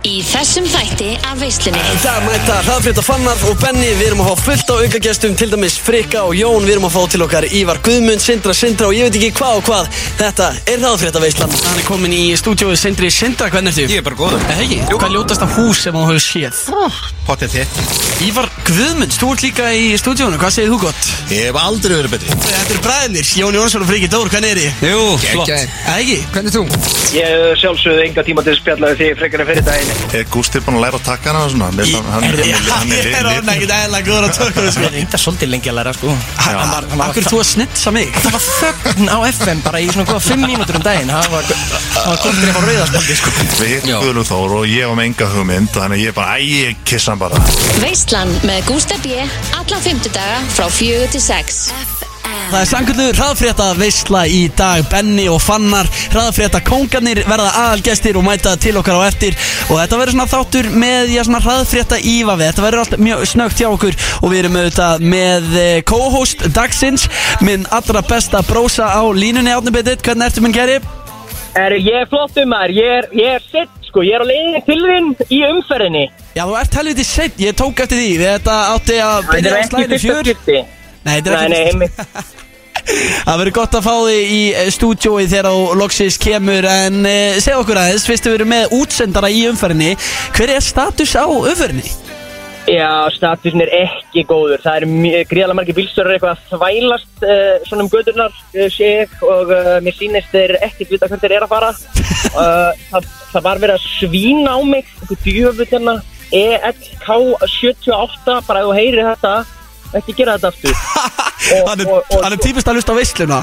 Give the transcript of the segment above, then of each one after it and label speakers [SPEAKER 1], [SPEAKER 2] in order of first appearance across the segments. [SPEAKER 1] Í þessum þætti af veislunni
[SPEAKER 2] Í dag mæta hraðfrétta fannar og Benni, við erum að fá fullt á aukagestum, til dæmis Frikka og Jón, við erum að fá til okkar Ívar Guðmund, Sindra, Sindra og ég veit ekki hvað og hvað, þetta er hraðfrétta veislan. Hann er komin í stúdíóið Sindri, Sindra, hvernig ertu?
[SPEAKER 3] Ég er bara góður
[SPEAKER 2] Eða ekki, hvað er ljótasta hús sem þú hefur séð?
[SPEAKER 3] Pottið þitt
[SPEAKER 2] Ívar Guðmund, þú ert líka í stúdíónu, hvað segir þú gott?
[SPEAKER 3] Ég hef aldrei verið betri
[SPEAKER 2] Þetta eru bræðinir, Jón Jónsson og Frikki Dór, hvernig er þið?
[SPEAKER 4] Jú, flott
[SPEAKER 3] Geggjaðir.
[SPEAKER 2] Eða ekki?
[SPEAKER 4] Hvernig þú?
[SPEAKER 5] Ég hef sjálfsögðu enga tíma til að spjalla við þig frekar en fyrir daginn.
[SPEAKER 6] Er Gústi búinn að læra að taka hana og svona? Hann er, hann, hann,
[SPEAKER 2] Er-
[SPEAKER 6] hann, hann
[SPEAKER 2] Ég er
[SPEAKER 6] er,
[SPEAKER 2] orðin ekkert eðlilega góður á tökum, sko.
[SPEAKER 4] Ég reynda svolítið lengi að læra sko
[SPEAKER 2] Hann- hann var- hann var- Akkur er þú að snitsa mig?
[SPEAKER 4] Það var þögn á FM bara í svona góða 5 mínútur um daginn Það var, það var komið til að rauða spaldi sko
[SPEAKER 6] Við
[SPEAKER 4] Já.
[SPEAKER 6] hittum Guðlúð Þór og ég var með enga hugmynd og þannig að ég bara, æ, ég kissa hann bara
[SPEAKER 1] Veislan með Gústa B Alla fymtudaga frá fjögur til sex
[SPEAKER 2] Það er sankulluður hraðfrétta veisla í dag Benni og Fannar, hraðfrétta konganir verða aðalgestir og mæta til okkar á eftir og þetta verður svona þáttur með já, svona hraðfrétta ífa við þetta verður allt mjög snögt hjá okkur og við erum auðvitað með eh, co-host dagsins, minn allra besta brósa á línunni átnubitið, hvernig ertu minn geri?
[SPEAKER 7] Er, ég er flottum maður, ég er, ég er sitt sko, ég er á leiðinni til þín í umferðinni
[SPEAKER 2] Já, þú ert helviti seitt, ég tók eftir því þetta átti að
[SPEAKER 7] Þetta
[SPEAKER 2] byrja
[SPEAKER 7] er
[SPEAKER 2] á
[SPEAKER 7] ekki
[SPEAKER 2] slæðinu
[SPEAKER 7] fyrsta
[SPEAKER 2] fjör
[SPEAKER 7] skipti
[SPEAKER 2] Nei, þetta er
[SPEAKER 7] Nei,
[SPEAKER 2] ekki
[SPEAKER 7] nei,
[SPEAKER 2] fyrsta-
[SPEAKER 7] heimi
[SPEAKER 2] Það verður gott að fá þig í eh, stúdjói þegar þú loksins kemur En uh, segja okkur aðeins, fyrst við erum með útsendara í umferðinni Hver er status á umferðinni?
[SPEAKER 7] Já, statusin er ekki góður Það er gríðalega margir bílstjórar eitthvað að þvælast uh, svona um gödurnar uh, sé ég og uh, mér sýnist þeir ekkert vita hvert þeir eru að fara uh, það, það var verið að svína á mig einhver djöfull hérna ELK78 bara ef þú heyrir þetta ekki gera þetta aftur Og-
[SPEAKER 2] hann, er,
[SPEAKER 7] og- og-
[SPEAKER 2] hann er típist að hlusta á veisluna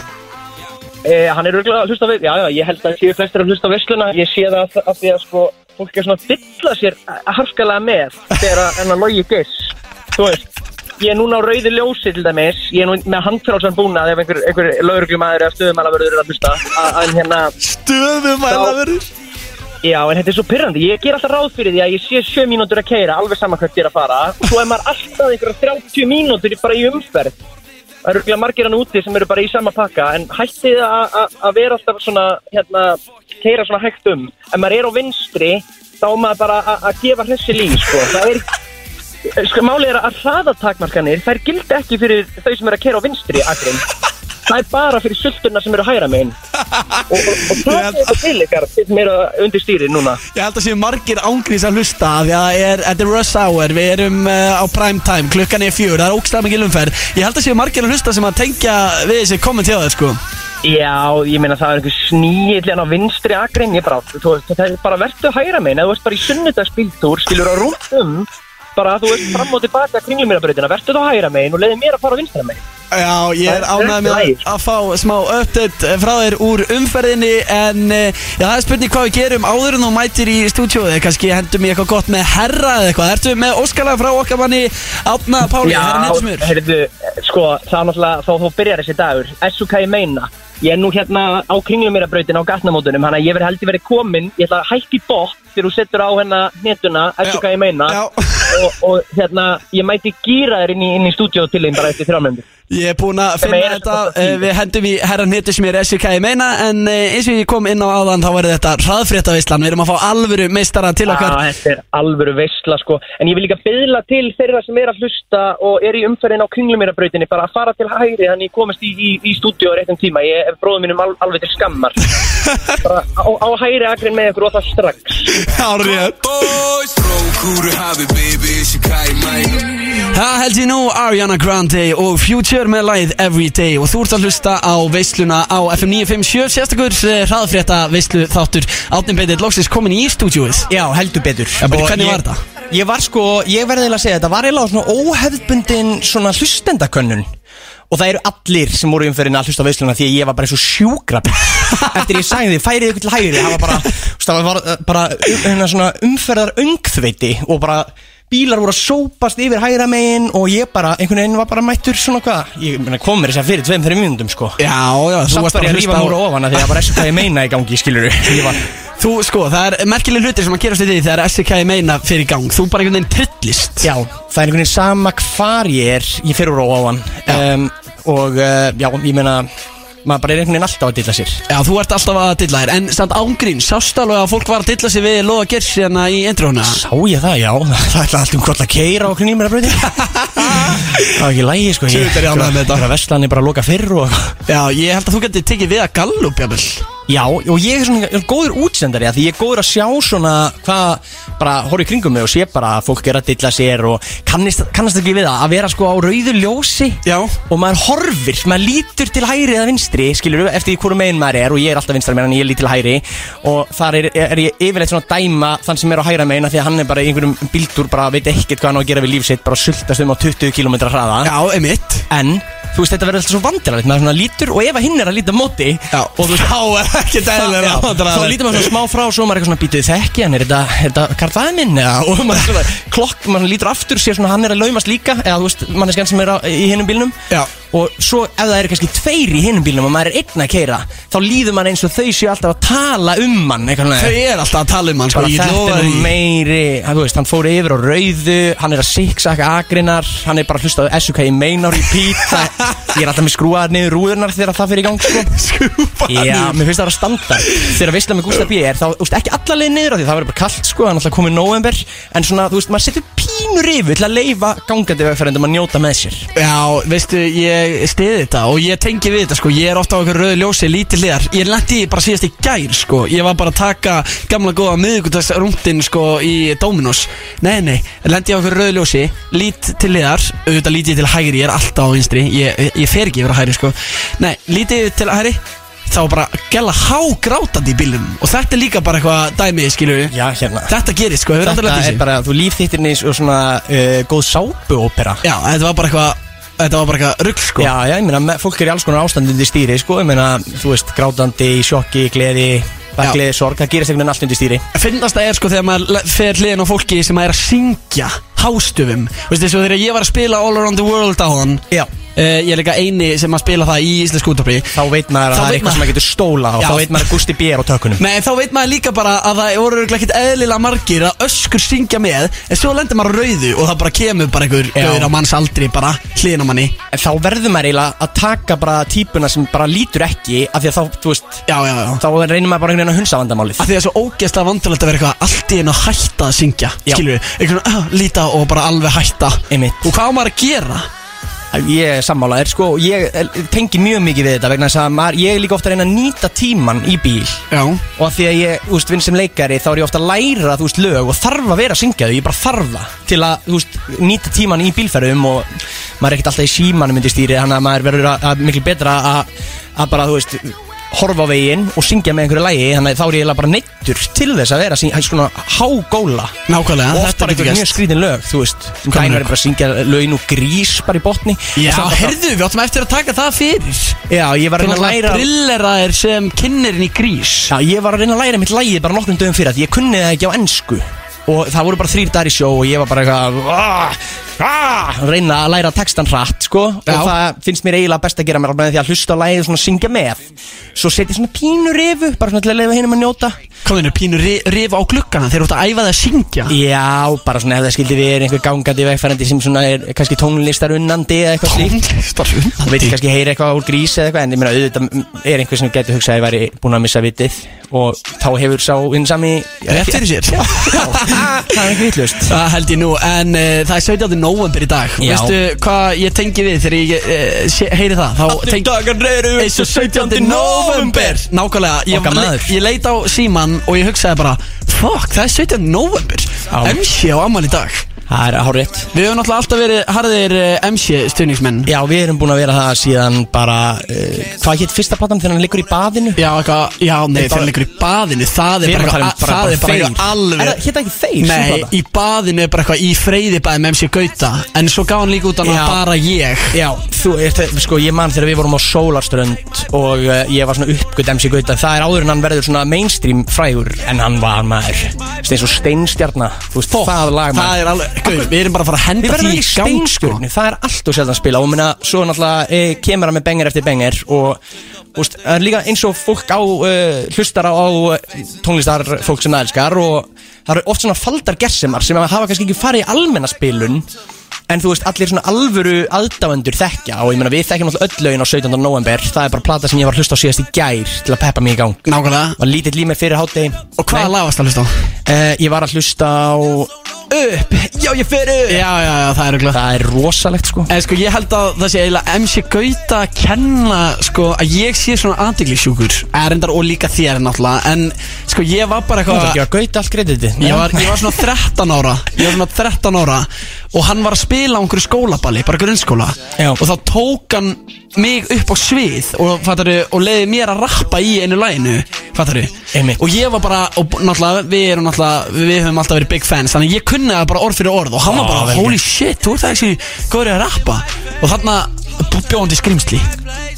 [SPEAKER 7] Eh, hann er örgulega að hlusta á veistluna, já, já, ég held að séu flestir að hlusta á veistluna, ég sé það af- af því að sko, fólk er svona að fylla sér harskalega með þegar að enna logi giss, þú veist. Ég er núna á rauði ljósi til dæmis, ég er nú með handfrálsan búnað ef einhver, einhver lauruglumæður eða stöðumælavörður er að hlusta, að- að hérna,
[SPEAKER 2] Stöðum að það verður
[SPEAKER 7] já, en þetta er svo pyrrandi, ég ger alltaf ráð fyrir því að ég sé sjö mínútur að keira, alveg sama hvert ég er að fara, svo er maður alltaf einhverja 30 mínútur í- bara í umferð. Það eru örgulega margir hann úti sem eru bara í sama pakka en hættið að- að að vera alltaf svona hérna, keira svona hægt um ef maður er á vinstri þá á maður bara að- að gefa hressi líf sko. það er sko, málið er að hraðatakmarkanir þær gildi ekki fyrir þau sem eru að keira á vinstri akrin. það er bara fyrir sultuna sem eru hægra megin og, og, og
[SPEAKER 2] Ég
[SPEAKER 7] það
[SPEAKER 2] held-
[SPEAKER 7] er þetta til ykkar þið sem eru undir stýri núna
[SPEAKER 2] Ég held að séu margir ángrís að hlusta af því að það er, þetta er rush hour, við erum uh, á prime time, klukkan er fjör, það er ógstæða mikið umferð Ég held að séu margir að hlusta sem að tengja við þessi komment hjá þér sko
[SPEAKER 7] Já, ég meina það er einhver sníillin á vinstri akrein, ég bara, þú veist, það er bara vertu hæra minn, eða þú veist bara í sunnudagsbíltúr, skilur að rúndum, bara þú veist fram og tilbaka kringlumýrabröðina, vertu þá hæra minn og leiði mér að fara á vinstra minn.
[SPEAKER 2] Já, ég er
[SPEAKER 7] Það er
[SPEAKER 2] ánægð með
[SPEAKER 7] ekki
[SPEAKER 2] að,
[SPEAKER 7] lægir.
[SPEAKER 2] að fá smá update eh, frá þér úr umferðinni en eh, já, það er spurning hvað við gerum áður en þú mætir í stúdíóði kannski hendum ég eitthvað gott með herra eða eitthvað Ertu með óskalega frá okkar manni Átna Páli, herra Nettismur
[SPEAKER 7] heyrðu, sko, það er náttúrulega, þá þú byrjar þessi dagur, essu hvað ég meina. Ég er nú hérna á kringlumýrabröðina á gatnamótunum, hann að ég verði heldur verið komin, ég ætla að hækki bótt þegar þú setur á hérna netuna, essu
[SPEAKER 2] Já.
[SPEAKER 7] hvað ég meina,
[SPEAKER 2] Já.
[SPEAKER 7] og, og hérna, ég mæti gýra þér inn í, inn í stúdíó til þín bara eftir þrjámyndir.
[SPEAKER 2] Ég er búinn að
[SPEAKER 7] Sem
[SPEAKER 2] finna
[SPEAKER 7] er
[SPEAKER 2] þetta
[SPEAKER 7] eitthvað
[SPEAKER 2] eh,
[SPEAKER 7] fínt.
[SPEAKER 2] Við hendum í herra Nettismur SVK ég meina en eh, eins og ég kom inn á áðan þá verður þetta hraðfréttavislan Við erum að fá alvöru meistara til okkar
[SPEAKER 7] Já, Ah, þetta er alvöru veistla sko En ég vil líka byðla til þeirra sem er að hlusta og er í umferðin á kringlumýrabrautinni bara að fara til hægri þannig ég komast í, í, í stúdíu á réttum tíma Ég er bróðum mínum al, alveg til skammar bara á, á hægri akrin með ykkur og það strax
[SPEAKER 2] Árið
[SPEAKER 8] boys Throw kúru hafi baby Shikai mæn
[SPEAKER 2] Það held ég nú Ariana Grande og Future með lagið Everyday og þú ert að hlusta á veisluna á FM 957 sérstakur eh, hraðfrétta veislu þáttur Átnin Beitir loksins komin í stúdjúið
[SPEAKER 4] Já, heldur betur
[SPEAKER 2] byrju,
[SPEAKER 4] Og
[SPEAKER 2] hvernig
[SPEAKER 4] ég-
[SPEAKER 2] var þetta?
[SPEAKER 4] Ég var sko, ég verði eiginlega að segja Þetta var eiginlega svona óhefðbundin svona hlustendakönnun Og það eru allir sem voru í umferðin að hlusta á veisluna Því að ég var bara eins og sjúkrab Eftir ég sagði því, færið ykkur til hægri Það var bara, þú veist, það var uh, bara um- hérna svona umferðar öngþveiti Og bara bílar voru að sópast yfir hægra megin Og ég bara, einhvern veginn var bara mættur svona hvað Ég meina, kom mér þess að fyrir tveim, þeirri mínundum sko
[SPEAKER 2] Já, já, þú
[SPEAKER 4] Samt
[SPEAKER 2] varst
[SPEAKER 4] var
[SPEAKER 2] bara að
[SPEAKER 4] ég að rífa
[SPEAKER 2] hlusta
[SPEAKER 4] múra
[SPEAKER 2] á
[SPEAKER 4] ofan að því að það var SK meina í gangi, skilur Ég var,
[SPEAKER 2] Þú, sko, það er merkileg hlutir sem að gerast í því þegar SK meina fyrir í gang Þú bara einhvern veginn trillist
[SPEAKER 4] já, það er einhvern veginn sama hvar eh, ég er, ég fyrir úr ofan um, Og uh, já, ég meina, maður bara er einhvern veginn alltaf að dilla sér
[SPEAKER 2] Já, þú ert alltaf að dilla þér En samt ángrín, sást alveg að fólk var að dilla sig við Lóa Gers hérna í endróna
[SPEAKER 4] Sá ég það, já, það ætlaði allt um hvort að keira okkur nýmur að bröði Það var ekki lægi, sko
[SPEAKER 2] Sjöfull er ég ánægður með þetta.
[SPEAKER 4] Það er að veslan er bara að loka fyrr og
[SPEAKER 2] Já, ég held að þú getur tekið við að gallup, jafnvel
[SPEAKER 4] Já, og ég er svona ég er góður útsendari af Því ég er góður að sjá svona hvað Bara horf í kringum mig og sé bara að fólk er að dilla sér Og kannast, kannast ekki við það Að vera sko á rauðu ljósi
[SPEAKER 2] Já.
[SPEAKER 4] Og maður horfir, maður lítur til hægri eða vinstri Skilur við, eftir því hvorum megin maður er Og ég er alltaf vinstra megin en ég lít til hægri Og þar er, er ég yfirleitt svona að dæma Þann sem er á hægra megin af Því að hann er bara í einhverjum bildur Bara veit ekkert hvað hann á að gera við líf sitt Bara sultast um á 20 km hraða
[SPEAKER 2] Já, emitt
[SPEAKER 4] En þú veist þetta verður alltaf svo vandrarlegt maður svona lítur og ef að hinn er að líta á móti
[SPEAKER 2] Já.
[SPEAKER 4] og þú veist þá er
[SPEAKER 2] ekkert eðlilega vandræðalegt.
[SPEAKER 4] þá lítur maður svona smá frá og svo maður er eitthvað svona býtið þekki hann er þetta, er þetta karlaði minn eða og maður svona klokk maður lítur aftur sér svona hann er að laumast líka eða þú veist manneskjan sem er á, í hinnum bílnum
[SPEAKER 2] Já.
[SPEAKER 4] og svo ef það eru kannski tveir í hinnum bílnum og maður er einn að keira þá líður maður eins og þau séu alltaf að tala um mann eitthvað svona
[SPEAKER 2] Þau er alltaf að tala um hann, sko
[SPEAKER 4] bara
[SPEAKER 2] ég get
[SPEAKER 4] þetta
[SPEAKER 2] lofað
[SPEAKER 4] er nú
[SPEAKER 2] því.
[SPEAKER 4] meiri hann, þú veist, hann fór yfir á rauðu hann er að siksaka agrinar hann er bara að hlusta á SUK í main á repeat það, ég er alltaf með skrúaðar niður rúðurnar þegar það fyrir í gang sko.
[SPEAKER 2] Skrúfaðar
[SPEAKER 4] já,
[SPEAKER 2] niður.
[SPEAKER 4] mér finnst það að vera standard þegar að vissla með Gustaf B er þá þú veist, ekki alla leið niður á því það verður bara kallt sko, hann er alltaf komið november en svona, þú veist, maður setur pínur yfir til að leifa gangandi vegferðendum að njóta með sér
[SPEAKER 2] Já, veistu, ég stiði þetta og ég tengi við þetta, sko, ég er ofta á einhverju rauðu ljósi lítið hliðar, ég lendi bara síðast í gær, sko, ég var bara að taka gamla góða miðugudagsrúndin, sko, í Dominos, nei, nei, lendi ég á einhverju rauðu ljósi, lít til hliðar, auðvitað lítið til hægri, ég er alltaf á vinstri, ég, ég fer ekki yfir að hægri, sko, nei, lítið til hægri, þá var bara gæla hágrátandi í bílum og þetta er líka bara eitthvað dæmið, skilur við,
[SPEAKER 4] já, hérna
[SPEAKER 2] þetta gerist, sko, hefur
[SPEAKER 4] þetta
[SPEAKER 2] alltaf lendið
[SPEAKER 4] er
[SPEAKER 2] sig.
[SPEAKER 4] bara, þú líf þittir niður svona uh, góð sápuópera
[SPEAKER 2] Já, þetta var bara eitthvað, þetta var bara eitthvað rugl, sko.
[SPEAKER 4] Já, já, ég meina, me- fólk er í alls konar ástand undir stýri, sko, ég meina, þú veist, grátandi, í sjokki, gleði, bakgleði, sorg, það gerist einhvern veginn allt undir stýri.
[SPEAKER 2] Finnast það er sko þegar maður le- fer hliðin á fólki sem er að syngja hástöfum Veistu þessu þegar ég var að spila All Around the World á hann Eh,
[SPEAKER 4] Já.
[SPEAKER 2] Ég er líka eini sem að spila það í íslensku útvarpi
[SPEAKER 4] Þá veit maður
[SPEAKER 2] Þá
[SPEAKER 4] að
[SPEAKER 2] veit
[SPEAKER 4] það er eitthvað
[SPEAKER 2] maður-
[SPEAKER 4] sem maður getur stóla á,
[SPEAKER 2] Já.
[SPEAKER 4] þá veit maður að Gusti B er á tökunum.
[SPEAKER 2] Nei þá veit maður líka bara að það voru örugglega ekkert eðlilega margir að öskur syngja með En svo lendir maður á rauðu og það bara kemur bara einhver
[SPEAKER 4] Já.
[SPEAKER 2] Gauður á manns aldri bara hliðin á manni
[SPEAKER 4] En þá verður maður eiginlega að taka bara típuna sem bara lítur ekki, af því að þá, þú veist,
[SPEAKER 2] Já já já
[SPEAKER 4] þá reynir maður bara einhvern veginn að hunsa vandamálið.
[SPEAKER 2] Af því að það er svo ógeðslega vandulegt að vera eitthvað allt í einu að hætta að syngja
[SPEAKER 4] Já.
[SPEAKER 2] Skilur við, einhvern veginn uh, líta og bara alveg hætta
[SPEAKER 4] Einmitt.
[SPEAKER 2] Og hvað á maður að gera?
[SPEAKER 4] Ég er sammálaðir, sko, og ég eh, tengi mjög mikið við þetta vegna þess að maður, ég er líka ofta að reyna að nýta tíman í bíl.
[SPEAKER 2] Já
[SPEAKER 4] og að því að ég, þú veist, vinn sem leikari þá er ég ofta að læra, þú veist, lög og þarf að vera að syngja þau, ég bara þarf það til að, þú veist, nýta tíman í bílferðum og maður er ekkert alltaf í símanum undir stýri þannig að maður verður að, að miklu betra að, að bara, þú veist, horfa á veginn og syngja með einhverju lægi, þannig að þá er ég eiginlega bara neittur til þess að vera að syngja, svona hágóla
[SPEAKER 2] Nákvæmlega,
[SPEAKER 4] og oft
[SPEAKER 2] þetta
[SPEAKER 4] bara
[SPEAKER 2] getur
[SPEAKER 4] einhver mjög
[SPEAKER 2] gæst
[SPEAKER 4] skrítin lög, þú veist um
[SPEAKER 2] Hvað
[SPEAKER 4] daginn
[SPEAKER 2] meinar-
[SPEAKER 4] verður bara að syngja lögin og grís bara í botni
[SPEAKER 2] Já,
[SPEAKER 4] Og samt alltaf-
[SPEAKER 2] herðu, við áttum eftir að taka það fyrir
[SPEAKER 4] Já, ég var að
[SPEAKER 2] Þannig að
[SPEAKER 4] reyna að
[SPEAKER 2] læra
[SPEAKER 4] læra
[SPEAKER 2] Brillera er sem kynnerinn í grís
[SPEAKER 4] Já, ég var að reyna að læra mitt lægið bara nokkrum dögum fyrir að ég kunni það ekki á ennsku og það voru bara þrýr dagar í sjó og ég var bara eitthvað "Ah, ah", að reyna að læra textan hratt sko
[SPEAKER 2] Já.
[SPEAKER 4] og það finnst mér eiginlega best að gera mér með því að hlusta á lægið og svona syngja með svo setja ég svona pínur yfu bara svona til að leifa hinum að njóta
[SPEAKER 2] Kominu pínu ri- rifa á gluggana þegar þú ert að æfa það að syngja
[SPEAKER 4] Já, bara svona ef það skildi við er einhver gangandi vegfærandi sem svona er kannski tónlistar unnandi eða eitthvað slíkt
[SPEAKER 2] Tónlistar
[SPEAKER 4] Þú veit kannski heyri eitthvað úr grís eða eitthvað En ég meina auðvitað m- er einhver sem getur hugsað að ég væri búin að missa vitið Og þá hefur sá hinn sami
[SPEAKER 2] Rétt fyrir sér.
[SPEAKER 4] Já, já það er ekki vitlust
[SPEAKER 2] Það held ég nú, en uh, það er 17. november í dag
[SPEAKER 4] Já.
[SPEAKER 2] Veistu hvað ég tengi við þegar ég uh, heyri það? Þá tengi
[SPEAKER 4] dagar eru
[SPEAKER 2] eins og 17. november Nákvæmlega, ég,
[SPEAKER 4] Okkar maður.
[SPEAKER 2] ég leit á síman og ég hugsaði bara Fuck, það er 17. november
[SPEAKER 4] Já.
[SPEAKER 2] MC á ammali dag
[SPEAKER 4] Það er hárrétt
[SPEAKER 2] Við höfum náttúrulega alltaf verið harðir eh, MC stuðningsmenn
[SPEAKER 4] Já, við erum búin að vera það síðan bara uh, Hvað hétt fyrsta platan þegar hann liggur í baðinu?
[SPEAKER 2] Já, eitthvað, já, nei,
[SPEAKER 4] Þetta
[SPEAKER 2] þegar hann
[SPEAKER 4] var-
[SPEAKER 2] liggur í baðinu Það er
[SPEAKER 4] Við
[SPEAKER 2] bara
[SPEAKER 4] erum að tala um
[SPEAKER 2] eitthvað, það er bara
[SPEAKER 4] bara- bara
[SPEAKER 2] eitthvað
[SPEAKER 4] þeir. Er það-
[SPEAKER 2] alveg
[SPEAKER 4] hét það ekki þeir, sú
[SPEAKER 2] Nei,
[SPEAKER 4] plata?
[SPEAKER 2] í baðinu er bara eitthvað í freyðibæði með MC Gauta En svo gaf hann líka út hann
[SPEAKER 4] Já.
[SPEAKER 2] að bara ég
[SPEAKER 4] Já, þú ert, sko, ég man þegar við vorum á Sólarströnd og uh, ég var svona uppgöt MC Gauta, það er áður en hann verður svona mainstream frægur en hann var maður, Veist, eins og steinstjarna, þú veist, það lag maður.
[SPEAKER 2] Oh, Það er alveg, gau, við erum bara að fara að
[SPEAKER 4] Við
[SPEAKER 2] henda
[SPEAKER 4] verðum
[SPEAKER 2] því í
[SPEAKER 4] ekki
[SPEAKER 2] gang sko
[SPEAKER 4] steinskurni, það er allt og sjaldan spila og minna, svo náttúrulega e, kemur hann með bengar eftir bengar og úst, það er líka eins og fólk á uh, hlustar á, á tónlistar fólk sem það elskar og það eru oft svona faldar gersemar sem hafa kannski ekki farið í almenna spilun En þú veist, allir svona alvöru aðdáendur þekkja Og ég meina, við þekkjum alltaf öll lögin á 17. november Það er bara plata sem ég var að hlusta á síðast í gær Til að peppa mig í gang
[SPEAKER 2] Nákvæmlega
[SPEAKER 4] Var lítill í mér fyrir hátegi
[SPEAKER 2] Og hvaða lag varst að hlusta á?
[SPEAKER 4] Eh, Ég var að hlusta á Upp, já ég fer upp
[SPEAKER 2] Já, já, já, það er auðvitað
[SPEAKER 4] Það er rosalegt sko
[SPEAKER 2] En sko ég held að það sé eiginlega MC Gauta að kenna sko að ég sé svona aðdeglisjúkur Erendar og líka þér náttúrulega En sko ég var bara
[SPEAKER 4] Þú ert
[SPEAKER 2] eitthvað
[SPEAKER 4] ekki að gauta allt krediti
[SPEAKER 2] Ég var, ég var svona 13 ára Ég var svona 13 ára Og hann var að spila á einhverju skólaballi Bara grunnskóla
[SPEAKER 4] Já.
[SPEAKER 2] Og þá tók hann mig upp á svið Og, fattaru, og leiði mér að rappa í einu læginu Fattaru
[SPEAKER 4] Einmitt.
[SPEAKER 2] Og ég var bara Og b- náttúrulega við erum náttúrulega Við höfum alltaf verið big fans Þannig að ég kunni það bara orð fyrir orð Og hann var
[SPEAKER 4] Á,
[SPEAKER 2] bara
[SPEAKER 4] vel
[SPEAKER 2] Holy shit, þú ert það ekki góður í að rappa Og þarna b- bjóðandi skrimsli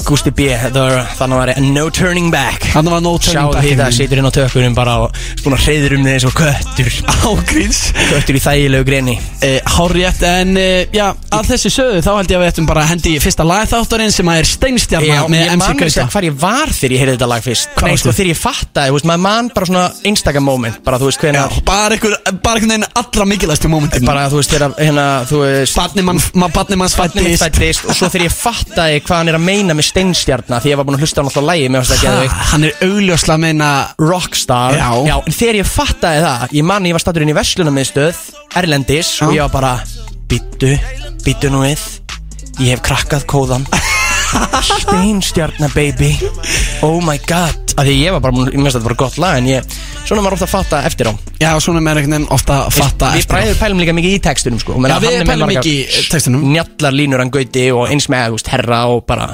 [SPEAKER 4] Gusti B, þannig var ég No Turning Back
[SPEAKER 2] Þarna var no turning
[SPEAKER 4] Sjáðu
[SPEAKER 2] back
[SPEAKER 4] þetta, situr inn á tökunum bara og spúin að hreyður um þig eins og köttur
[SPEAKER 2] Ágríns
[SPEAKER 4] Köttur í þægilegu greni
[SPEAKER 2] Uh, Hárjætt, en uh, já, að þessi sögðu þá held ég að við ættum bara að hendi í fyrsta lagþátturinn sem að er steinstjarna með
[SPEAKER 4] ég
[SPEAKER 2] MC
[SPEAKER 4] man að
[SPEAKER 2] Gauta
[SPEAKER 4] segja hvar ég var þegar ég heyrði þetta lag fyrst
[SPEAKER 2] Hvar
[SPEAKER 4] Nei,
[SPEAKER 2] varstu?
[SPEAKER 4] sko þegar ég fattaði, þú veist, maður man bara svona einstaka moment Bara þú veist
[SPEAKER 2] Já,
[SPEAKER 4] hvenar,
[SPEAKER 2] bara einhver, bara einhvern veginn allra mikilvægstu mómentin
[SPEAKER 4] bara þú veist þegar hérna, þú veist
[SPEAKER 2] Barni mann, ma, barni manns
[SPEAKER 4] Barnið mitt
[SPEAKER 2] fættist
[SPEAKER 4] fæddist Og svo þegar ég fattaði hvað hann er að meina með steinstjarna Því ég var búin að hlusta á hann alltaf lægi, mér varst
[SPEAKER 2] Ha,
[SPEAKER 4] það geðveikt
[SPEAKER 2] Hann er augljóslega að meina
[SPEAKER 4] Rockstar
[SPEAKER 2] Já.
[SPEAKER 4] en þegar ég fattaði það Ég man ég var stattur inn í Veslunarmiðstöð Erlendis Og
[SPEAKER 2] Já.
[SPEAKER 4] ég var bara Bittu, bittu nú við Ég hef krakkað kóðan Steinstjarna baby Oh my god Af Því ég var bara, búinn- ég minnst að þetta var gott lag En ég, svona maður ofta að fatta eftir á
[SPEAKER 2] Já, svona með einhvern veginn ofta að fatta
[SPEAKER 4] Við bræður pælum líka mikið í textunum sko Ég meina,
[SPEAKER 2] Já, við
[SPEAKER 4] hann er með
[SPEAKER 2] pælum
[SPEAKER 4] margar
[SPEAKER 2] mikið í textunum.
[SPEAKER 4] Njallar línur hann gauti og eins með þú veist, herra og bara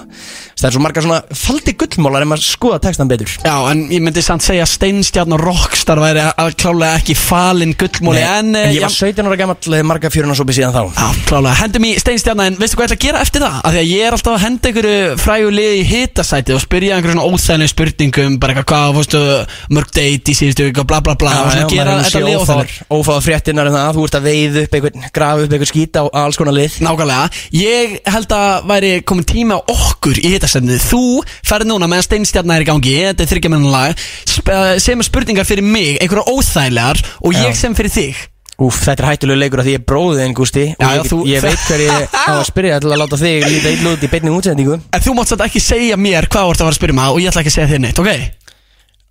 [SPEAKER 4] Það er svo margar svona faldi gullmólar En maður skoða textan betur
[SPEAKER 2] Já, en ég myndi samt segja að steinstjarn og rockstar væri að- að klálega ekki falin gullmóli
[SPEAKER 4] Nei,
[SPEAKER 2] En, eh,
[SPEAKER 4] ég var
[SPEAKER 2] já,
[SPEAKER 4] 17 ára gammal marga fjörunarsópi síðan þá
[SPEAKER 2] Já, klálega, hendum í steinstjarna en veistu hvað ég ætla að gera eftir það? Af því að ég er alltaf að henda einhverju frægu liði í hitasæti og spyrja einhverju svona óþægni spurningum bara eitthvað, hvað, fórstu, mörg date í síðustu vika, bla bla bla og svona gera þetta lið óþægni
[SPEAKER 4] Ófáða fréttinar um það, þú ert að veið upp einhvern, grafa upp einhvern skýt á á alls konar lið
[SPEAKER 2] Nákvæmlega, ég held að væri komin tími á okkur í hitasætinu Þú ferð núna meðan steinstjarna er í gangi, þetta er þryggja menn lag sp eh, sem er spurningar fyrir mig, einhverja óþægilegar og ég sem fyrir þig
[SPEAKER 4] Úf, þetta er hættulegu leikur að því ég er bróðin, Gusti og
[SPEAKER 2] Já, já,
[SPEAKER 4] ég,
[SPEAKER 2] þú-
[SPEAKER 4] ég veit hver ég á að spyrja til að láta þig líta illa út í beinni útsendingu
[SPEAKER 2] En þú mátt satt ekki segja mér hvað þú ert að vera að spyrja maður og ég ætla ekki að segja þér neitt, ok?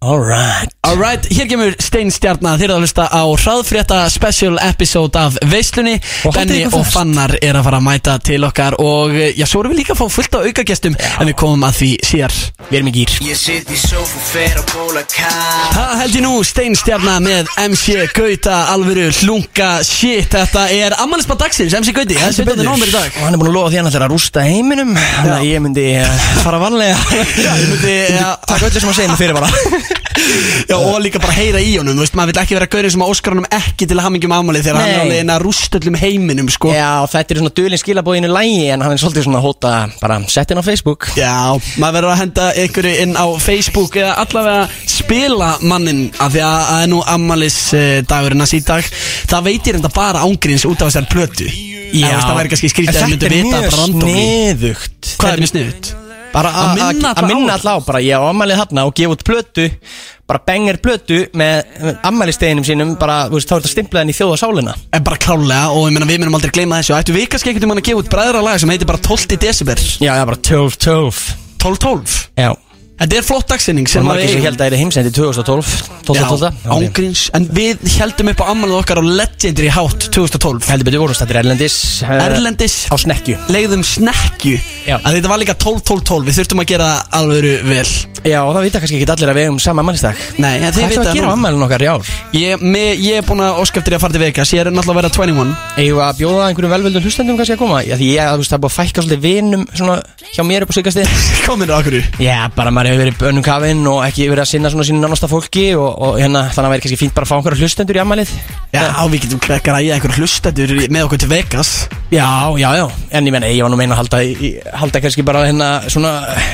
[SPEAKER 4] Alright
[SPEAKER 2] Alright, hér kemur Steinstjarnar Þið eru að hlusta á hraðfrétta special episode af Veislunni
[SPEAKER 4] Og haldið
[SPEAKER 2] Benni
[SPEAKER 4] ykkur
[SPEAKER 2] og
[SPEAKER 4] fast.
[SPEAKER 2] Fannar er að fara að mæta til okkar Og eh, já, svo erum við líka að fá fullt af aukagestum En við komum að því síðar
[SPEAKER 4] Við erum í gýr
[SPEAKER 9] Ég sitt í sófu, fer að bóla kall
[SPEAKER 2] Það held ég nú Steinstjarnar með MC Gauta Alvöru hlunga shit Þetta er ammælismann dagsins MC Gauti Það er 17. november í dag
[SPEAKER 4] Og hann er búin að lofa því hann ætlar að rústa heiminum Þannig að ég myndi eh, fara varlega
[SPEAKER 2] Já, ég myndi, já,
[SPEAKER 4] Takk öllu sem að segja mig fyrir bara
[SPEAKER 2] já, og líka bara heyra í honum, þú veist, maður vil ekki vera gaurið sem að óskar honum ekki til að hamingjum ámalið þegar hann er
[SPEAKER 4] Nei.
[SPEAKER 2] alveg að rúst öllum heiminum, sko.
[SPEAKER 4] Já, þetta er svona dulinn skilabóðinu lægi En hann er svolítið svona að hóta bara settin á Facebook
[SPEAKER 2] Já, maður verður að henda einhverju inn á Facebook eða allavega spila mannin af því að það er nú ammalis dagurinn að síðdag Það veitir enda bara ángríns út af þessar plötu Já veist, Það væri kannski skrítið að
[SPEAKER 4] En
[SPEAKER 2] myndu vita bara
[SPEAKER 4] Þetta er
[SPEAKER 2] random
[SPEAKER 4] mjög sniðugt
[SPEAKER 2] Hvað er mjög sniðut?
[SPEAKER 4] Bara
[SPEAKER 2] Að
[SPEAKER 4] að
[SPEAKER 2] minna
[SPEAKER 4] að-
[SPEAKER 2] alla
[SPEAKER 4] að minna
[SPEAKER 2] á.
[SPEAKER 4] alla á bara Ég á ammalið þarna og gefa út plötu Bara bengir plötu með ammaliðsteginum sínum Bara, þú veist, þá er þetta stimplaðin í þjóða sálina
[SPEAKER 2] En bara klálega og ég meina við munum aldrei gleyma þessu Ættu við kannski einhvern veginn að gefa út bræðra lag sem heitir bara 12. desember
[SPEAKER 4] Já, það er bara 12-12
[SPEAKER 2] 12-12
[SPEAKER 4] Já
[SPEAKER 2] Þetta er flott dagsinning
[SPEAKER 4] Það
[SPEAKER 2] sem
[SPEAKER 4] er margir sem
[SPEAKER 2] eigum.
[SPEAKER 4] held að það er heimsendi 2012
[SPEAKER 2] Já,
[SPEAKER 4] 12-12
[SPEAKER 2] ángríns En við heldum upp á ammalið okkar á legendary hátt 2012
[SPEAKER 4] Heldur betur voru stættir Erlendis eh,
[SPEAKER 2] Erlendis
[SPEAKER 4] Á snekkju
[SPEAKER 2] leiðum snekkju
[SPEAKER 4] Já.
[SPEAKER 2] að þetta var líka 12-12-12 við þurftum að gera það alveg vel
[SPEAKER 4] Já, það vita kannski ekki allir að við um sama ammalistag
[SPEAKER 2] Nei, en þið
[SPEAKER 4] Hvað er
[SPEAKER 2] vita
[SPEAKER 4] það að gera á
[SPEAKER 2] núna.
[SPEAKER 4] ammalin okkar í ár?
[SPEAKER 2] ég, me- ég er búin að óskæftir að fara til Vegas ég er náttúrulega að vera 21
[SPEAKER 4] Eða að bjóða einhverjum velvöldum hlustendum kannski að koma Já, því ég, þú veist, það er búið að fækka svolítið vinum svona, hjá mér upp á síkastin
[SPEAKER 2] komin á okkur
[SPEAKER 4] Já, bara maður hefur verið önnum kafinn og ekki verið að sinna svona sínu nánasta fólki og, og hérna, þannig að væri kannski fínt bara að fá einhverja hlustendur í ammælið
[SPEAKER 2] Já, við getum krekkar að ég einhver hlustendur með okkur til Vegas
[SPEAKER 4] Já, já, já, en ég menna, ég var nú meina að halda, í- í- halda kannski bara hérna svona,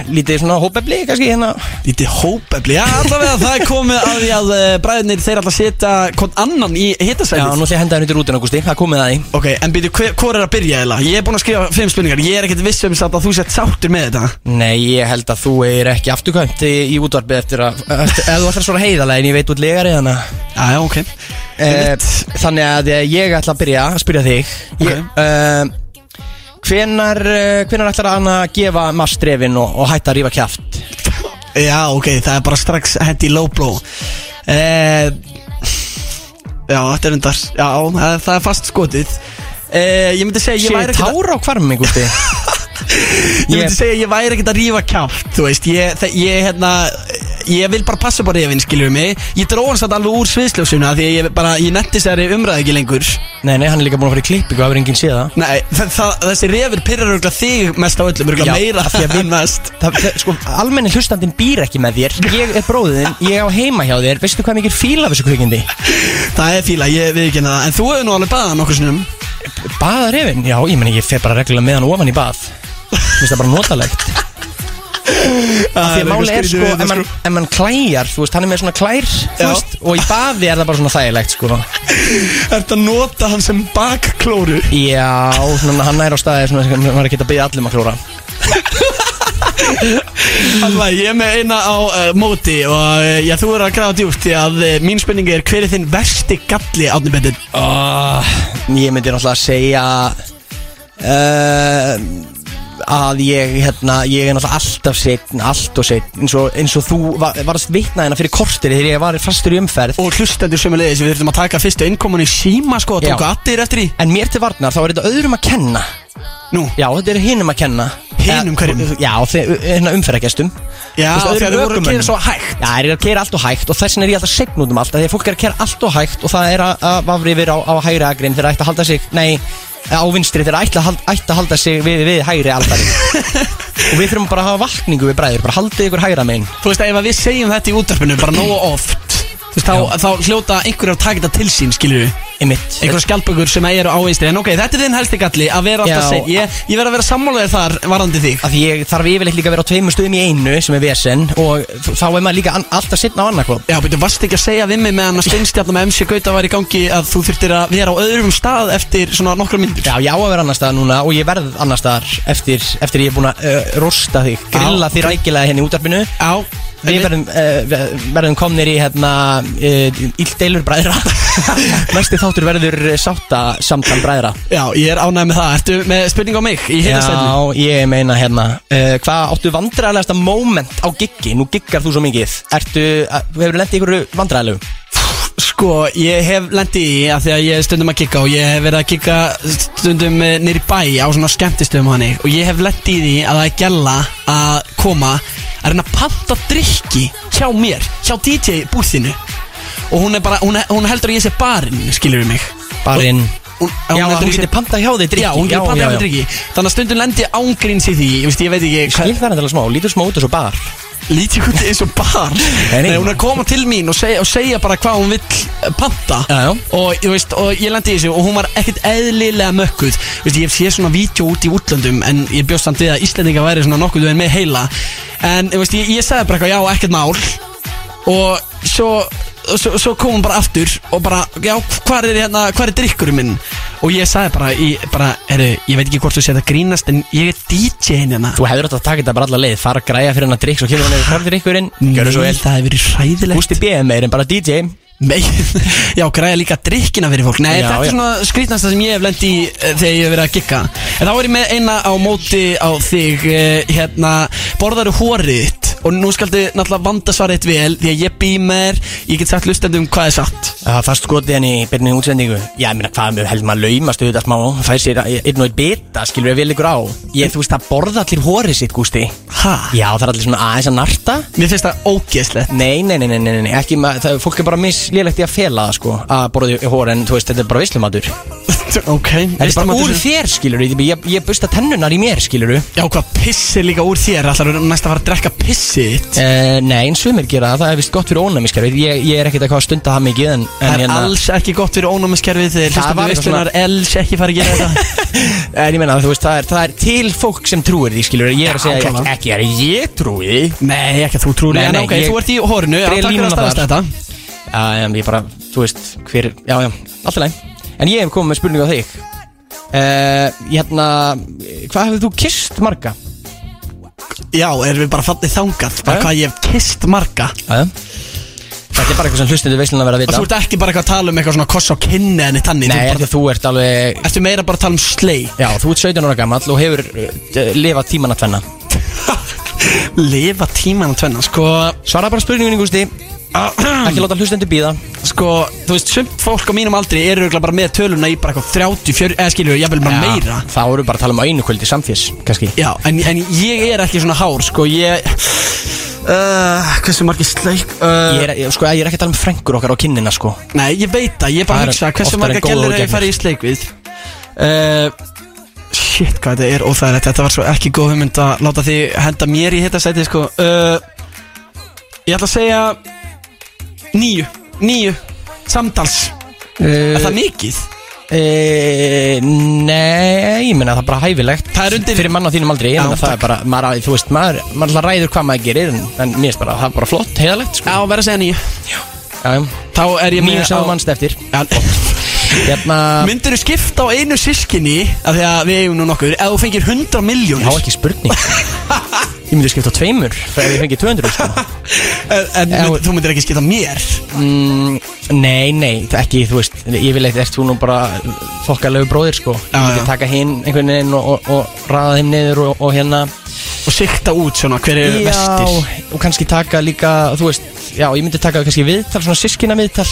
[SPEAKER 4] lítið svona hópefli kannski hérna
[SPEAKER 2] Lítið hópefli Já, allavega það er komið að því að eh, bræðirnir þeir alltaf setja hvort annan í
[SPEAKER 4] Já,
[SPEAKER 2] hitasætið
[SPEAKER 4] nú ætlum ég að henda henni til rútin, Augusti, það er komið að því
[SPEAKER 2] Ok, en býtu, hver, hvor er að byrja eða? Ég er búin að skrifa fimm spurningar Ég er ekkert viss um samt að þú sett sáttur með þetta
[SPEAKER 4] Nei, ég held að þú er ekki afturkvæmt í, í útvarpið eftir að, eftir, ef þú ætlar svona heiðalega en ég veit út legari þannig að
[SPEAKER 2] Já, já, ok
[SPEAKER 4] Eh, Þannig að eh, ég ætla að byrja að spyrja þig
[SPEAKER 2] Ok.
[SPEAKER 4] ég, uh, Hvenar, eh, hvenar ætlar hann að gefa mastrefin og, og hætta að rífa kjaft?
[SPEAKER 2] Já, ok, það er bara strax hendi low blow eh, Já, þetta er undar Já, það, það er fast skotið eh, Ég myndi segja, ég
[SPEAKER 4] Sér
[SPEAKER 2] væri ekkert
[SPEAKER 4] tára á hvarmi, gústi
[SPEAKER 2] Ég myndi segja, ég væri ekkert að rífa kjátt Þú veist, ég, þe- ég, hérna Ég vil bara passa bara yfir, skiljum mig Ég dróðan satt alveg úr sviðsljósuna Því að ég bara, ég netti sér umræði ekki lengur
[SPEAKER 4] Nei, nei, hann er líka búin að fara í klippingu, það verður enginn séð það
[SPEAKER 2] Nei, þa þa þessi refur pyrrar örgulega þig mest á öllum Örgulega
[SPEAKER 4] Já,
[SPEAKER 2] meira
[SPEAKER 4] af því að við-
[SPEAKER 2] en mest
[SPEAKER 4] Það, það, sko, almenni hlustandinn býr ekki með þér Ég er bróðin, ég á heima hjá þér Veistu hvað mikið fíla af þessu kvikindi?
[SPEAKER 2] Það er fíla, ég við ekki það En þú hefur nú alveg baðað nokkuð sinnum
[SPEAKER 4] Baðarefin? Já, ég meni, ég fer bara reglulega með hann ofan í bað Vist það bara notalegt Af því að máli er sko, ef mann, ef mann klæjar, þú veist, hann er með svona klær þú
[SPEAKER 2] Já.
[SPEAKER 4] veist, Og í baði er það bara svona þægilegt, sko
[SPEAKER 2] Ertu að nota hann sem bakklóru?
[SPEAKER 4] Já, svona, hann er á staði, svona, hann er ekki að byggja allum að klóra
[SPEAKER 2] Alltaf, ég er með eina á uh, móti og uh, já, þú er að gráða djúpt því að uh, mín spenning er hver er þinn versti galli átni betur?
[SPEAKER 4] Ah, Ég myndi náttúrulega að segja uh, að ég, hérna, ég er náttúrulega alltaf setn, allt og setn eins og, eins og þú var, varst vitna hérna fyrir kortir þegar ég var fastur í umferð
[SPEAKER 2] Og hlustendur sem er leiðis, við þurfum að taka fyrstu innkoman í síma sko og
[SPEAKER 4] Já.
[SPEAKER 2] tóku allir eftir í
[SPEAKER 4] En mér til varnar þá er þetta öðrum að kenna
[SPEAKER 2] Nú,
[SPEAKER 4] Já, þetta er hinum að kenna
[SPEAKER 2] Hinum
[SPEAKER 4] Eh,
[SPEAKER 2] hverjum?
[SPEAKER 4] Já, þe- hérna umferðargestum
[SPEAKER 2] já,
[SPEAKER 4] Þú
[SPEAKER 2] þegar
[SPEAKER 4] veist, öðrum
[SPEAKER 2] þú voru að
[SPEAKER 4] ökumönnum.
[SPEAKER 2] gera svo hægt
[SPEAKER 4] Já, það er að keira allt og hægt og þess vegna er ég alltaf segn út um allt af Því að fólk er að keira allt og hægt og það er að, að vafri yfir á, á hægri agrinn þegar ætti að halda sig Nei, eh, á vinstri þegar ætti að, hal- ætti að halda sig við, við hægri aldari Og við þurfum bara að hafa vakningu við bræður, bara haldið ykkur hægra megin
[SPEAKER 2] Þú veist, ef að við segjum þetta í útdarpinu bara nógu oft Þú veist, þá, þá hljóta einhverjar að taka þetta til sín, skilur við
[SPEAKER 4] Einmitt
[SPEAKER 2] Einhverjar skjaldbökur sem eru á einstri En ok, þetta er þinn helsti galli að vera alltaf
[SPEAKER 4] Já.
[SPEAKER 2] seinn Ég, ég verð að vera sammálaðið þar varandi þig
[SPEAKER 4] Af því ég þarf yfirleitt líka að vera á tveimur stöðum í einu sem er vesen Og þá er maður líka an, alltaf setna á annarkvöld
[SPEAKER 2] Já, betur, varst ekki að segja við mig meðan að steinstjarnar með MC Gauta var í gangi að þú þurftir að vera á öðrum stað eftir svona nokkra myndir
[SPEAKER 4] Já, ég á að vera annar staðar núna og ég verð annar staðar eftir, eftir ég er búin að uh, rosta þig, grilla þig rækilega hérna í útarpinu
[SPEAKER 2] Já,
[SPEAKER 4] Við verðum, uh, verðum komnir í hérna, uh, íldeilur bræðra Næsti þáttur verður sátta samtan bræðra
[SPEAKER 2] Já, ég er ánægð með það Ertu með spurning á mig í hittastæðinu?
[SPEAKER 4] Já, ég meina hérna uh, Hvað áttu vandræðalegasta moment á giggi? Nú giggar þú svo mikið Ertu, uh, hefur lendið ykkur vandræðalegu?
[SPEAKER 2] Sko, ég hef lendi í að því að ég er stundum að kikka og ég hef verið að kikka stundum eh, niður í bæ á svona skemmtistöðum og hannig og ég hef lendi í því að það er gælla að koma að reyna að panta drikki hjá mér, hjá DJ búðinu og hún, er bara, hún, hún heldur að ég sé barinn, skilur við mig
[SPEAKER 4] Barinn
[SPEAKER 2] hún,
[SPEAKER 4] Já,
[SPEAKER 2] heldur
[SPEAKER 4] hún
[SPEAKER 2] að ég sé-
[SPEAKER 4] getur pantað hjá þig drikki
[SPEAKER 2] Já, hún getur pantað hjá drikki Þannig að stundum lendi ég ángríns í því Ég veist, ég veit ekki
[SPEAKER 4] Skil það náttúrulega smá, lítur smá út þessu bar
[SPEAKER 2] hvað Lítið hún eins og bar
[SPEAKER 4] Nei, nei.
[SPEAKER 2] Nei, hún er að koma til mín og segja, og segja bara hvað hún vill eh, panta
[SPEAKER 4] Já, já.
[SPEAKER 2] Og, ég veist, og ég lendi í þessu og hún var ekkert eðlilega mökkuð Þú veist, Ég sé svona vídeo út í útlöndum En ég bjóst samt við að Íslendinga væri svona nokkuð en með heila En ég, veist, ég, ég sagði bara eitthvað, já, ekkert mál og svo Svo, svo kom hún bara aftur og bara, já, hvað er, hérna, hvar er drikkurinn minn? Og ég sagði bara, ég, bara heru, ég veit ekki hvort þú sé þetta grínast en ég er DJ-in hérna
[SPEAKER 4] Þú hefur átt að taka þetta bara alla leið Fara að græja fyrir hennar drikk Svo kemur hann yfir hvar drikkurinn Gjörðu svo
[SPEAKER 2] Nei,
[SPEAKER 4] vel
[SPEAKER 2] það hefur verið hræðilegt
[SPEAKER 4] Gústi B. meir en bara DJ
[SPEAKER 2] Nei, Já, græða líka drikkina fyrir fólk Nei,
[SPEAKER 4] Já,
[SPEAKER 2] þetta
[SPEAKER 4] já.
[SPEAKER 2] er svona skrítnasta sem ég hef lendi í eh, þegar ég hef verið að gigga En þá er ég með eina á móti á þig eh, Hérna, borðaru hórið þitt Og nú skaldu náttúrulega vanda svarið þitt vel Því að ég bý mér, ég get sagt hlustendum hvað er satt
[SPEAKER 4] Það fast skotið henni í byrni útsendingu Já, ég meina hvað með heldur maður laumast auðvitað smá Fær sér einn og einn bita, skilur við vel ykkur á Ég, þú veist, það borða allir hórið sitt, Gústi
[SPEAKER 2] Ha?
[SPEAKER 4] Já, það er allir svona aðeins að narta
[SPEAKER 2] Mér finnst það ógeðslegt
[SPEAKER 4] Nei, nei, nei, nei, nei, nei, ekki maður það- Fólk er bara mislélegt í að fela það, sko Að borða í hórið, en þú veist, þetta er bara vislumatur Þetta
[SPEAKER 2] Ok
[SPEAKER 4] er bara úr þér, skilur við Ég, ég busta tennunar í mér, skilur við
[SPEAKER 2] Já, hvað pissi líka úr þér Ætlar þú næst að fara að drekka pissið þitt
[SPEAKER 4] Eh, Nei, en sumir gera það, það er vist gott fyrir ónæmiskerfið Ég, ég er ekkert eitthvað að stunda það mikið en, en hérna-
[SPEAKER 2] Það er alls ekki gott fyrir ónámiskerfið Þeir
[SPEAKER 4] Það
[SPEAKER 2] hlusta fyrir
[SPEAKER 4] var eitthvað svona-
[SPEAKER 2] veistlunar Alls ekki fara að gera þetta
[SPEAKER 4] En ég meina, þú veist, það er, það er til fólk sem trúir því, skilur Ég er að
[SPEAKER 2] Já,
[SPEAKER 4] segja,
[SPEAKER 2] klárlega.
[SPEAKER 4] ekki, ekki er ég trúi því
[SPEAKER 2] Nei, ekki að þú trúir
[SPEAKER 4] Nei,
[SPEAKER 2] En
[SPEAKER 4] nei,
[SPEAKER 2] ok,
[SPEAKER 4] ég-
[SPEAKER 2] þú ert í horinu já,
[SPEAKER 4] Dreg
[SPEAKER 2] takk fyrir
[SPEAKER 4] línuna
[SPEAKER 2] að staðfesta þetta.
[SPEAKER 4] Já, en ég bara, þú veist, hver, já, já, allt í læg En ég hef komið með spurningu á þig uh, Hérna, hvað hefur þú kist marga?
[SPEAKER 2] Já, erum við bara fallið þangað Bara
[SPEAKER 4] Já.
[SPEAKER 2] hvað ég hef kist marga
[SPEAKER 4] Já, já Þetta er bara eitthvað sem hlustundu veislunar verða að
[SPEAKER 2] Þú
[SPEAKER 4] vita
[SPEAKER 2] ert ekki bara eitthvað að tala um eitthvað svona koss á kynni en í tanni
[SPEAKER 4] Nei,
[SPEAKER 2] þú
[SPEAKER 4] af því
[SPEAKER 2] ert,
[SPEAKER 4] að þú ert alveg
[SPEAKER 2] bara, ertu meira bara að tala um slei
[SPEAKER 4] Já, þú ert 17 ára gammal og hefur uh, lifað tíman að tvenna
[SPEAKER 2] Lifa tíman að tvenna Sko,
[SPEAKER 4] Svara bara spurningunni, Gústi Ekki láta hlustendur býða
[SPEAKER 2] sko, þú veist, sumt fólk á mínum aldri eru örugglega bara með töluna í bara eitthvað 30, 40, eða skilju, ég vil bara meira
[SPEAKER 4] Þá eru bara að tala um einu kvöldi samfés, kannski
[SPEAKER 2] Já, en, en ég er ekki svona hár, sko, ég uh, Hversu margir sleik uh,
[SPEAKER 4] Ég er, ég, sko, ég er ekki að tala um frengur okkar á kinnina, sko
[SPEAKER 2] Nei, ég veit það, ég er bara að
[SPEAKER 4] Það er
[SPEAKER 2] hugsa Hversu
[SPEAKER 4] oftar en
[SPEAKER 2] marga
[SPEAKER 4] góða
[SPEAKER 2] gælur er ég
[SPEAKER 4] útgefnir.
[SPEAKER 2] farið í sleik við uh, Shit, hvað þetta er óþægilegt Þetta var svo ekki góð hugmynd að láta því henda mér í hitta sæti sko. uh, Ég ætla að segja Níu, níu Samtals,
[SPEAKER 4] Eh,
[SPEAKER 2] er það mikið?
[SPEAKER 4] E, nei, ég meina það er bara hæfilegt
[SPEAKER 2] Það er undir-
[SPEAKER 4] Fyrir mann á þínum aldrei, ég
[SPEAKER 2] Já,
[SPEAKER 4] meina það
[SPEAKER 2] takk.
[SPEAKER 4] er bara maður, á- Þú veist, maður, maður alltaf ræður hvað maður gerir En, en mér finnst bara, það er bara flott, heiðalegt sko.
[SPEAKER 2] Já, verð að segja níu
[SPEAKER 4] Já, já.
[SPEAKER 2] Þá er ég
[SPEAKER 4] Nýjum sem
[SPEAKER 2] á-
[SPEAKER 4] þú mannst eftir
[SPEAKER 2] Já,
[SPEAKER 4] Hérna,
[SPEAKER 2] Myndirðu skipta á einu sískinni af því að við eigum nú nokkur ef þú fengir 100
[SPEAKER 4] ég há
[SPEAKER 2] miljónir
[SPEAKER 4] ekki spurning Ég myndi skipta á tveimur Þegar ég fengi 200 sko.
[SPEAKER 2] en, en
[SPEAKER 4] Já.
[SPEAKER 2] mynd, þú myndir ekki skipta mér
[SPEAKER 4] mm, Nei, nei, það ekki, þú veist Ég vil eitthvað, ert þú nú bara fokkalegu bróðir sko. Ég
[SPEAKER 2] Já,
[SPEAKER 4] myndi
[SPEAKER 2] já.
[SPEAKER 4] taka hinn einhvern veginn og, og, og raða þeim niður og, og hérna
[SPEAKER 2] og sikta út svona hver
[SPEAKER 4] Eh,
[SPEAKER 2] er vestir
[SPEAKER 4] og kannski taka líka, þú veist, já, ég myndi taka kannski viðtal, svona sískina viðtal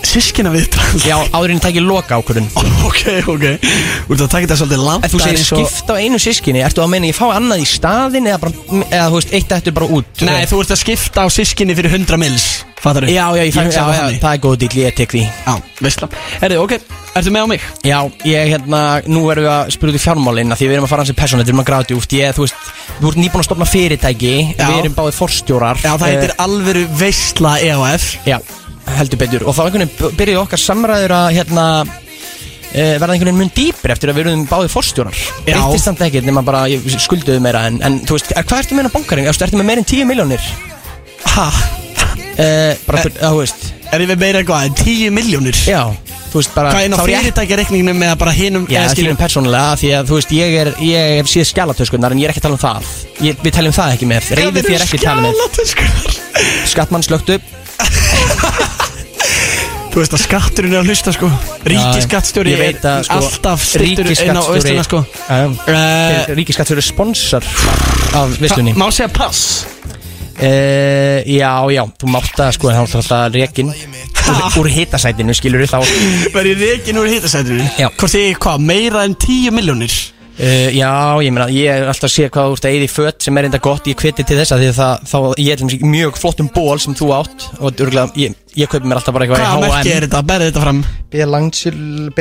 [SPEAKER 2] Sískina viðtal
[SPEAKER 4] Já, áður en tæki loka ákvörðun
[SPEAKER 2] Ok, ok Þú ert að taka þetta svolítið langt
[SPEAKER 4] Ef þú
[SPEAKER 2] það er
[SPEAKER 4] segir
[SPEAKER 2] eins og-
[SPEAKER 4] skipta á einu sískinni, ertu að meina ég fá annað í staðin eða bara, eða þú veist, eitt eftir bara út
[SPEAKER 2] Nei, þú ert að skipta á sískinni fyrir 100 mils Fattar
[SPEAKER 4] Já, já, ég fæk, já, já, það er góð dýl, ég tek því
[SPEAKER 2] Já, veistla Herðu, ok, ertu með á mig?
[SPEAKER 4] Já, ég, hérna, nú erum við að spyrja út í fjármálin af Því við erum að fara hans í persónu, við erum að gráti út Ég, þú veist, þú ert nýbúin að stopna fyrirtæki
[SPEAKER 2] Já.
[SPEAKER 4] Við erum báðið forstjórar
[SPEAKER 2] Já, það
[SPEAKER 4] Eh,
[SPEAKER 2] heitir alvöru veistla
[SPEAKER 4] E
[SPEAKER 2] EOF
[SPEAKER 4] Já, heldur betur Og þá einhvern veginn byrjuði okkar samræður að hérna e, verða einhvern veginn mun dýpir eftir að við erum báðið forstjórar
[SPEAKER 2] Já.
[SPEAKER 4] Eittist samt ekkert nema bara ég skulduðu meira en, en þú veist, er, hvað ertu meina bankarinn? Ertu, ertu með meira en 10 miljónir?
[SPEAKER 2] Ha,
[SPEAKER 4] E,
[SPEAKER 2] Eh.
[SPEAKER 4] bara, e, þú veist,
[SPEAKER 2] er ég með meira eitthvað en 10 miljónir?
[SPEAKER 4] já Þú veist bara
[SPEAKER 2] Hvað er ná
[SPEAKER 4] þá er ég ekki-
[SPEAKER 2] fyrirtækjareikningnum eða bara hinum
[SPEAKER 4] Já,
[SPEAKER 2] eða
[SPEAKER 4] það skilum persónulega því að þú veist, ég er, ég hef síð skjálatöskunnar en ég er ekki að tala um það ég, Við taljum það ekki með, reyðið því er ekki að tala með
[SPEAKER 2] Skjálatöskur
[SPEAKER 4] Skattmann slögt upp
[SPEAKER 2] Þú veist að skatturinn er að hlusta sko Ríkiskattstjóri
[SPEAKER 4] Ég veit að, sko,
[SPEAKER 2] er alltaf styrtur inn á
[SPEAKER 4] ríkisskattstjóri-
[SPEAKER 2] auðstuna sko
[SPEAKER 4] Já, já.
[SPEAKER 2] Eh,
[SPEAKER 4] Þeir- Ríkisskattstjóri sponsor af visslunni
[SPEAKER 2] Má segja pass
[SPEAKER 4] uh, Já, já, þú mátt að sko þá er alltaf rekin úr, úr hitasætinu skilur við þá uh,
[SPEAKER 2] Verði reygin úr hitasætunum
[SPEAKER 4] Já.
[SPEAKER 2] Hvort þið, hvað, meira en 10 miljónir
[SPEAKER 4] Eh, Já, ég meina, ég er alltaf að sé hvað þú ert að eyða í fött sem er enda gott, ég kviti til þess að því að það, þá, ég er til dæmis í mjög flottum ból sem þú átt og örgulega, ég, ég kaupi mér alltaf bara eitthvað í H&M.
[SPEAKER 2] Hvaða merki er þetta, berði þetta fram
[SPEAKER 4] Belanchil-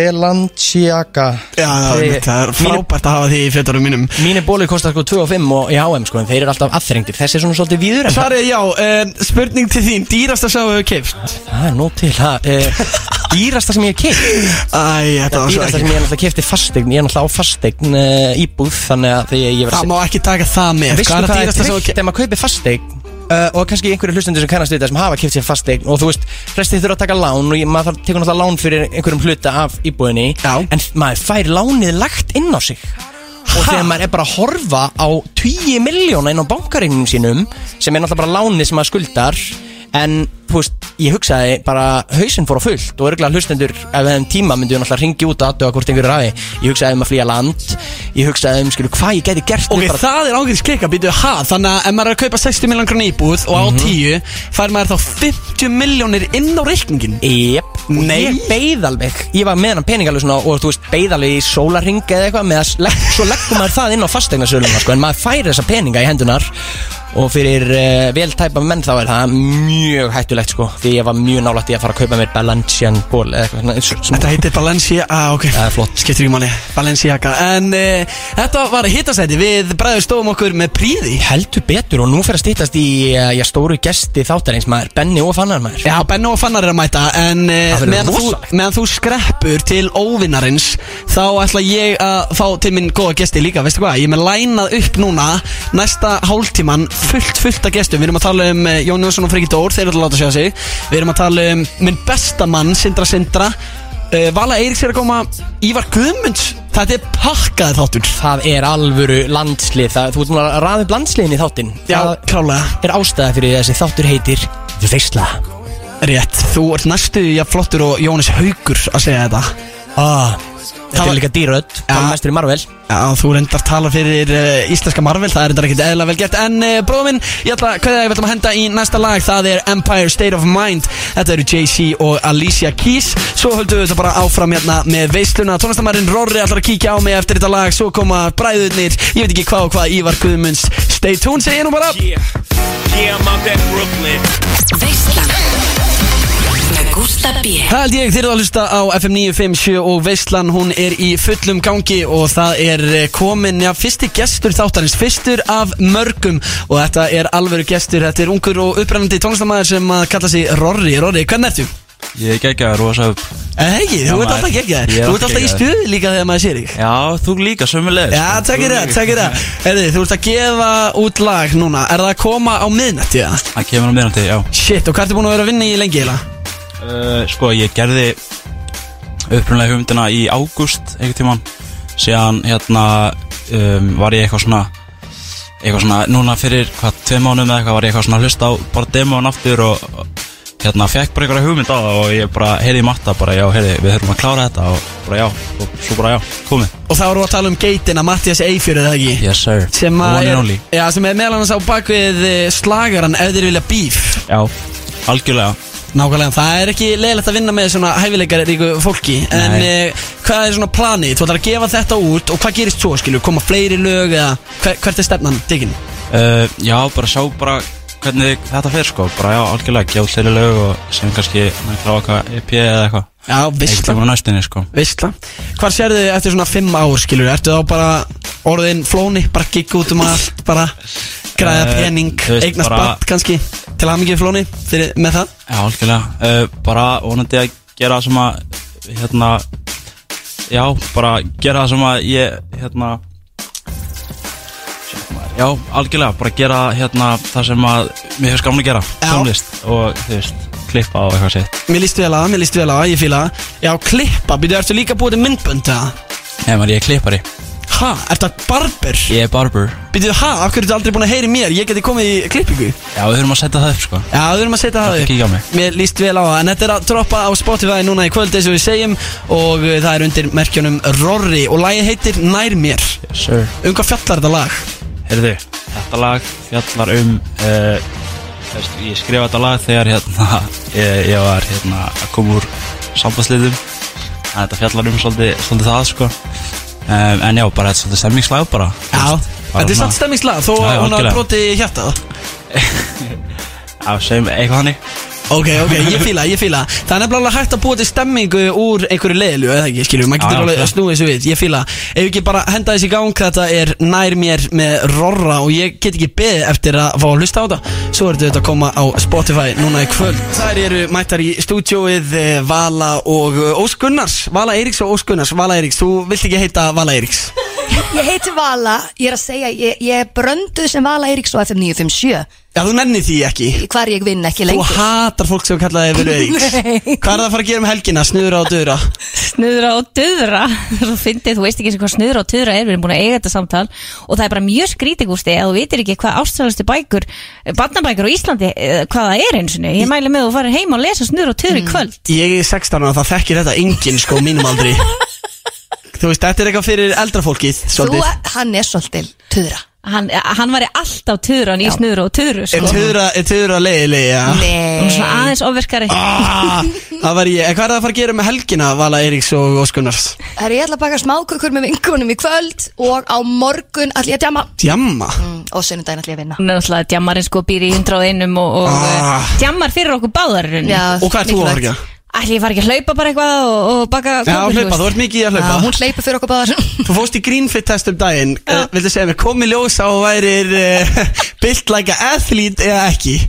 [SPEAKER 4] Belanciaga
[SPEAKER 2] Já, það,
[SPEAKER 4] Þeir-
[SPEAKER 2] Þeir, það er
[SPEAKER 4] mínir-
[SPEAKER 2] frábært að hafa því í fjötarum mínum
[SPEAKER 4] Mínir bólir kostar sko 2 og 5 og í HM sko en þeir eru alltaf aðþrengdir Þessi er svona svolítið víður en það,
[SPEAKER 2] Svarið er já, um, spurning til þín, dýrasta sem þú hefur keift
[SPEAKER 4] það er nóg til það uh, Dýrasta sem ég hef keipt
[SPEAKER 2] Æ, þetta var svo
[SPEAKER 4] Dýrasta sem
[SPEAKER 2] ekki
[SPEAKER 4] ég náttúrulega keipti fastegn Ég er náttúrulega á fastegn uh, íbúð þannig að því ég verið
[SPEAKER 2] Það
[SPEAKER 4] að
[SPEAKER 2] má ekki taka það með er
[SPEAKER 4] Vistu hvað
[SPEAKER 2] að
[SPEAKER 4] er
[SPEAKER 2] dýrasta sem þú
[SPEAKER 4] tryggt
[SPEAKER 2] keift
[SPEAKER 4] þegar maður kaupir fastegn Uh, og kannski einhverju hlustendur sem kannast við þetta sem hafa keipt sér fastegn og þú veist, flestir þurfa að taka lán og ég, maður þarf tekur náttúrulega lán fyrir einhverjum hluta af íbúðinni
[SPEAKER 2] Já.
[SPEAKER 4] en maður fær lánið lagt inn á sig og
[SPEAKER 2] Ha?
[SPEAKER 4] þegar maður er bara að horfa á 10 miljóna inn á bankaregnum sínum sem er náttúrulega bara lánið sem maður skuldar en þú veist, ég hugsaði bara hausinn fór á fullt og örgulega hlustendur ef við hefum tíma myndum við náttúrulega ringi út og aðdöga hvort einhverju ræði ég hugsaði um að flýja land ég hugsaði um skilu hvað ég gæti gert
[SPEAKER 2] Ok,
[SPEAKER 4] við bara,
[SPEAKER 2] það er ángriðs klika, býtu ha Þannig að ef maður er að kaupa 60 miljón grunn íbúð og á
[SPEAKER 4] Mhm.
[SPEAKER 2] 10 fær maður þá 50 miljónir inn á reikningin
[SPEAKER 4] Jep, og
[SPEAKER 2] Nei.
[SPEAKER 4] ég beið alveg Ég var með hann peningalveg svona og þú veist beið alveg í sólarring eða eitthvað með að legg, svo leggum maður það inn á fastegnasöluna sko, en maður færi þessa peninga í hendunar og fyrir uh, vel tæpa menn þá er það mjög hættulegt sko því ég var mjög nálægt í að fara að kaupa mér Balancian ból eða eitthvað svona, s- svona
[SPEAKER 2] Þetta heitir Balenciaga, ah, ok
[SPEAKER 4] Það er flott.
[SPEAKER 2] Skiptir ekki máli, Balenciaga En uh, þetta var hittasæti, við bræður stóðum okkur með príði
[SPEAKER 4] heldur betur og nú fyrir að stýttast í uh, já, stóru gesti þáttarins maður Benni og fannar maður
[SPEAKER 2] Já, Benno og Fannar er að mæta En uh,
[SPEAKER 4] Það verður
[SPEAKER 2] meðan, þú,
[SPEAKER 4] rosalegt.
[SPEAKER 2] meðan þú skreppur til óvinnarins Þá ætla ég að fá til minn góða gesti líka Veistu hvað, ég er með lænað upp núna Næsta hálftíman fullt, fullt af gestum Við erum að tala um uh, Jón Jónsson og Friki Dór Þeir eru að láta sjá sig Við erum að tala um minn besta mann, Sindra Sindra uh, Vala Eiríks er að koma Ívar Guðmunds Þetta er pakkaði þáttur
[SPEAKER 4] Það er alvöru landslið það, Þú ert núna að raða upp landsliðin í þáttin
[SPEAKER 2] Já,
[SPEAKER 4] það,
[SPEAKER 2] klálega
[SPEAKER 4] er ástæða fyrir því að þessi þáttur heitir Veistla
[SPEAKER 2] Rétt, þú ert næstu í að flottur og Jónis Haugur að segja þetta
[SPEAKER 4] ah, Þetta
[SPEAKER 2] var-
[SPEAKER 4] er líka dýröld
[SPEAKER 2] Ja.
[SPEAKER 4] Það er mestur í Marvel
[SPEAKER 2] Já, þú reyndar tala fyrir uh, íslenska Marvel, það er reyndar ekkert eðla vel gert En uh, bróðum minn, ég ætla, hvað er það ég ætla að henda í næsta lag Það er Empire State of Mind Þetta eru JC og Alicia Keys Svo höldum við þetta bara áfram hérna með veisluna Tónlistamærin Rorri ætlar að kíkja á mig eftir þetta lag Svo koma bræðurnir, ég veit ekki hvað og hvað Ívar Guðmunds, stay tuned, segi ég nú bara
[SPEAKER 10] Yeah, yeah, I'm out that Brooklyn.
[SPEAKER 1] Veislan Með Gústa B
[SPEAKER 2] Það held ég þeir eru að hlusta á FM 957 og Veislan hún er í fullum gangi og það er eh, komin ja, fyrsti gestur þáttarins, fyrstur af mörgum og þetta er alvöru gestur, þetta er ungur og upprennandi tónlistamæður sem að kalla sig Rorri, Rorri, hvernig ertu?
[SPEAKER 11] Ég er geggjaður rosa upp
[SPEAKER 2] Eh, Hegi, þú ert
[SPEAKER 11] maður.
[SPEAKER 2] alltaf geggjaður,
[SPEAKER 11] Ég er
[SPEAKER 2] þú ert
[SPEAKER 11] alltaf
[SPEAKER 2] alltaf í
[SPEAKER 11] geggjaður.
[SPEAKER 2] stuði líka þegar maður sér þig
[SPEAKER 11] Já, þú líka sömulegis
[SPEAKER 2] Já, takk er það, takk er það Herði, þú ert að gefa út lag núna, er það að koma á miðnætti eða?
[SPEAKER 11] Það kemur á miðnandi, já
[SPEAKER 2] Shit, og hvað ertu búin að vera að vinna í lengi eða?
[SPEAKER 11] uh, Sko, ég gerði upprunlega hugmyndina í ágúst einhvern tímann Síðan, hérna, um, var ég eitthvað svona Eitthvað svona, núna fyrir, hvað, tveim mánuðum eða eitthvað Var ég eitthvað svona að hlusta á bara demón aftur og og, Hérna, fekk bara einhverja hugmynd á það og ég bara heyrði í matta bara, já, heyrði, við höfum að klára þetta og bara já, og svo bara já, komið.
[SPEAKER 2] Og þá erum við að tala um geitina Mattias Eifjör eða ekki?
[SPEAKER 11] Yes, sir.
[SPEAKER 2] sem að
[SPEAKER 11] One and
[SPEAKER 2] er,
[SPEAKER 11] only.
[SPEAKER 2] já, sem er meðal annars á bakvið eh, slagaran ef þeir vilja bíf
[SPEAKER 11] Já, algjörlega.
[SPEAKER 2] Nákvæmlega, það er ekki leiðilegt að vinna með svona hæfileikar ríku fólki En
[SPEAKER 11] Nei.
[SPEAKER 2] uh, hvað er svona planið? Þú ætlar að gefa þetta út og hvað gerist svo? Skilju, koma fleiri lög eða hver, hvert er stefnan tekin?
[SPEAKER 11] Uh, já, bara sjá bara hvernig þetta fer sko, bara já, algjörlega gjá þeirri lög og sem kannski maður kláða eitthvað EP E eða eitthvað,
[SPEAKER 2] Já,
[SPEAKER 11] eitthvað
[SPEAKER 2] veistla,
[SPEAKER 11] bara næstinni sko
[SPEAKER 2] veistla Hvar sérðu þið eftir svona fimm ár, skilju? Ertu þá bara orðin flóni, bara gigg út um allt, bara græða
[SPEAKER 11] Eh,
[SPEAKER 2] pening,
[SPEAKER 11] þú veist,
[SPEAKER 2] eignast
[SPEAKER 11] bara-
[SPEAKER 2] batt kannski Til að mikið flóni fyrir, með það?
[SPEAKER 11] Já, algjörlega, uh, bara vonandi að gera það sem að hérna, já, bara gera það sem að ég hérna shit, maður, Já, algjörlega, bara gera hérna það sem að mér hefur skamlega að gera,
[SPEAKER 2] Já.
[SPEAKER 11] tónlist og þú veist, klippa og eitthvað sitt
[SPEAKER 2] Mér líst vel að, mér líst vel að, ég fíla það. Já, klippa, byrju, ertu líka búið til myndbönd eða?
[SPEAKER 11] Nei, maður, ég er klippari,
[SPEAKER 2] Ha, ertu að barber?
[SPEAKER 11] ég er barber
[SPEAKER 2] Byrju, ha, af hverju ertu aldrei búin að heyri mér? Ég geti komið í klippingu
[SPEAKER 11] Já, við höfum að setja það upp sko
[SPEAKER 2] Já, við erum að setja
[SPEAKER 11] Þetta
[SPEAKER 2] það
[SPEAKER 11] kíkja á mig.
[SPEAKER 2] Mér líst vel á það, en þetta er að droppa á Spotify núna í kvöld eins og við segjum Og uh, það er undir merkjunum Rorri og lagið heitir Nær mér
[SPEAKER 11] Yes, sir
[SPEAKER 2] Um hvað fjallar þetta lag?
[SPEAKER 11] Heyrðu, þetta lag fjallar um uh, veist, Ég skrifa þetta lag þegar hérna, ég, ég var hérna, að koma úr sambandsliðum En Þetta fjallar um svolítið, svolítið það sko. um, En já, bara þetta er svolítið stemningslag bara þú
[SPEAKER 2] Já,
[SPEAKER 11] veist, bara
[SPEAKER 2] þetta er
[SPEAKER 11] svona-
[SPEAKER 2] satt stemmingslag þó
[SPEAKER 11] Já,
[SPEAKER 2] að hún
[SPEAKER 11] já,
[SPEAKER 2] hafa
[SPEAKER 11] algjörlega.
[SPEAKER 2] brotið hjartað
[SPEAKER 11] Já, segjum eitthvað hannig
[SPEAKER 2] Ok, ok, ég fíla, ég fíla Það er nefnilega alveg hægt að búa til stemmingu úr einhverju leilu eða ekki, skiljum, maður
[SPEAKER 11] Já,
[SPEAKER 2] getur
[SPEAKER 11] já,
[SPEAKER 2] alveg
[SPEAKER 11] já.
[SPEAKER 2] að snúi þessu við, ég fíla Ef ekki bara henda þessi í gang, þetta er nær mér með Rorra og ég get ekki beðið eftir að fá að hlusta á þetta Svo ertu þetta að koma á Spotify núna í kvöld Þær eru mættar í stúdjóið eh, Vala og eh, Ós Gunnars Vala Eiríks og Ós Gunnars, Vala Eiríks, þú vilt ekki heita Vala Eiríks
[SPEAKER 12] Ég heiti Vala, ég er að segja, ég, ég er brönduð sem Vala Eiríks og FM 957
[SPEAKER 2] Já, þú nenni því ekki
[SPEAKER 12] Hvar ég vinn ekki
[SPEAKER 2] Þú
[SPEAKER 12] lengur
[SPEAKER 2] hatar fólk sem kallaði Völu Eiríks
[SPEAKER 12] Nei.
[SPEAKER 2] Hvað er það að fara að gera um helgina, snuðra og döðra?
[SPEAKER 13] snuðra og döðra svo fyndið, þú veist ekki eins og hvað snuðra og döðra er við erum búin að eiga þetta samtal og það er bara mjög skrítið gústi að þú vitir ekki hvað ástralustu bækur eh, barnabækur á Íslandi, eh, hvað það er eins og ég mæli með að þú farir heim og lesa snuðra og
[SPEAKER 12] Mm.
[SPEAKER 13] döðra í kvöld
[SPEAKER 2] Ég er 16 ára, það þekkir þetta enginn sko á mínum aldri Þú veist, þetta er eitthvað fyrir eldra fólkið
[SPEAKER 12] Þú,
[SPEAKER 2] Svolítið
[SPEAKER 12] hann er svolítil, töðra
[SPEAKER 13] hann, eh, hann var alltaf töðran í snuðra og töðru
[SPEAKER 2] Er tuðra, er tuðra leiðilega ja.
[SPEAKER 12] sko. Nei.
[SPEAKER 13] hún er svona aðeins ofverkari
[SPEAKER 2] ah, Það var ég, en hvað er það að fara að gera með helgina Vala Eiríks og Óskunnars
[SPEAKER 12] Herra, ég ætla að baka smákökur með vinkunum í kvöld og á morgun ætla ég að djama
[SPEAKER 2] Djamma
[SPEAKER 12] mm, og sunnudaginn ætla ég að vinna
[SPEAKER 13] hún er náttúrulega djammarinn sko býr í 101 og, og
[SPEAKER 2] Ah.
[SPEAKER 13] ah. djammar fyrir okkur báðar
[SPEAKER 12] Já,
[SPEAKER 2] Og hvað er þú að fara að
[SPEAKER 12] mikilvægt.
[SPEAKER 2] gera?
[SPEAKER 13] Ætli ég fari ekki að hlaupa bara eitthvað og, og baka
[SPEAKER 2] Já,
[SPEAKER 13] kökur,
[SPEAKER 2] hlaupa,
[SPEAKER 13] veist.
[SPEAKER 2] þú ert mikið í að
[SPEAKER 12] Já,
[SPEAKER 2] hlaupa
[SPEAKER 12] Hún hleypur fyrir okkur báðar
[SPEAKER 2] Þú fóst í Greenfit test um daginn uh, Viltu segja mér, kom í ljós á að værir uh, Built like a athlete eða ekki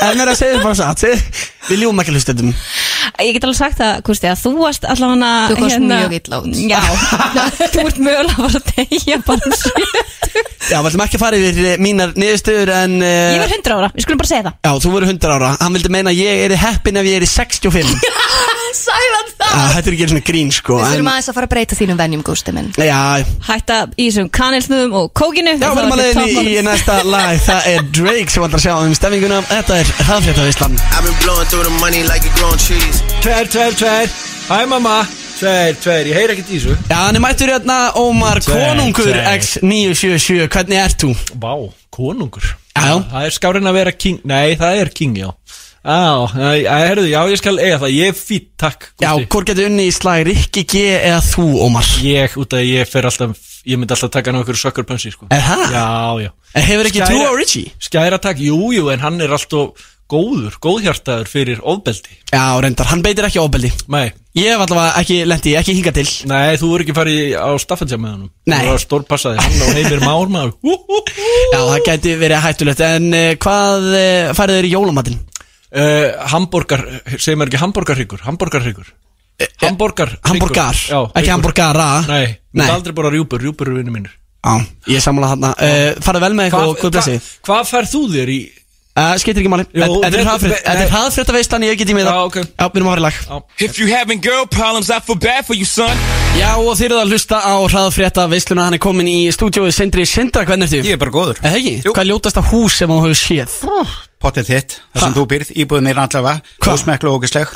[SPEAKER 2] En mér að segja þér bara satt Við ljúum ekki hlustendum
[SPEAKER 13] Ég get alveg sagt það, Kusti, að þú varst allavega hérna-
[SPEAKER 12] Þú komst mjög illa út.
[SPEAKER 13] Já, þú ert mögulega bara að deyja bara um sjötu
[SPEAKER 2] Já, við ætlum ekki að fara yfir eh, mínar niðurstöður en uh,
[SPEAKER 13] Ég var 100 ára, við skulum bara segja það
[SPEAKER 2] Já, þú verður 100 ára Hann vildi meina að ég er heppin ef ég er í 65 Já,
[SPEAKER 12] Sæðan það
[SPEAKER 2] Þetta er ekki einu svona grín sko
[SPEAKER 12] Við
[SPEAKER 2] en,
[SPEAKER 12] þurfum aðeins að fara að breyta þínum venjum, Gústi minn
[SPEAKER 2] Já,
[SPEAKER 13] Hætta í þessum kanilsnöðum og kókinu
[SPEAKER 2] já verðum að leiðin í, í næsta lag Það er Drake sem ætlar að sjá um stemminguna Þetta er er hraðfréttavislan
[SPEAKER 14] I've been blowing through the money like it growing trees.
[SPEAKER 11] Tver, tver, tver Hæ mamma Tver, tver, ég heyr ekkert í þessu
[SPEAKER 2] Já, hann er mættur hérna Ómar
[SPEAKER 11] Tveir,
[SPEAKER 2] Konungur
[SPEAKER 11] tveir.
[SPEAKER 2] X977 Hvernig ert þú?
[SPEAKER 11] Vá, konungur Já Það er skárin að vera king Nei, það er king, já Á, æ, æ, herruðu, já, ég skal eiga það Ég er fýtt, takk Gusti.
[SPEAKER 2] Já, hvort getur unni í slag Rikki G eða þú, Ómar?
[SPEAKER 11] Ég, út af að ég fer alltaf Ég myndi alltaf taka hann á einhverju sökkur pönsi, sko
[SPEAKER 2] Er það?
[SPEAKER 11] Já, já
[SPEAKER 2] En Eh, hefur ekki trú á Richie?
[SPEAKER 11] Skæra takk, jú, jú, en hann er alltaf góður Góðhjartaður fyrir ofbeldi
[SPEAKER 2] Já, reyndar, hann beitir ekki ofbeldi
[SPEAKER 11] Nei
[SPEAKER 2] Ég hef allavega ekki lendi, ekki hinga til
[SPEAKER 11] Nei, þú voru ekki farið á staffelsja með honum
[SPEAKER 2] Nei.
[SPEAKER 11] Þú voru að stórpassaði, hann og heimir már maður
[SPEAKER 2] Já, það gæti verið hættulegt En uh, hvað uh, færið þér í jólumatinn?
[SPEAKER 11] uh, Hamborgar, segir maður ekki hamborgarhryggur Hamborgarhryggur Hamborgar
[SPEAKER 2] Eh, Hamborgar,
[SPEAKER 11] Já,
[SPEAKER 2] ekki
[SPEAKER 11] hryggur.
[SPEAKER 2] hamborgara
[SPEAKER 11] Nei,
[SPEAKER 2] Nei.
[SPEAKER 11] Nei. aldrei bara rjúpur, rjúpur eru vinnu mínir
[SPEAKER 2] Já, ég samla hann uh, Farið vel með eitthvað og guð blessi
[SPEAKER 11] Hvað hva færð þú þér í
[SPEAKER 2] uh, Skeitir ekki máli Þetta þetta er hraðfrétt- þetta er hraðfréttaveislan, ég get í mig það
[SPEAKER 11] okay.
[SPEAKER 2] Já, við erum að fara í lag
[SPEAKER 15] If you having girl problems, I feel bad for you, son.
[SPEAKER 2] Já, og þið eruð að hlusta á hraðfrétta veisluna Hann er komin í stúdíóið Sindri Sindra, hvernig ertu? Ég
[SPEAKER 16] er bara góður
[SPEAKER 2] Eða ekki? Hvað er ljótasta hús sem þú hefur séð?
[SPEAKER 16] Pottið þitt, það sem þú byrð, íbúðin er allavega, góðsmeklu og ógisleg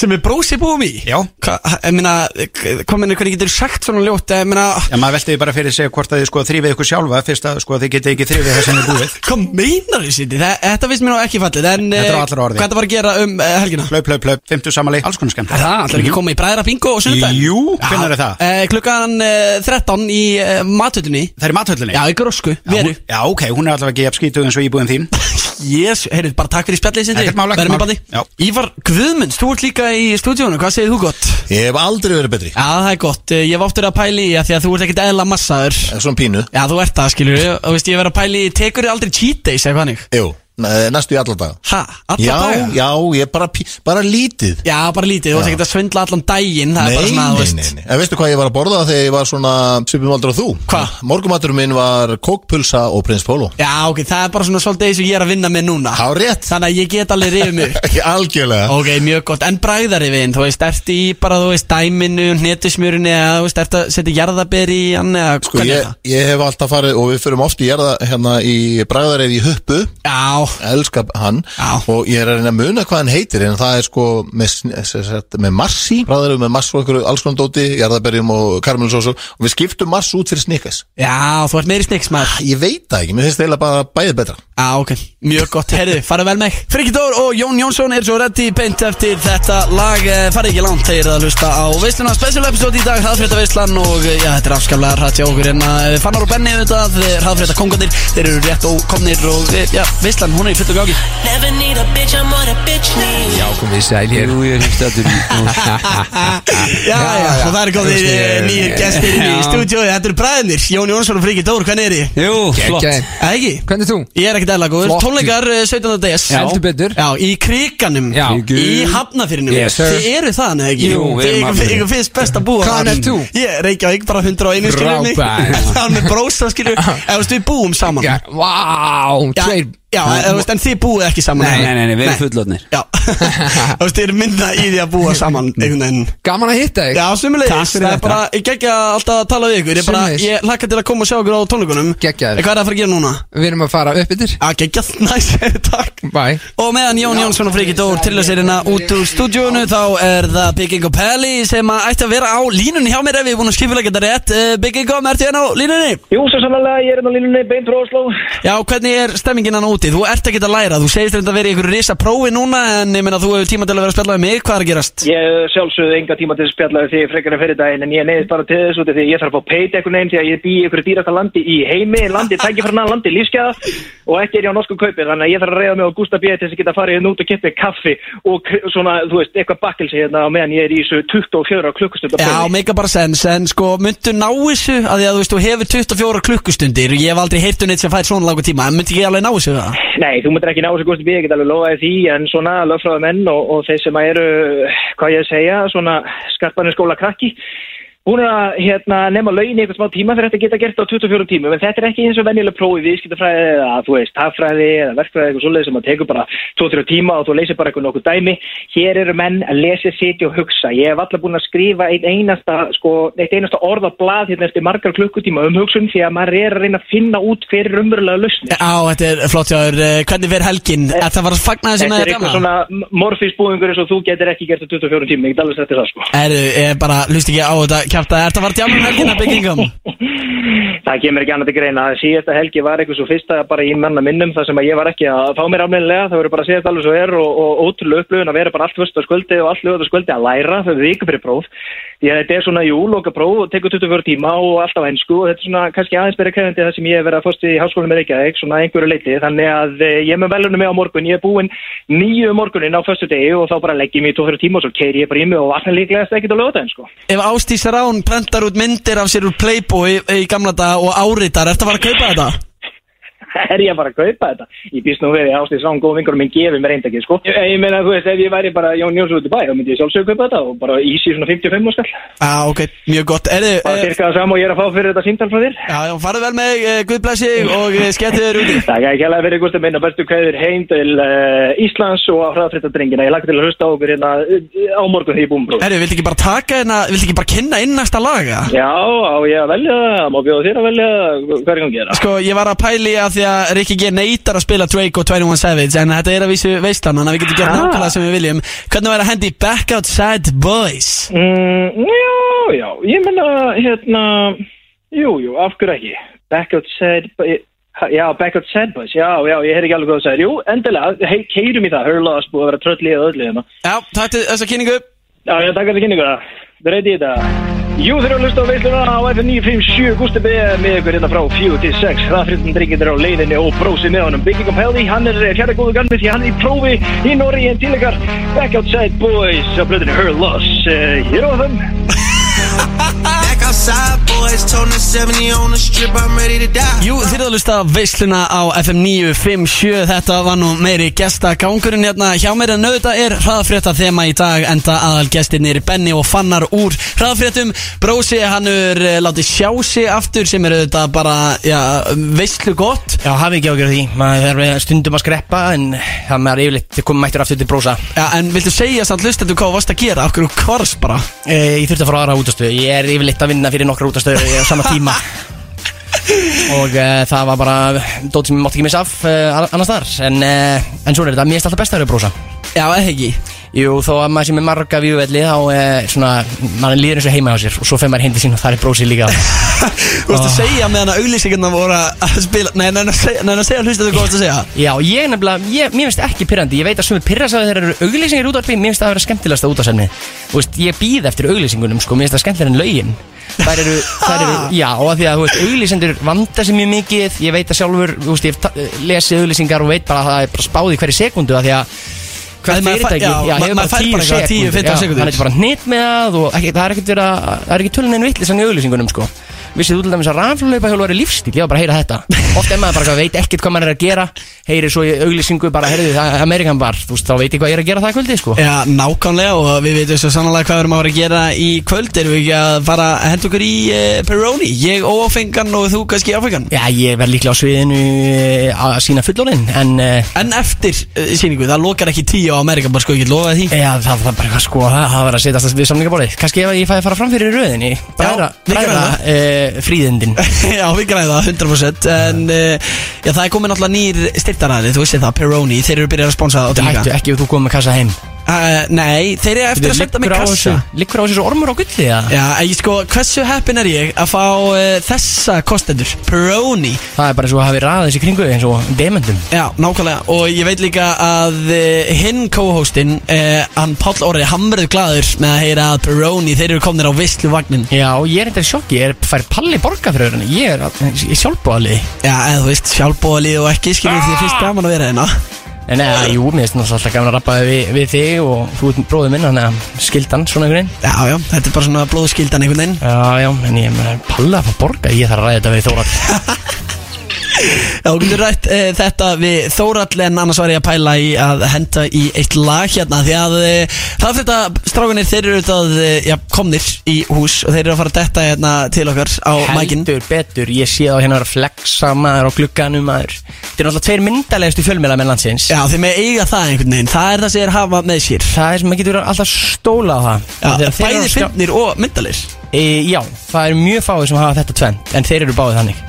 [SPEAKER 2] Sem er brósi búum í?
[SPEAKER 16] Já
[SPEAKER 2] Hva, ég meina, hvað meina, hvernig getur sagt svona ljótt Eh, Ég meina,
[SPEAKER 16] Já, maður veltiði bara fyrir sig hvort að þið sko þrýfið ykkur sjálfa fyrst að sko þið getið ekki þrýfið það sem þið búið
[SPEAKER 2] hvað meinar þið Sindri? Þa- Þetta finnst mér nú ekki fallið En
[SPEAKER 16] Þetta er á
[SPEAKER 2] eh,
[SPEAKER 16] allra orði
[SPEAKER 2] hvað þetta var að gera um eh, helgina?
[SPEAKER 16] Hlaup, hlaup, hlaup, 50 samali, alls konar Mhm. skemmt
[SPEAKER 2] Það, ætlar
[SPEAKER 11] Mhm.
[SPEAKER 2] ekki að koma í bræðra bingo og sunnudaginn?
[SPEAKER 16] Jú, hvenær er það?
[SPEAKER 2] Eh, klukkan eh, 13 í eh, mathöllinni
[SPEAKER 16] Það er í mathöllinni?
[SPEAKER 2] Já, í grósku, veru
[SPEAKER 16] Já, ok, hún er allavega ekki jafn skítuð eins og íbúðin þín
[SPEAKER 2] Jésu, heyrðu, bara takk fyrir spjallið sindri
[SPEAKER 16] Ekkert mál, ekkert
[SPEAKER 2] Verðum í
[SPEAKER 16] mál.
[SPEAKER 2] bandi. Ívar Guðmunds, þú ert líka í stúdíónu, hvað segir þú gott?
[SPEAKER 16] Ég hef aldrei verið betri
[SPEAKER 2] Já, það er gott, Eh, ég hef áttur að pæli í að því að þú ert ekkert eðla massaður
[SPEAKER 6] Svona pínu
[SPEAKER 2] Já, þú ert það, skilur við, og veist, ég verð að pæli í, tekur þið aldrei cheat days, eitthvað hannig?
[SPEAKER 6] Jú, ne- næstu í alla daga
[SPEAKER 2] Ha, alla
[SPEAKER 6] já,
[SPEAKER 2] daga?
[SPEAKER 6] Já, ég bara, pí- bara lítið
[SPEAKER 2] Já, bara lítið, þú ert ekkert að svindla allan daginn, það
[SPEAKER 6] Nei,
[SPEAKER 2] er bara svona, þú
[SPEAKER 6] nei,
[SPEAKER 2] veist
[SPEAKER 6] nei, nei En veistu hvað ég var að borða þegar ég var svona svipum aldra þú? Hva? Morgumatur minn var kókpulsa og prins Pólo
[SPEAKER 2] Já, ok, það er bara svona svolítið eins og ég er að vinna með núna Há
[SPEAKER 6] rétt
[SPEAKER 2] Þannig að ég get alveg rifið mig upp.
[SPEAKER 6] Algjörlega
[SPEAKER 2] Ok, mjög gott, en bræðari vin, þú veist, ertu í bara, þú veist, dæminu, hnetusmjörinu eða, þú veist, ertu að setja jarðaber í hann eða,
[SPEAKER 6] Sko, ég, ég hef alltaf farið og við förum oft í jarða hérna í bræðareið í huppu
[SPEAKER 2] Já
[SPEAKER 6] Elskar hann Já Og ég er að reyna að muna hvað hann heitir en það er sko með, sn- sem sagt, með massi Bræðareið með mass og einhverju alls konar dóti jarðaberjum og karmelisósu og við skiptum mass út fyrir snikas
[SPEAKER 2] Já, þú ert meiri sniks maður
[SPEAKER 6] Ég veit það ekki, mér finnst það bara bæðið betra
[SPEAKER 2] Já, ok, mjög gott, heyrðu, fara vel með Friki Dór og Jón Jónsson er svo reddi beint eftir þetta lag eh, Farið ekki langt, þeir eru að hlusta á veisluna Special episode í dag, hraðfrétta veislan og eh, já, þetta er afskaplega hratt hjá okkur En að fannar og benni auðvitað, hraðfrétta kongarnir Þeir eru rétt og komnir og eh, já, veislan, hún er í fullu gangi
[SPEAKER 13] Never need a bitch, I'm what a bitch needs
[SPEAKER 17] Já, komið í sæl hér Jú, ég er hlustatur
[SPEAKER 2] Já, já, og það eru komnir
[SPEAKER 17] Kannski,
[SPEAKER 2] eh, nýjir
[SPEAKER 17] eh,
[SPEAKER 2] gestir inn í
[SPEAKER 17] já.
[SPEAKER 2] stúdíói Þetta eru bræðinir, Jón Jónsson og Friki Dór, hvernig er þið?
[SPEAKER 17] Jú, flott.
[SPEAKER 2] Eða ekki?
[SPEAKER 17] Hvernig þú?
[SPEAKER 2] Ég er ekkert eðla góður,
[SPEAKER 17] Flottur.
[SPEAKER 2] tónleikar eh, 17. des
[SPEAKER 17] Já. Heldur
[SPEAKER 2] betur Já, í kriganum Já Í hafnafyrinum
[SPEAKER 17] Yes, sir.
[SPEAKER 2] Þið eru það, neða ekki?
[SPEAKER 17] Jú, við
[SPEAKER 2] Þið-
[SPEAKER 17] erum
[SPEAKER 2] ykkur-
[SPEAKER 17] Hafnarfirði.
[SPEAKER 2] Ykkur finnst best að búa
[SPEAKER 17] Hvaðan
[SPEAKER 2] þar.
[SPEAKER 17] ert þú?
[SPEAKER 2] Ég er Reykjavík bara 101 skilur mig
[SPEAKER 17] Frábær.
[SPEAKER 2] Það er með brósa skilur Eða veist við búum saman Já,
[SPEAKER 17] vá, tveir
[SPEAKER 2] Já, eða veist en þið búið ekki saman
[SPEAKER 17] Nei,
[SPEAKER 2] eða?
[SPEAKER 17] nei, nei, nei, við erum fullotnir
[SPEAKER 2] Já, þú veist, þið eru mynda í því að búa saman einhvern veginn
[SPEAKER 17] Gaman að hitta þig
[SPEAKER 2] Já,
[SPEAKER 17] Mm. Takk
[SPEAKER 2] sumulegis,
[SPEAKER 17] fyrir
[SPEAKER 2] það er
[SPEAKER 17] þetta.
[SPEAKER 2] bara, ég geggja alltaf að tala við ykkur Ég, bara,
[SPEAKER 17] Sömuleiðis.
[SPEAKER 2] ég hlakka til að koma og sjá ykkur á tónleikunum Geggja Hvað er það að fara að gera núna?
[SPEAKER 17] Við erum að fara upp yfir
[SPEAKER 2] Já, geggjað, næs, takk
[SPEAKER 17] Bye
[SPEAKER 2] Og meðan Jón Jónsson og Friki Dór til þess erina út úr stúdíónu Þá er það Bygging og Pelli sem að ætti að vera á línunni hjá mér Ef ég er búin að skipilega þetta rétt Eh, Bygging og Merti hérna á línunni
[SPEAKER 7] Jú, svo sannlega, ég er hérna á línunni, beint frá Oslo
[SPEAKER 2] Já, hvernig er stemmingin hann úti? Þú ert ekki að læra, þú segist reynda að vera í ykkur risa prófi núna En ég meina þú hefur tíma til að vera að spjalla við mig, hvað er að gerast?
[SPEAKER 7] Ég eh, sjálfsögðu enga tíma til að spjalla við þig frekar en fyrir daginn en ég neyðist bara til þessu út af því að ég þarf að fá peit eitthvað neginn því að ég bý í ykkur dýrasta landi í heimi, landi tækifræna, landi lífskeiða og ekki er ég á norsku kaupi þannig að ég þarf að reyða mig á Gústa B. til þess að geta farið hérna út og kippi kaffi og k- svona, þú veist, eitthvað bakkelsi hérna á meðan ég er í þessu 24 klukkustundar
[SPEAKER 2] Já, meika bara sens, en sko, myndu ná þessu að því að þú veist, þú hefur 24 klukkustundir Ég hef aldrei heyrt um neitt sem fær svona langu tíma, en myndi ekki alveg ná þessu það?
[SPEAKER 7] Nei, þú myndir ekki ná þessu Gústi B, ég get alveg lofaði því, en svona lögfráðu menn og, og þeir sem að eru, hvað ég að segja, svona skarpanir skóla krakki, búin að hérna, nema laun í eitthvað smá tíma þegar þetta geta gert á 24 tímum en þetta er ekki eins og venjuleg prófi viðskiptafræði eða þú veist, haffræði eða verkfræði eitthvað svoleið sem að tekur bara 2-3 tíma og þú leysir bara eitthvað nokkuð dæmi hér eru menn að lesa, sitja og hugsa ég hef alltaf búin að skrifa einn einasta sko, eitt einasta orð á blað hérna eftir margar klukkutíma um hugsun því að maður er að reyna að finna út hver er umverulega lausn
[SPEAKER 2] Á, þetta er flott hjá þér, eh, hvernig verð helgin? Er það bara að fagna þessu
[SPEAKER 7] Þetta
[SPEAKER 2] með
[SPEAKER 7] er
[SPEAKER 2] þér
[SPEAKER 7] eitthvað
[SPEAKER 2] gaman?
[SPEAKER 7] svona morfísbúðingur eins og þú getur ekki gert á 24 tíma, ég get alveg sett þér það sko.
[SPEAKER 2] Er, er bara, hlust ekki á þetta, kjátt að er það bara djáma um helgina byggingum?
[SPEAKER 7] Það kemur ekki annað til greina. Síðasta helgi var eitthvað svo fyrsta bara í manna minnum þar sem að ég var ekki að fá mér almennilega. Það voru bara að segja þetta alveg svo er og, og ótrúlega upplöfun að vera bara allt fyrsta skvöldi og allt lögða skvöldi að læra þau viku fyrir próf. Því að þetta er svona, jú, loka próf og tekur 24 tíma og allt á ennsku og þetta er svona kannski aðeins byrja krefandi það sem ég hef verið að fórst í háskólanum með Reykjavík, svona að einhverju leiti. Þannig að eh, ég er með velunum með á morgun, ég er búinn nýju morgunin á föstu og þá bara legg ég mig í 24 tíma og svo keiri ég bara í mig og vatna líklegast ekkert á lögðaðin, sko.
[SPEAKER 2] Ef Ástís Rán prentar út myndir af sér úr Playboy í gamla daga og áritar, ertu að fara að kaupa þetta?
[SPEAKER 7] er ég bara að kaupa þetta ég býst nú við því ástæðis rán góð vingur minn gefið mér eindakið sko ég, ég meina þú veist ef ég væri bara Jón Jónsson út í bæ þá myndi ég sjálfsög kaupa þetta og bara ísi svona 55 og skall
[SPEAKER 2] Á, Ah, ok, mjög gott, er þið...
[SPEAKER 7] bara cirka það saman og ég er að fá fyrir þetta símtal frá þér
[SPEAKER 2] Já, já, farðu vel með, uh, guð blessi þig
[SPEAKER 7] Mm.
[SPEAKER 2] og uh, skemmtu þér úti
[SPEAKER 7] Takk ekki alveg fyrir Gústa minn og bestu kveður heim til uh, Íslands og á hraðfritta drengina ég lakka til að hlusta á okkur hérna uh, á morgun því ég búum brú
[SPEAKER 2] Herru, viltu ekki bara taka hérna, viltu ekki bara kynna inn næsta laga?
[SPEAKER 7] Já, á ég að velja það, má bjóða þér að velja það, hvað er hérna? ég að gera?
[SPEAKER 2] Sko, ég var að pæli að því að Rikki G neytar að spila Drake og 21 Savage En þetta er að vísu veistlan, þannig að við getum gert
[SPEAKER 7] Ah.
[SPEAKER 2] nákvæmlega sem við viljum Hvernig væri að hendi Back Outside Boys?
[SPEAKER 7] Mm, já, já, ég meina, hérna, jú, jú, af hverju ekki? Back out sad, bu- eh, já, back out sad boys, já, já, ég heyr ekki alveg hvað þú sagðir. Jú, endilega, hei, keirum í það, hörlaðast búið að vera tröll í að öllu hérna.
[SPEAKER 2] Já, takk til þessa kynningu.
[SPEAKER 7] Já, já, takk fyrir kynningu, það reyti í þetta. Jú, þeir eru að hlusta á veisluna á FM 957, Gústi B. með ykkur hérna frá 4 til 6. Hraðfriðin drengir er á leiðinni og brósið með honum. Bygging um Helði, hann er fjara góðu ganni því hann er í prófi í Norri en til ykkar Back Outside Boys á blöðinni Her Loss. Uh, hér á þeim.
[SPEAKER 17] Back outside, boys. Toting 70 on the strip. I'm ready to die.
[SPEAKER 2] Jú, þið eruð að lusta veisluna á FM 957 Þetta var nú meiri gesta gangurinn hérna hjá mér en auðvitað er hraðfrétta þema í dag enda aðal gestirnir Benni og Fannar úr hraðfréttum Brósi, hann er eh, látið sjá sig aftur sem er auðvitað bara já, veislu gott
[SPEAKER 4] Já, hafi ekki ágjörð því, maður er stundum að skreppa en það maður er yfirleitt komið mættur aftur til brósa
[SPEAKER 2] Já, en viltu segja samt lustendur hvað þú varst að gera? Okkur úr kvars bara
[SPEAKER 4] Eh, Ég þurfti að fara á aðra útastöðu, ég er yfirleitt að vinna fyrir nokkra útastöðu á sama tíma Og uh, það var bara dót sem ég mátti ekki missa af uh, annars þar En, uh, en svona er þetta, mér er alltaf best að vera brósa
[SPEAKER 2] Já, eða ekki
[SPEAKER 4] Jú, þó að maður sem er marga víuvelli þá uh, svona, maður líður eins og heima á sér Og svo fer maður hindi sín og það er brósi líka
[SPEAKER 2] Þú varst að segja meðan að auglýsingarna voru að spila Nei, neina að segja hlustendur hvað þú varst að segja
[SPEAKER 4] Já, ég nefnilega, ég, mér finnst ekki pyrrandi Ég veit að sumir pyrrast að þeir eru auglýsingar í útvarpi Mér finnst það að vera skemmtilegasta útvarsenni Þú veist, ég býð eftir auglýsingunum, sko Mér finnst það skemmtilega en lögin Þær eru, þær
[SPEAKER 2] Ah.
[SPEAKER 4] eru, já, og að því að, þú veist, auglýsendur vanda sér mjög mikið Ég veit að sjálfur, þú veist, ég hef ta- lesið auglýsingar og veit bara að það er bara spáð í hverju sekundu Að því að
[SPEAKER 2] Nei,
[SPEAKER 4] Hvað
[SPEAKER 2] maður fær-
[SPEAKER 4] fyrirtæki,
[SPEAKER 2] já, ma-
[SPEAKER 4] hefur
[SPEAKER 2] maður fær bara eitthvað 10, 15
[SPEAKER 4] já,
[SPEAKER 2] sekúndur.
[SPEAKER 4] Þannig að bara hnit með það og ekki, það er ekkert verið að, það er ekki tölun einu vittlisann í auglýsingunum sko Vissið þú til dæmis að raflaupa er lífstíl, ég var bara að heyra þetta Oft er maður bara eitthvað, veit ekkert hvað maður er að gera Heyrir svo í auglýsingu bara, heyrðu það er Amerikan bar Þú veist, þá veit ég hvað ég er að gera það í kvöldi sko
[SPEAKER 2] Já, nákvæmlega og við veitum svo sannlega hvað við erum að vera að gera í kvöld Erum við ekki að fara að henda okkur í uh, Peroni? Ég óáfengan og þú kannski áfengan
[SPEAKER 4] Já, ég verð líklega á sviðinu eh, að sína fullorinn En, uh,
[SPEAKER 2] En eftir uh, síningu, það lokar ekki tíu á Amerika, bara sko ég get lofað því
[SPEAKER 4] Já, það var bara eitthvað sko, það það var að setjast við samlingaborðið Kannski ef ég fæði að fara fram fyrir í röðinni Bræðra,
[SPEAKER 2] við
[SPEAKER 4] bræðra
[SPEAKER 2] gerum
[SPEAKER 4] uh, fríðindin
[SPEAKER 2] Já, við græðum það 100% En uh, já, það er komin alltaf nýr styrtaræði, þú veist það, Peroni Þeir eru byrjað að sponsa það á
[SPEAKER 4] Þetta hættu ekki ef þú komið með kassa heim
[SPEAKER 2] Uh, nei, þeir eru eftir að setja mig kassa
[SPEAKER 4] Liggur á þessu ormur á gulli það?
[SPEAKER 2] Já, en ég sko, hversu heppin er ég að fá uh, þessa kostendur, Peroni
[SPEAKER 4] Það er bara svo að hafi raðið sér kringu þig eins og dementum
[SPEAKER 2] Já, nákvæmlega og ég veit líka að uh, hinn co-hostin, uh, hann Páll Orri, hann verður glaður með að heyra að Peroni, þeir eru komnir á vissluvagnin
[SPEAKER 4] Já, ég er eitthvað sjokki, ég er, fær palli borga fyrir henni Ég er, ég er sjálfbóðalið
[SPEAKER 2] Já, eða þú veist, sjálfbóðalið og ekki, skilur því að fyrst gaman að vera hérna
[SPEAKER 4] En eða, jú, mér finnst náttúrulega alltaf gaman að rappa við, við þig og þú ert bróðið minn, þannig að skildan svona einhvern veginn
[SPEAKER 2] Já, já, þetta er bara svona blóðskildan einhvern veginn
[SPEAKER 4] Já, já, en ég er palli að fá borga, ég þarf að ræða þetta við Þórat
[SPEAKER 2] Já, þú getur rætt uh, þetta við Þórall en annars var ég að pæla í að henda í eitt lag hérna því að uh, það fyrir þetta strákunir þeir eru auðvitað uh, já, komnir í hús og þeir eru að fara að detta hérna til okkar á mækin
[SPEAKER 4] Heldur betur, ég sé þá hérna að vera að flexa maður á glugganum maður Þetta er náttúrulega tveir myndarlegustu fjölmiðla með landsins
[SPEAKER 2] Já, þeir með eiga það einhvern veginn, það er það sem þeir hafa með sér
[SPEAKER 4] Það er sem maður getur alltaf stóla á það
[SPEAKER 2] Já,
[SPEAKER 4] Þegar þeir eru
[SPEAKER 2] bæði
[SPEAKER 4] að skjá-
[SPEAKER 2] fyndnir og myndalir
[SPEAKER 4] e, Já, það eru mjög fáið sem hafa þetta tvend En þeir eru báðið þannig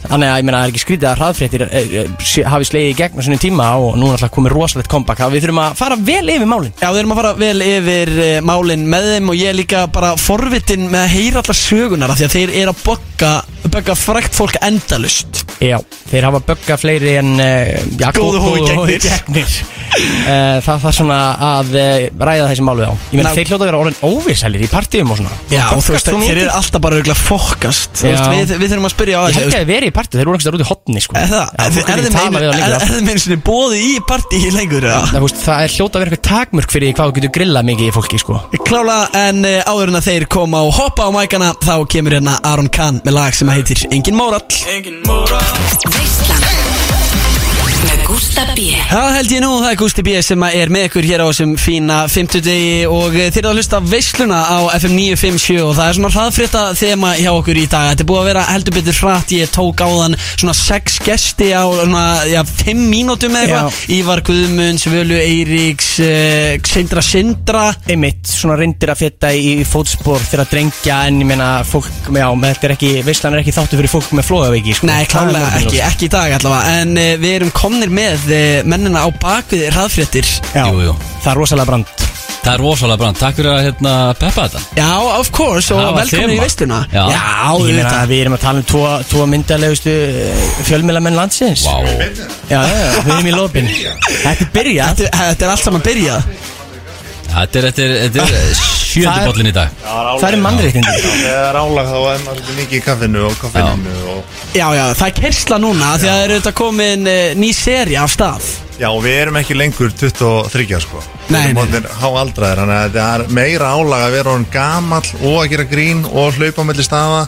[SPEAKER 4] Þannig að ég meina það er ekki skrítið að hraðfréttir e, e, sé- hafi slegið í gegn á svona tíma og núna alltaf komið rosalegt comeback Þannig að Við þurfum að fara vel yfir málin
[SPEAKER 2] Já, við erum að fara vel yfir uh, málin með þeim og ég er líka bara forvitin með að heyra allar sögunar af því að þeir eru að bogga, bogga frækt fólk endalust
[SPEAKER 4] Já, þeir hafa böggað fleiri en uh, já,
[SPEAKER 2] Góðu hófi gegnir.
[SPEAKER 4] gegnir. uh, Það þarf svona að uh, ræða þessi málið á Ég meina
[SPEAKER 2] Ná-
[SPEAKER 4] þeir hljóta að vera orðin óvísælir í partíum og svona
[SPEAKER 2] Já, og þú
[SPEAKER 4] Böggast
[SPEAKER 2] veist,
[SPEAKER 4] svona
[SPEAKER 2] þeir
[SPEAKER 4] mikið.
[SPEAKER 2] eru alltaf bara auðvitað fokkast Þú veist,
[SPEAKER 4] Já.
[SPEAKER 2] við, við þurfum að spyrja á
[SPEAKER 4] Ég
[SPEAKER 2] þessu
[SPEAKER 4] held að þeir verið í partíu, þeir voru einhverstað út í hotni sko.
[SPEAKER 2] Er
[SPEAKER 4] Já,
[SPEAKER 2] það,
[SPEAKER 4] þú getur
[SPEAKER 2] er
[SPEAKER 4] ekki
[SPEAKER 2] þeim einu,
[SPEAKER 4] talað við þá lengur,
[SPEAKER 2] er,
[SPEAKER 4] já.
[SPEAKER 2] er þeim einu sinni bóði í partí lengur eða?
[SPEAKER 4] Það, veist, það er hljóta að vera eitthvað takmörk fyrir því hvað þú getur grillað mikið í fólki sko.
[SPEAKER 2] Klála, en eh, áður en að þeir koma og hoppa á mækana þá kemur hérna Aron Kahn með lag sem heitir Engin Mórall
[SPEAKER 18] Veislan Með Gústa B
[SPEAKER 2] Það held ég nú, það er Gústi B. sem að er með ykkur hér á þessum fína 50 degi og eh, þið eru að hlusta á veisluna á FM 957 og það er svona hraðfrétta þema hjá okkur í dag. Þetta er búið að vera heldur betur hratt, ég tók áðan svona 6 gesti á svona, já, 5 mínútum eða eitthvað. Ívar Guðmunds, Völu Eiríks, uh, Sindra Sindra
[SPEAKER 4] Einmitt, svona reyndir að feta í fótspor fyrir að drengja en ég meina fólk með á, með þetta er ekki, veislan er ekki þáttu fyrir fólk með flóðaveiki sko.
[SPEAKER 2] Nei, klálega
[SPEAKER 4] Það er
[SPEAKER 2] ekki,
[SPEAKER 4] ljóst.
[SPEAKER 2] ekki í dag allavega En uh, við erum komnir með uh, mennina á bakvið hraðfréttir
[SPEAKER 4] Já, jú, jú. það er rosalega brand
[SPEAKER 11] Það er rosalega brand, takk fyrir að hérna, peppa þetta
[SPEAKER 2] Já, of course, og
[SPEAKER 11] Það var
[SPEAKER 2] velkomin í
[SPEAKER 11] þema.
[SPEAKER 2] veisluna
[SPEAKER 11] Já.
[SPEAKER 4] Ég meina
[SPEAKER 2] auðvitað.
[SPEAKER 4] að við erum að tala um tvo, tvo myndalegustu fjölmélamenn landsins Vá wow. Já, já, já, við erum í lópin Þetta er byrja
[SPEAKER 2] Þetta, þetta er allt saman byrja
[SPEAKER 11] Þetta er, þetta er, þetta
[SPEAKER 2] Ah,
[SPEAKER 11] er
[SPEAKER 4] Það
[SPEAKER 11] sjöndi
[SPEAKER 4] er-
[SPEAKER 11] bollin í dag
[SPEAKER 4] Það eru mannréttindi.
[SPEAKER 6] Já, Það er álag þá er maður svolítið mikið í kaffinu og koffinu og
[SPEAKER 2] Já, já, það er kersla núna Því að það er auðvitað komin uh, ný seri af stað
[SPEAKER 6] Já, og við erum ekki lengur 23 sko Nei, nei Há aldraðir, þannig að það er meira álag að vera honum gamall og að gera grín og hlaupa mellir staða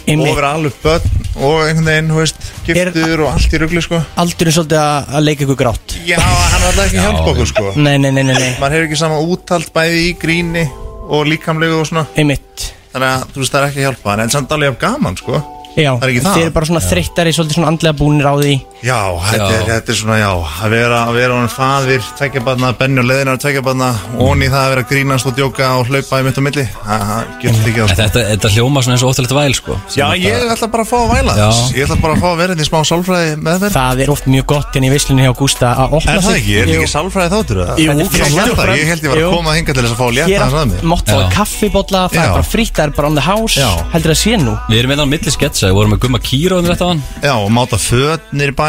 [SPEAKER 4] Einmitt.
[SPEAKER 6] og vera alveg börn og einhvern veginn, þú veist, giftur og allt í rugli sko
[SPEAKER 4] Aldurinn svolítið að að leika ykkur grátt
[SPEAKER 6] Já, hann er alltaf ekki að hjálpa okkur sko
[SPEAKER 4] Nei, nei, nei, nei, nei.
[SPEAKER 6] Maður hefur ekki sama úttalt bæði í gríni og líkamlegu og svona
[SPEAKER 4] Einmitt
[SPEAKER 6] Þannig að, þú veist, það er ekki að hjálpa hann En samt alveg af gaman, sko
[SPEAKER 4] Já,
[SPEAKER 6] Það er ekki það
[SPEAKER 4] Þeir eru bara svona
[SPEAKER 6] Já.
[SPEAKER 4] þreyttari, svolítið svona andlega búnir á því
[SPEAKER 6] Já, þetta
[SPEAKER 4] Já.
[SPEAKER 6] er, þetta er svona, já, að vera, að vera honum faðir, tveggjabarna, benni og leðinar tveggjabarna, onni það að vera að grínast og djóka og hlaupa í mitt og milli, það það getur ekki að
[SPEAKER 11] En
[SPEAKER 6] sko.
[SPEAKER 11] Þetta, þetta hljóma svona eins og óttalegt væl sko
[SPEAKER 6] Já, ég ætla bara að fá að væla
[SPEAKER 11] Já.
[SPEAKER 6] þess, ég ætla bara að fá að vera hérna í smá sálfræði með þér.
[SPEAKER 4] Það er oft mjög gott hérna í visslunni hjá Gústa að opna
[SPEAKER 6] Er það
[SPEAKER 4] sig.
[SPEAKER 6] ekki, er
[SPEAKER 4] Jú.
[SPEAKER 6] ekki sálfræði þáttur það?
[SPEAKER 4] Jú,
[SPEAKER 6] ég held það, ég held ég var að koma hinga til þess að fá að létta hans að mér.
[SPEAKER 4] Mátt fá kaffibotla, það er
[SPEAKER 11] Já.
[SPEAKER 4] bara frýtt, það er bara on the house
[SPEAKER 11] Já.
[SPEAKER 4] Heldur það sé nú
[SPEAKER 11] Við erum einhvern milli sketsa, við vorum með Gumma Kíró um þetta á hann
[SPEAKER 6] Já, og máta föt nýri bæ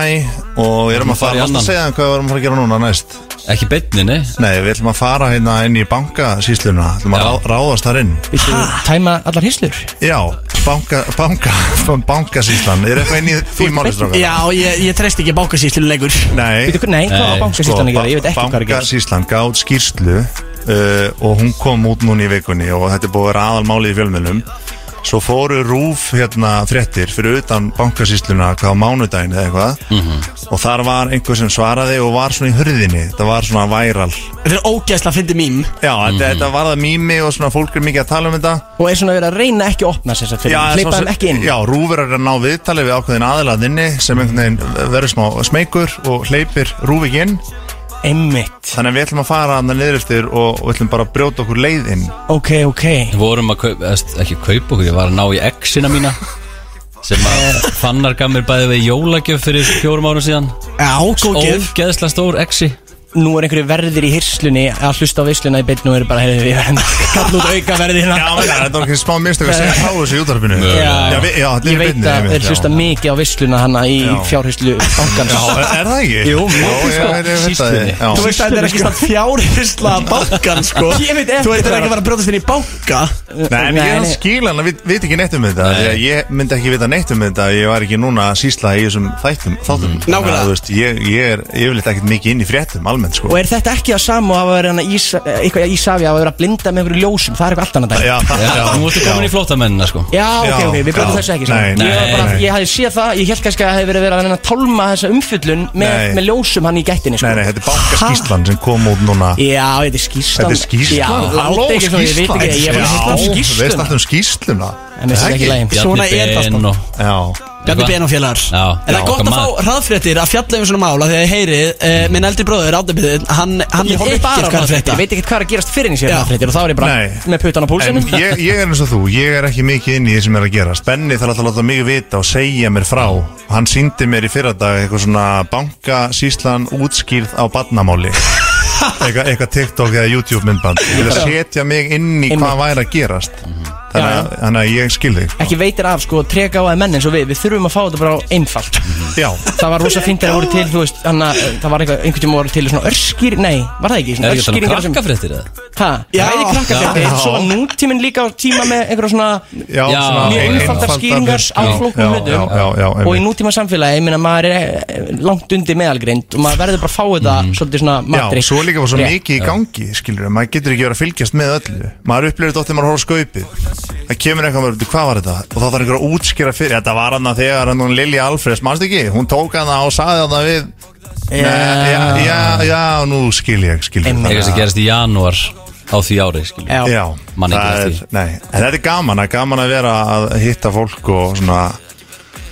[SPEAKER 6] og við erum að fara, varstu að segja þeim hvað við erum að fara að gera núna næst?
[SPEAKER 11] Ekki beinni, nei
[SPEAKER 6] Nei, við ætlum að fara hérna inn í bankasýsluna, ætlum að rá- ráðast þar inn
[SPEAKER 4] Tæma allar hyslur
[SPEAKER 6] Já, banka, banka, bankasýslan, er eitthvað inn í því máli strákar?
[SPEAKER 2] Já, ég, ég treyst ekki bákasýslinu lengur
[SPEAKER 6] Nei, sko,
[SPEAKER 2] Veitu hvað- nei, hvað var Bankasýslan að gera? Ég veit ekki hvað er að gera.
[SPEAKER 6] Eh, Bankasýslan gáð skýrslu uh, og hún kom út núna í vikunni og þetta er búið að vera aðalmálið í fjölmjölum Svo fóru rúf hérna fréttir fyrir utan bankasýsluna hvað á mánudaginn eða eitthvað
[SPEAKER 4] Mhm.
[SPEAKER 6] og þar var einhver sem svaraði og var svona í hurðinni það var svona væral
[SPEAKER 2] Þetta er ógæsla að fyndi mím
[SPEAKER 6] Já, þetta,
[SPEAKER 4] Mhm.
[SPEAKER 6] þetta var það mými og svona fólk er mikið að tala um þetta
[SPEAKER 4] Og er svona verið að reyna ekki að opna sér fyrir
[SPEAKER 6] Já,
[SPEAKER 4] Hleypa
[SPEAKER 6] svo-
[SPEAKER 4] þeim ekki inn
[SPEAKER 6] Já, rúfur er að ná viðtali við ákveðin aðilaðinni sem einhvern veginn verður smá smeykur og hleypir rúf ekki inn
[SPEAKER 4] Einmitt
[SPEAKER 6] Þannig að við ætlum að fara hann niður eftir og við ætlum bara að brjóta okkur leið inn
[SPEAKER 4] Ok, ok
[SPEAKER 11] Við vorum að kaup, eðst, ekki kaupa okkur, ég var að ná í exina mína sem að fannar gaf mér bæði við í jólagjöf fyrir fjórum árum síðan
[SPEAKER 2] Já, góð
[SPEAKER 4] gjöf.
[SPEAKER 11] Ógeðsla stór exi
[SPEAKER 4] Nú er einhverju verðir í hyrslunni að hlusta á vissluna í beitt Nú eru bara, heyrðu, við verðum að kalla út auka verði hérna
[SPEAKER 6] Já, menn, þetta var ekki smá mistök að segja frá þessu í útarpinu já, við- já, þetta er
[SPEAKER 4] ég
[SPEAKER 6] í
[SPEAKER 4] veit
[SPEAKER 6] beinni,
[SPEAKER 4] að
[SPEAKER 6] einmitt,
[SPEAKER 4] þeir
[SPEAKER 6] já.
[SPEAKER 4] hlusta mikið á vissluna hana í
[SPEAKER 6] Já.
[SPEAKER 4] fjárhyslu bankans
[SPEAKER 6] Já, er- er það ekki?
[SPEAKER 4] Jú,
[SPEAKER 6] Já, ég- ég- ég veit það, já.
[SPEAKER 2] Þú veist að þetta er ekki stann fjárhysla bankan sko
[SPEAKER 4] Ég veit
[SPEAKER 2] Þú
[SPEAKER 4] eftir
[SPEAKER 2] veit að
[SPEAKER 4] það.
[SPEAKER 2] ekki að fara að brjóta sinni í banka
[SPEAKER 6] Nei, en ég er að skila hann að við- veit ekki neitt um þetta Nei. Ég myndi ekki vita neitt um þetta ef Ég
[SPEAKER 4] Mm.
[SPEAKER 6] var ekki núna að sýsla í þessum þættum, þáttum Þannig að,
[SPEAKER 2] Nákvæmlega.
[SPEAKER 6] þú veist, ég, ég er yfirleitt ekkert mikið inn í fréttum almennt sko
[SPEAKER 4] Og er þetta ekki að sama og hafa verið hann að ís, eh, eitthvað í Ísafi að hafa verið að blinda með einhverju ljósum það er eitthvað allt annað dæmi
[SPEAKER 11] Nú ertu komin í flottamennina sko
[SPEAKER 4] Já, ok, ok, við breytum
[SPEAKER 11] Já.
[SPEAKER 4] þessu ekki
[SPEAKER 11] Nei,
[SPEAKER 4] svona.
[SPEAKER 11] nei,
[SPEAKER 4] ég, var bara,
[SPEAKER 11] nei.
[SPEAKER 4] ég hafði séð það, ég held kannski að það hefði verið verið að reyna að tálma þessa umfyllun með,
[SPEAKER 6] Nei.
[SPEAKER 4] með ljósum hann í gættinni sko.
[SPEAKER 6] Nei, nei, þetta er bankaskýslan sem kom út núna
[SPEAKER 4] Já, þetta er skýslan
[SPEAKER 6] Þetta er skýslan
[SPEAKER 4] Já, láti ekki svona, ég veit ekki, ég var að hitta
[SPEAKER 6] Já,
[SPEAKER 4] skýrsluna.
[SPEAKER 6] veist alltaf um skýsluna
[SPEAKER 4] En veist ekki lagin.
[SPEAKER 2] Svona er það, sko.
[SPEAKER 11] sko
[SPEAKER 6] Já
[SPEAKER 2] Bjarni Ben og félagar En það er gott að
[SPEAKER 11] maður. Mm.
[SPEAKER 2] fá hraðfréttir að fjalla um svona mála Þegar ég heyri, uh, minn eldri bróður Átnabyðin, hann, hann
[SPEAKER 4] Ég horfði bara á hraðfréttir, ég veit ekkert hvað er að gerast fyrir en ég sé hraðfréttir og þá er ég bara með putan á púlsinum
[SPEAKER 6] En ég, ég er eins og þú, ég er ekki mikið inn í því sem er að gerast Benni þarf alltaf að láta mig vita og segja mér frá Hann síndi mér í fyrradag eitthvað svona bankasýslan útskýrð á badnamáli Eitthvað eitthvað TikTok eða YouTube myndband Ég vil að setja mig inn í hvað væri að gerast Þannig að, þannig að ég skil þig
[SPEAKER 4] Mhm. ekki veitir af sko trega á að menn eins og við við þurfum að fá þetta bara á einfalt
[SPEAKER 6] Já
[SPEAKER 4] það var rosa fint þegar það voru til þú veist hann að eh, það var eitthvað einhvern tíma voru til svona örskýr nei var það ekki
[SPEAKER 11] Er ekki að tala um
[SPEAKER 4] örskýringar sem-
[SPEAKER 11] krakkafréttir eða?
[SPEAKER 4] Ha,
[SPEAKER 11] Já.
[SPEAKER 4] bæði krakkafréttir,
[SPEAKER 11] Já.
[SPEAKER 4] svo var nútíminn líka á tíma með einhverja svona
[SPEAKER 6] Já, svona
[SPEAKER 4] mjög
[SPEAKER 6] ein-
[SPEAKER 4] einfaldar
[SPEAKER 6] einfaldar
[SPEAKER 4] skýringar
[SPEAKER 6] lausnir.
[SPEAKER 4] á
[SPEAKER 6] Já,
[SPEAKER 4] flókum
[SPEAKER 6] já, já, já, já,
[SPEAKER 4] hlutum
[SPEAKER 6] einmitt.
[SPEAKER 4] og í nútíma samfélagi, ég meina maður er eh, langt undir meðalgreind og maður verður bara að fá þetta svolítið svona matri
[SPEAKER 6] Mhm. Já, svo líka var svo mikið í gangi, skilur maður getur ekki verið að fylgjast með öllu maður upplýður þetta þegar maður horfður skaupið það kemur eitthvað maður, "Bíddu, hvað var þetta? og þá þarf einhver að útskýra fyrir, þetta var hann þegar hann hún Lilja Alfreds, mannst ekki? hún tók hann og saði hann við
[SPEAKER 11] Já.
[SPEAKER 6] Nei, já, já, já, nú skil ég skil ég
[SPEAKER 11] Eitthvað sem gerist í janúar á því ári
[SPEAKER 6] Já, já
[SPEAKER 11] Man ekki
[SPEAKER 6] það er,
[SPEAKER 11] eftir.
[SPEAKER 6] nei, en þetta er gaman, það er gaman að vera að hitta fólk og svona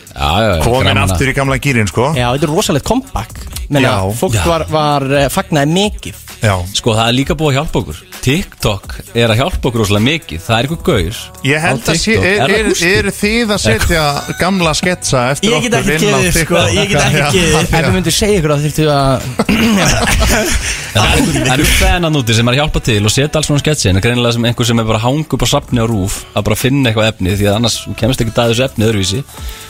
[SPEAKER 2] Eh,
[SPEAKER 11] já, já,
[SPEAKER 6] komin
[SPEAKER 11] gaman að-
[SPEAKER 6] aftur í gamla gýrin, sko
[SPEAKER 4] Já, þetta er rosalegt comeback Menna,
[SPEAKER 6] Já.
[SPEAKER 4] fólk
[SPEAKER 6] Já.
[SPEAKER 4] var, var eh, fagnaði mikið
[SPEAKER 6] Já.
[SPEAKER 11] Sko það er líka búið að hjálpa okkur TikTok er að hjálpa okkur rosalega mikið Það er eitthvað gaur
[SPEAKER 6] Ég held
[SPEAKER 11] á
[SPEAKER 6] að sé,
[SPEAKER 11] TikTok.
[SPEAKER 6] er,
[SPEAKER 11] það
[SPEAKER 6] er,
[SPEAKER 11] Gústi?
[SPEAKER 6] er þið að setja gamla sketsa eftir
[SPEAKER 11] Ég get
[SPEAKER 6] okkur
[SPEAKER 11] ekki
[SPEAKER 6] inn á
[SPEAKER 11] gefið, sko,
[SPEAKER 6] TikTok?
[SPEAKER 11] ég get ekki
[SPEAKER 6] Já,
[SPEAKER 11] gefið.
[SPEAKER 6] já.
[SPEAKER 4] Ef við myndum segja ykkur að þurftu að
[SPEAKER 11] Það er einhver- það er fennan úti sem er að hjálpa til og setja alls svona sketsin greinilega sem einhver sem er bara að hanga upp á safni á rúf að bara finna eitthvað efni því að annars þú kemst ekki að þessu efni öðruvísi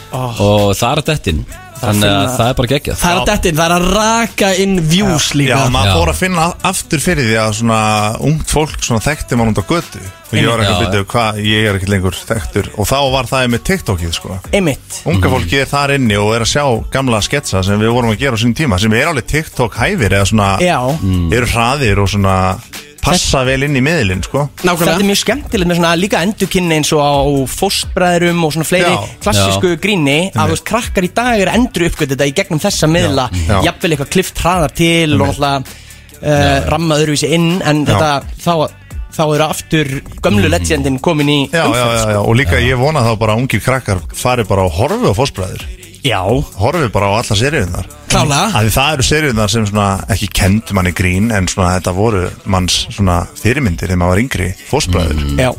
[SPEAKER 2] Oh.
[SPEAKER 11] og það er að dettin þannig að
[SPEAKER 2] finna-
[SPEAKER 11] það er bara geggjað
[SPEAKER 2] Það er að dettin, það er að raka inn views líka
[SPEAKER 6] Já, maður fór að finna aftur fyrir því að svona ungt fólk svona þekkti mann út á götu og ég var ekki að
[SPEAKER 11] Já,
[SPEAKER 6] byrja hvað, ég er ekki lengur þekktur og þá var það með TikTokið sko
[SPEAKER 4] Einmitt
[SPEAKER 6] Unga fólki er þar inni og er að sjá gamla sketsa sem við vorum að gera á sínum tíma sem er alveg TikTok hæfir eða svona
[SPEAKER 4] Já.
[SPEAKER 6] eru hraðir og svona passa vel inn í miðlinn sko
[SPEAKER 4] Þetta er mjög skemmtilegt með svona líka endurkynni eins og á fóstbræðurum og svona fleiri
[SPEAKER 6] Já.
[SPEAKER 4] klassísku gríni að þú veist, krakkar í dag eru endur uppgötu þetta í gegnum þessa miðla
[SPEAKER 6] Já.
[SPEAKER 4] jafnvel eitthvað klift hraðar til og alltaf uh, ramma öðruvísi inn en
[SPEAKER 6] Já. Mhm.
[SPEAKER 4] þetta, þá, þá eru aftur gömlu legendin komin í
[SPEAKER 6] Já, já, já, já, og líka ég vona þá bara að ungir krakkar fari bara og horfi á fósbræður
[SPEAKER 4] Já
[SPEAKER 6] Horfi bara á alla seriðunar
[SPEAKER 2] Klálega.
[SPEAKER 6] Af því það eru seriðunar sem svona ekki kend manni grín En svona þetta voru manns svona fyrirmyndir þegar maður var yngri fósbræður
[SPEAKER 4] Já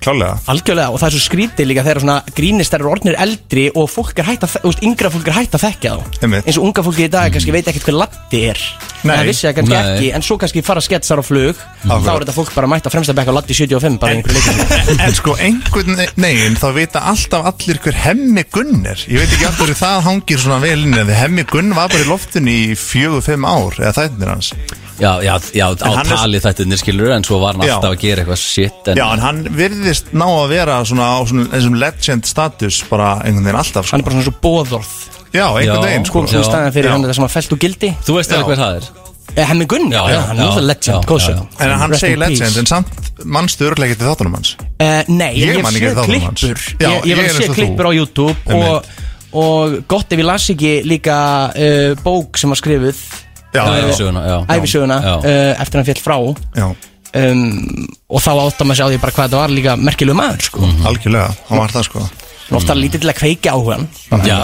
[SPEAKER 6] Klálega
[SPEAKER 4] Algjörlega og það er svo skrítið líka þegar svona grínistar eru orðnir eldri og fólk er hægt að, þe- þú veist, yngra fólk er hægt að þekkja þá
[SPEAKER 6] Einmitt. Mm.
[SPEAKER 4] eins og unga fólki í dag kannski veit ekkert hver laddi er
[SPEAKER 6] Nei.
[SPEAKER 4] það vissi það kannski
[SPEAKER 6] Nei.
[SPEAKER 4] ekki en svo kannski fara sketsar á flug
[SPEAKER 6] Akkurat.
[SPEAKER 4] þá er þetta fólk bara mætt á fremsta bekk á laddi 75 bara einhverju leikur
[SPEAKER 6] en, en sko einhvern negin þá vita alltaf allir hver hemmi Gunn er Ég veit ekki af hverju það hangir svona vel inn En hemmi Gunn var bara í loftinu í fjögur-fimm ár Eða þættinir hans
[SPEAKER 11] Já, já, já, á
[SPEAKER 6] hann er-
[SPEAKER 11] tali þetta skilur en svo var hann
[SPEAKER 6] Já.
[SPEAKER 11] alltaf að gera eitthvað shit en
[SPEAKER 6] Já, en hann virðist ná að vera svona á svona þessum legend status bara einhvern veginn alltaf sko.
[SPEAKER 4] Hann er bara svona svo bóðorð
[SPEAKER 6] Já, einhvern veginn sko.
[SPEAKER 4] kom svona staðan fyrir hann þetta sem að felt úr gildi
[SPEAKER 11] Þú veist alveg hver það er
[SPEAKER 4] Eh, Hemmi Gunn, já,
[SPEAKER 11] já,
[SPEAKER 4] já, hann er
[SPEAKER 11] já,
[SPEAKER 4] náttúrulega
[SPEAKER 11] já,
[SPEAKER 4] legend, góðsögn
[SPEAKER 11] já,
[SPEAKER 6] En hann segir legend, en samt mannstu örlega ekki til þáttunum hans
[SPEAKER 4] Uh, nei,
[SPEAKER 6] Ég
[SPEAKER 4] ég,
[SPEAKER 6] man
[SPEAKER 4] hef
[SPEAKER 6] ekki
[SPEAKER 4] séð
[SPEAKER 6] þáttunum hans.
[SPEAKER 4] klippur
[SPEAKER 6] Já,
[SPEAKER 4] Ég, ég
[SPEAKER 6] ég
[SPEAKER 4] var
[SPEAKER 6] er
[SPEAKER 4] að séð
[SPEAKER 6] eins og
[SPEAKER 4] klippur
[SPEAKER 6] þú.
[SPEAKER 4] á YouTube og, og gott ef ég las ekki líka uh, bók sem var skrifuð
[SPEAKER 11] Já,
[SPEAKER 4] Eh,
[SPEAKER 11] ævisöguna, já.
[SPEAKER 4] Ævisöguna,
[SPEAKER 11] Já.
[SPEAKER 4] eh, eftir hann féll frá
[SPEAKER 6] Já.
[SPEAKER 4] um, Og þá átta maður sér á því bara hvað þetta var líka merkilegu maður sko. mm
[SPEAKER 6] Algjörlega, hann var það sko
[SPEAKER 4] -hmm. Ofta lítið til að kveiki áhugan
[SPEAKER 11] Mm. Já,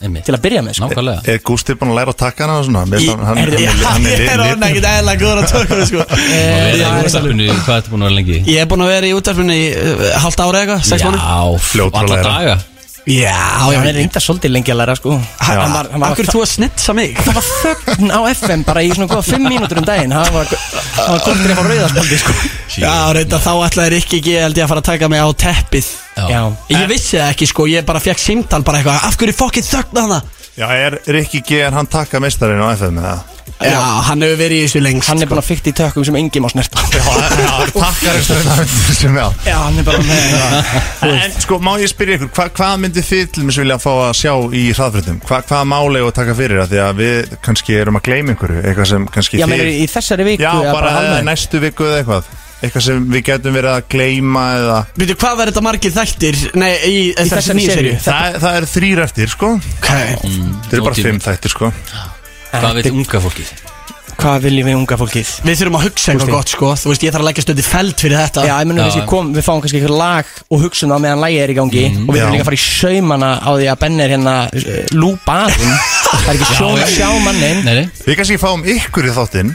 [SPEAKER 11] einmitt
[SPEAKER 4] Til að byrja með sko.
[SPEAKER 11] Nákvæmlega
[SPEAKER 6] Er Gústi búin að læra að taka hana og svona? Mér
[SPEAKER 4] Í-
[SPEAKER 6] finnst hann- hann-
[SPEAKER 4] Heyrðu,
[SPEAKER 6] hann- hann
[SPEAKER 2] Ég er orðin
[SPEAKER 6] litinn.
[SPEAKER 2] ekkert eðla góður að tökum sko.
[SPEAKER 11] Og við erum í
[SPEAKER 2] Eh,
[SPEAKER 11] útvarpinu, Hvað ertu búin að vera lengi?
[SPEAKER 2] Ég er búin að vera í útverfinu í uh, halvt ára eitthvað, sex mánu
[SPEAKER 11] Já,
[SPEAKER 6] Fljótur að
[SPEAKER 11] alla
[SPEAKER 6] læra.
[SPEAKER 11] daga
[SPEAKER 4] Já, hann er reynda svolítið lengi að læra sko.
[SPEAKER 2] Hann-
[SPEAKER 4] Hann var- hann var-
[SPEAKER 2] Akkur þú að snitsa mig
[SPEAKER 4] Það var þögn á FM bara í svona góða 5 mínútur um daginn Það var það var gott reyfa rauðaspaldi sko.
[SPEAKER 2] Já, reynda þá ætlaði Rikki G held ég að fara að taka mig á teppið
[SPEAKER 4] Já.
[SPEAKER 2] Ég vissi það ekki sko, ég bara fekk simtal bara eitthvað Af hverju fokkið þögna hana
[SPEAKER 6] Já, er Rikki G, er hann takka meistarinn á FM með það?
[SPEAKER 2] Já, hann hefur verið í þessu lengst sko.
[SPEAKER 4] Hann er bara fyrkt í tökum sem engin má snerta
[SPEAKER 6] Takkar sem já
[SPEAKER 4] Já, hann er bara með
[SPEAKER 6] En sko, má ég spyrja ykkur, hva, hvað myndi þið til mér vilja fá að sjá í hraðfréttum? Hva, hvað máli og taka fyrir það? Því að við kannski erum að gleyma einhverju, eitthvað sem kannski
[SPEAKER 4] Já,
[SPEAKER 6] þið...
[SPEAKER 4] meður í þessari viku
[SPEAKER 6] Já,
[SPEAKER 4] eða
[SPEAKER 6] bara,
[SPEAKER 4] almennt?
[SPEAKER 6] bara næstu viku eða eitthvað Eitthvað sem við getum verið að gleyma eða
[SPEAKER 2] Veitu, hvað verður þetta margir þættir? Nei, í, í
[SPEAKER 6] þessari
[SPEAKER 2] nýju
[SPEAKER 6] seríu. Það, það er þrýr eftir, sko okay. Það eru bara
[SPEAKER 11] Nútími.
[SPEAKER 6] fimm þættir, sko
[SPEAKER 11] Hvað veit unga fólkið?
[SPEAKER 4] Hvað viljum við unga fólkið?
[SPEAKER 2] Við þurfum að hugsa
[SPEAKER 4] Gústi.
[SPEAKER 2] eitthvað gott, sko Þú veist, ég þarf að leggja stöndi feld fyrir þetta
[SPEAKER 4] Já, ég menn
[SPEAKER 2] Ah, Já,
[SPEAKER 4] við,
[SPEAKER 2] já.
[SPEAKER 4] kom, við fáum kannski eitthvað lag og hugsun á meðan lagið er í gangi og við
[SPEAKER 2] já.
[SPEAKER 4] þurfum líka að fara í saumana á því að Benni er hérna uh, lúbarinn Það er ekki
[SPEAKER 6] Já,
[SPEAKER 4] sjón
[SPEAKER 6] já.
[SPEAKER 4] að sjá mannin
[SPEAKER 6] Nei, nei. Við kannski fáum ykkur í þáttinn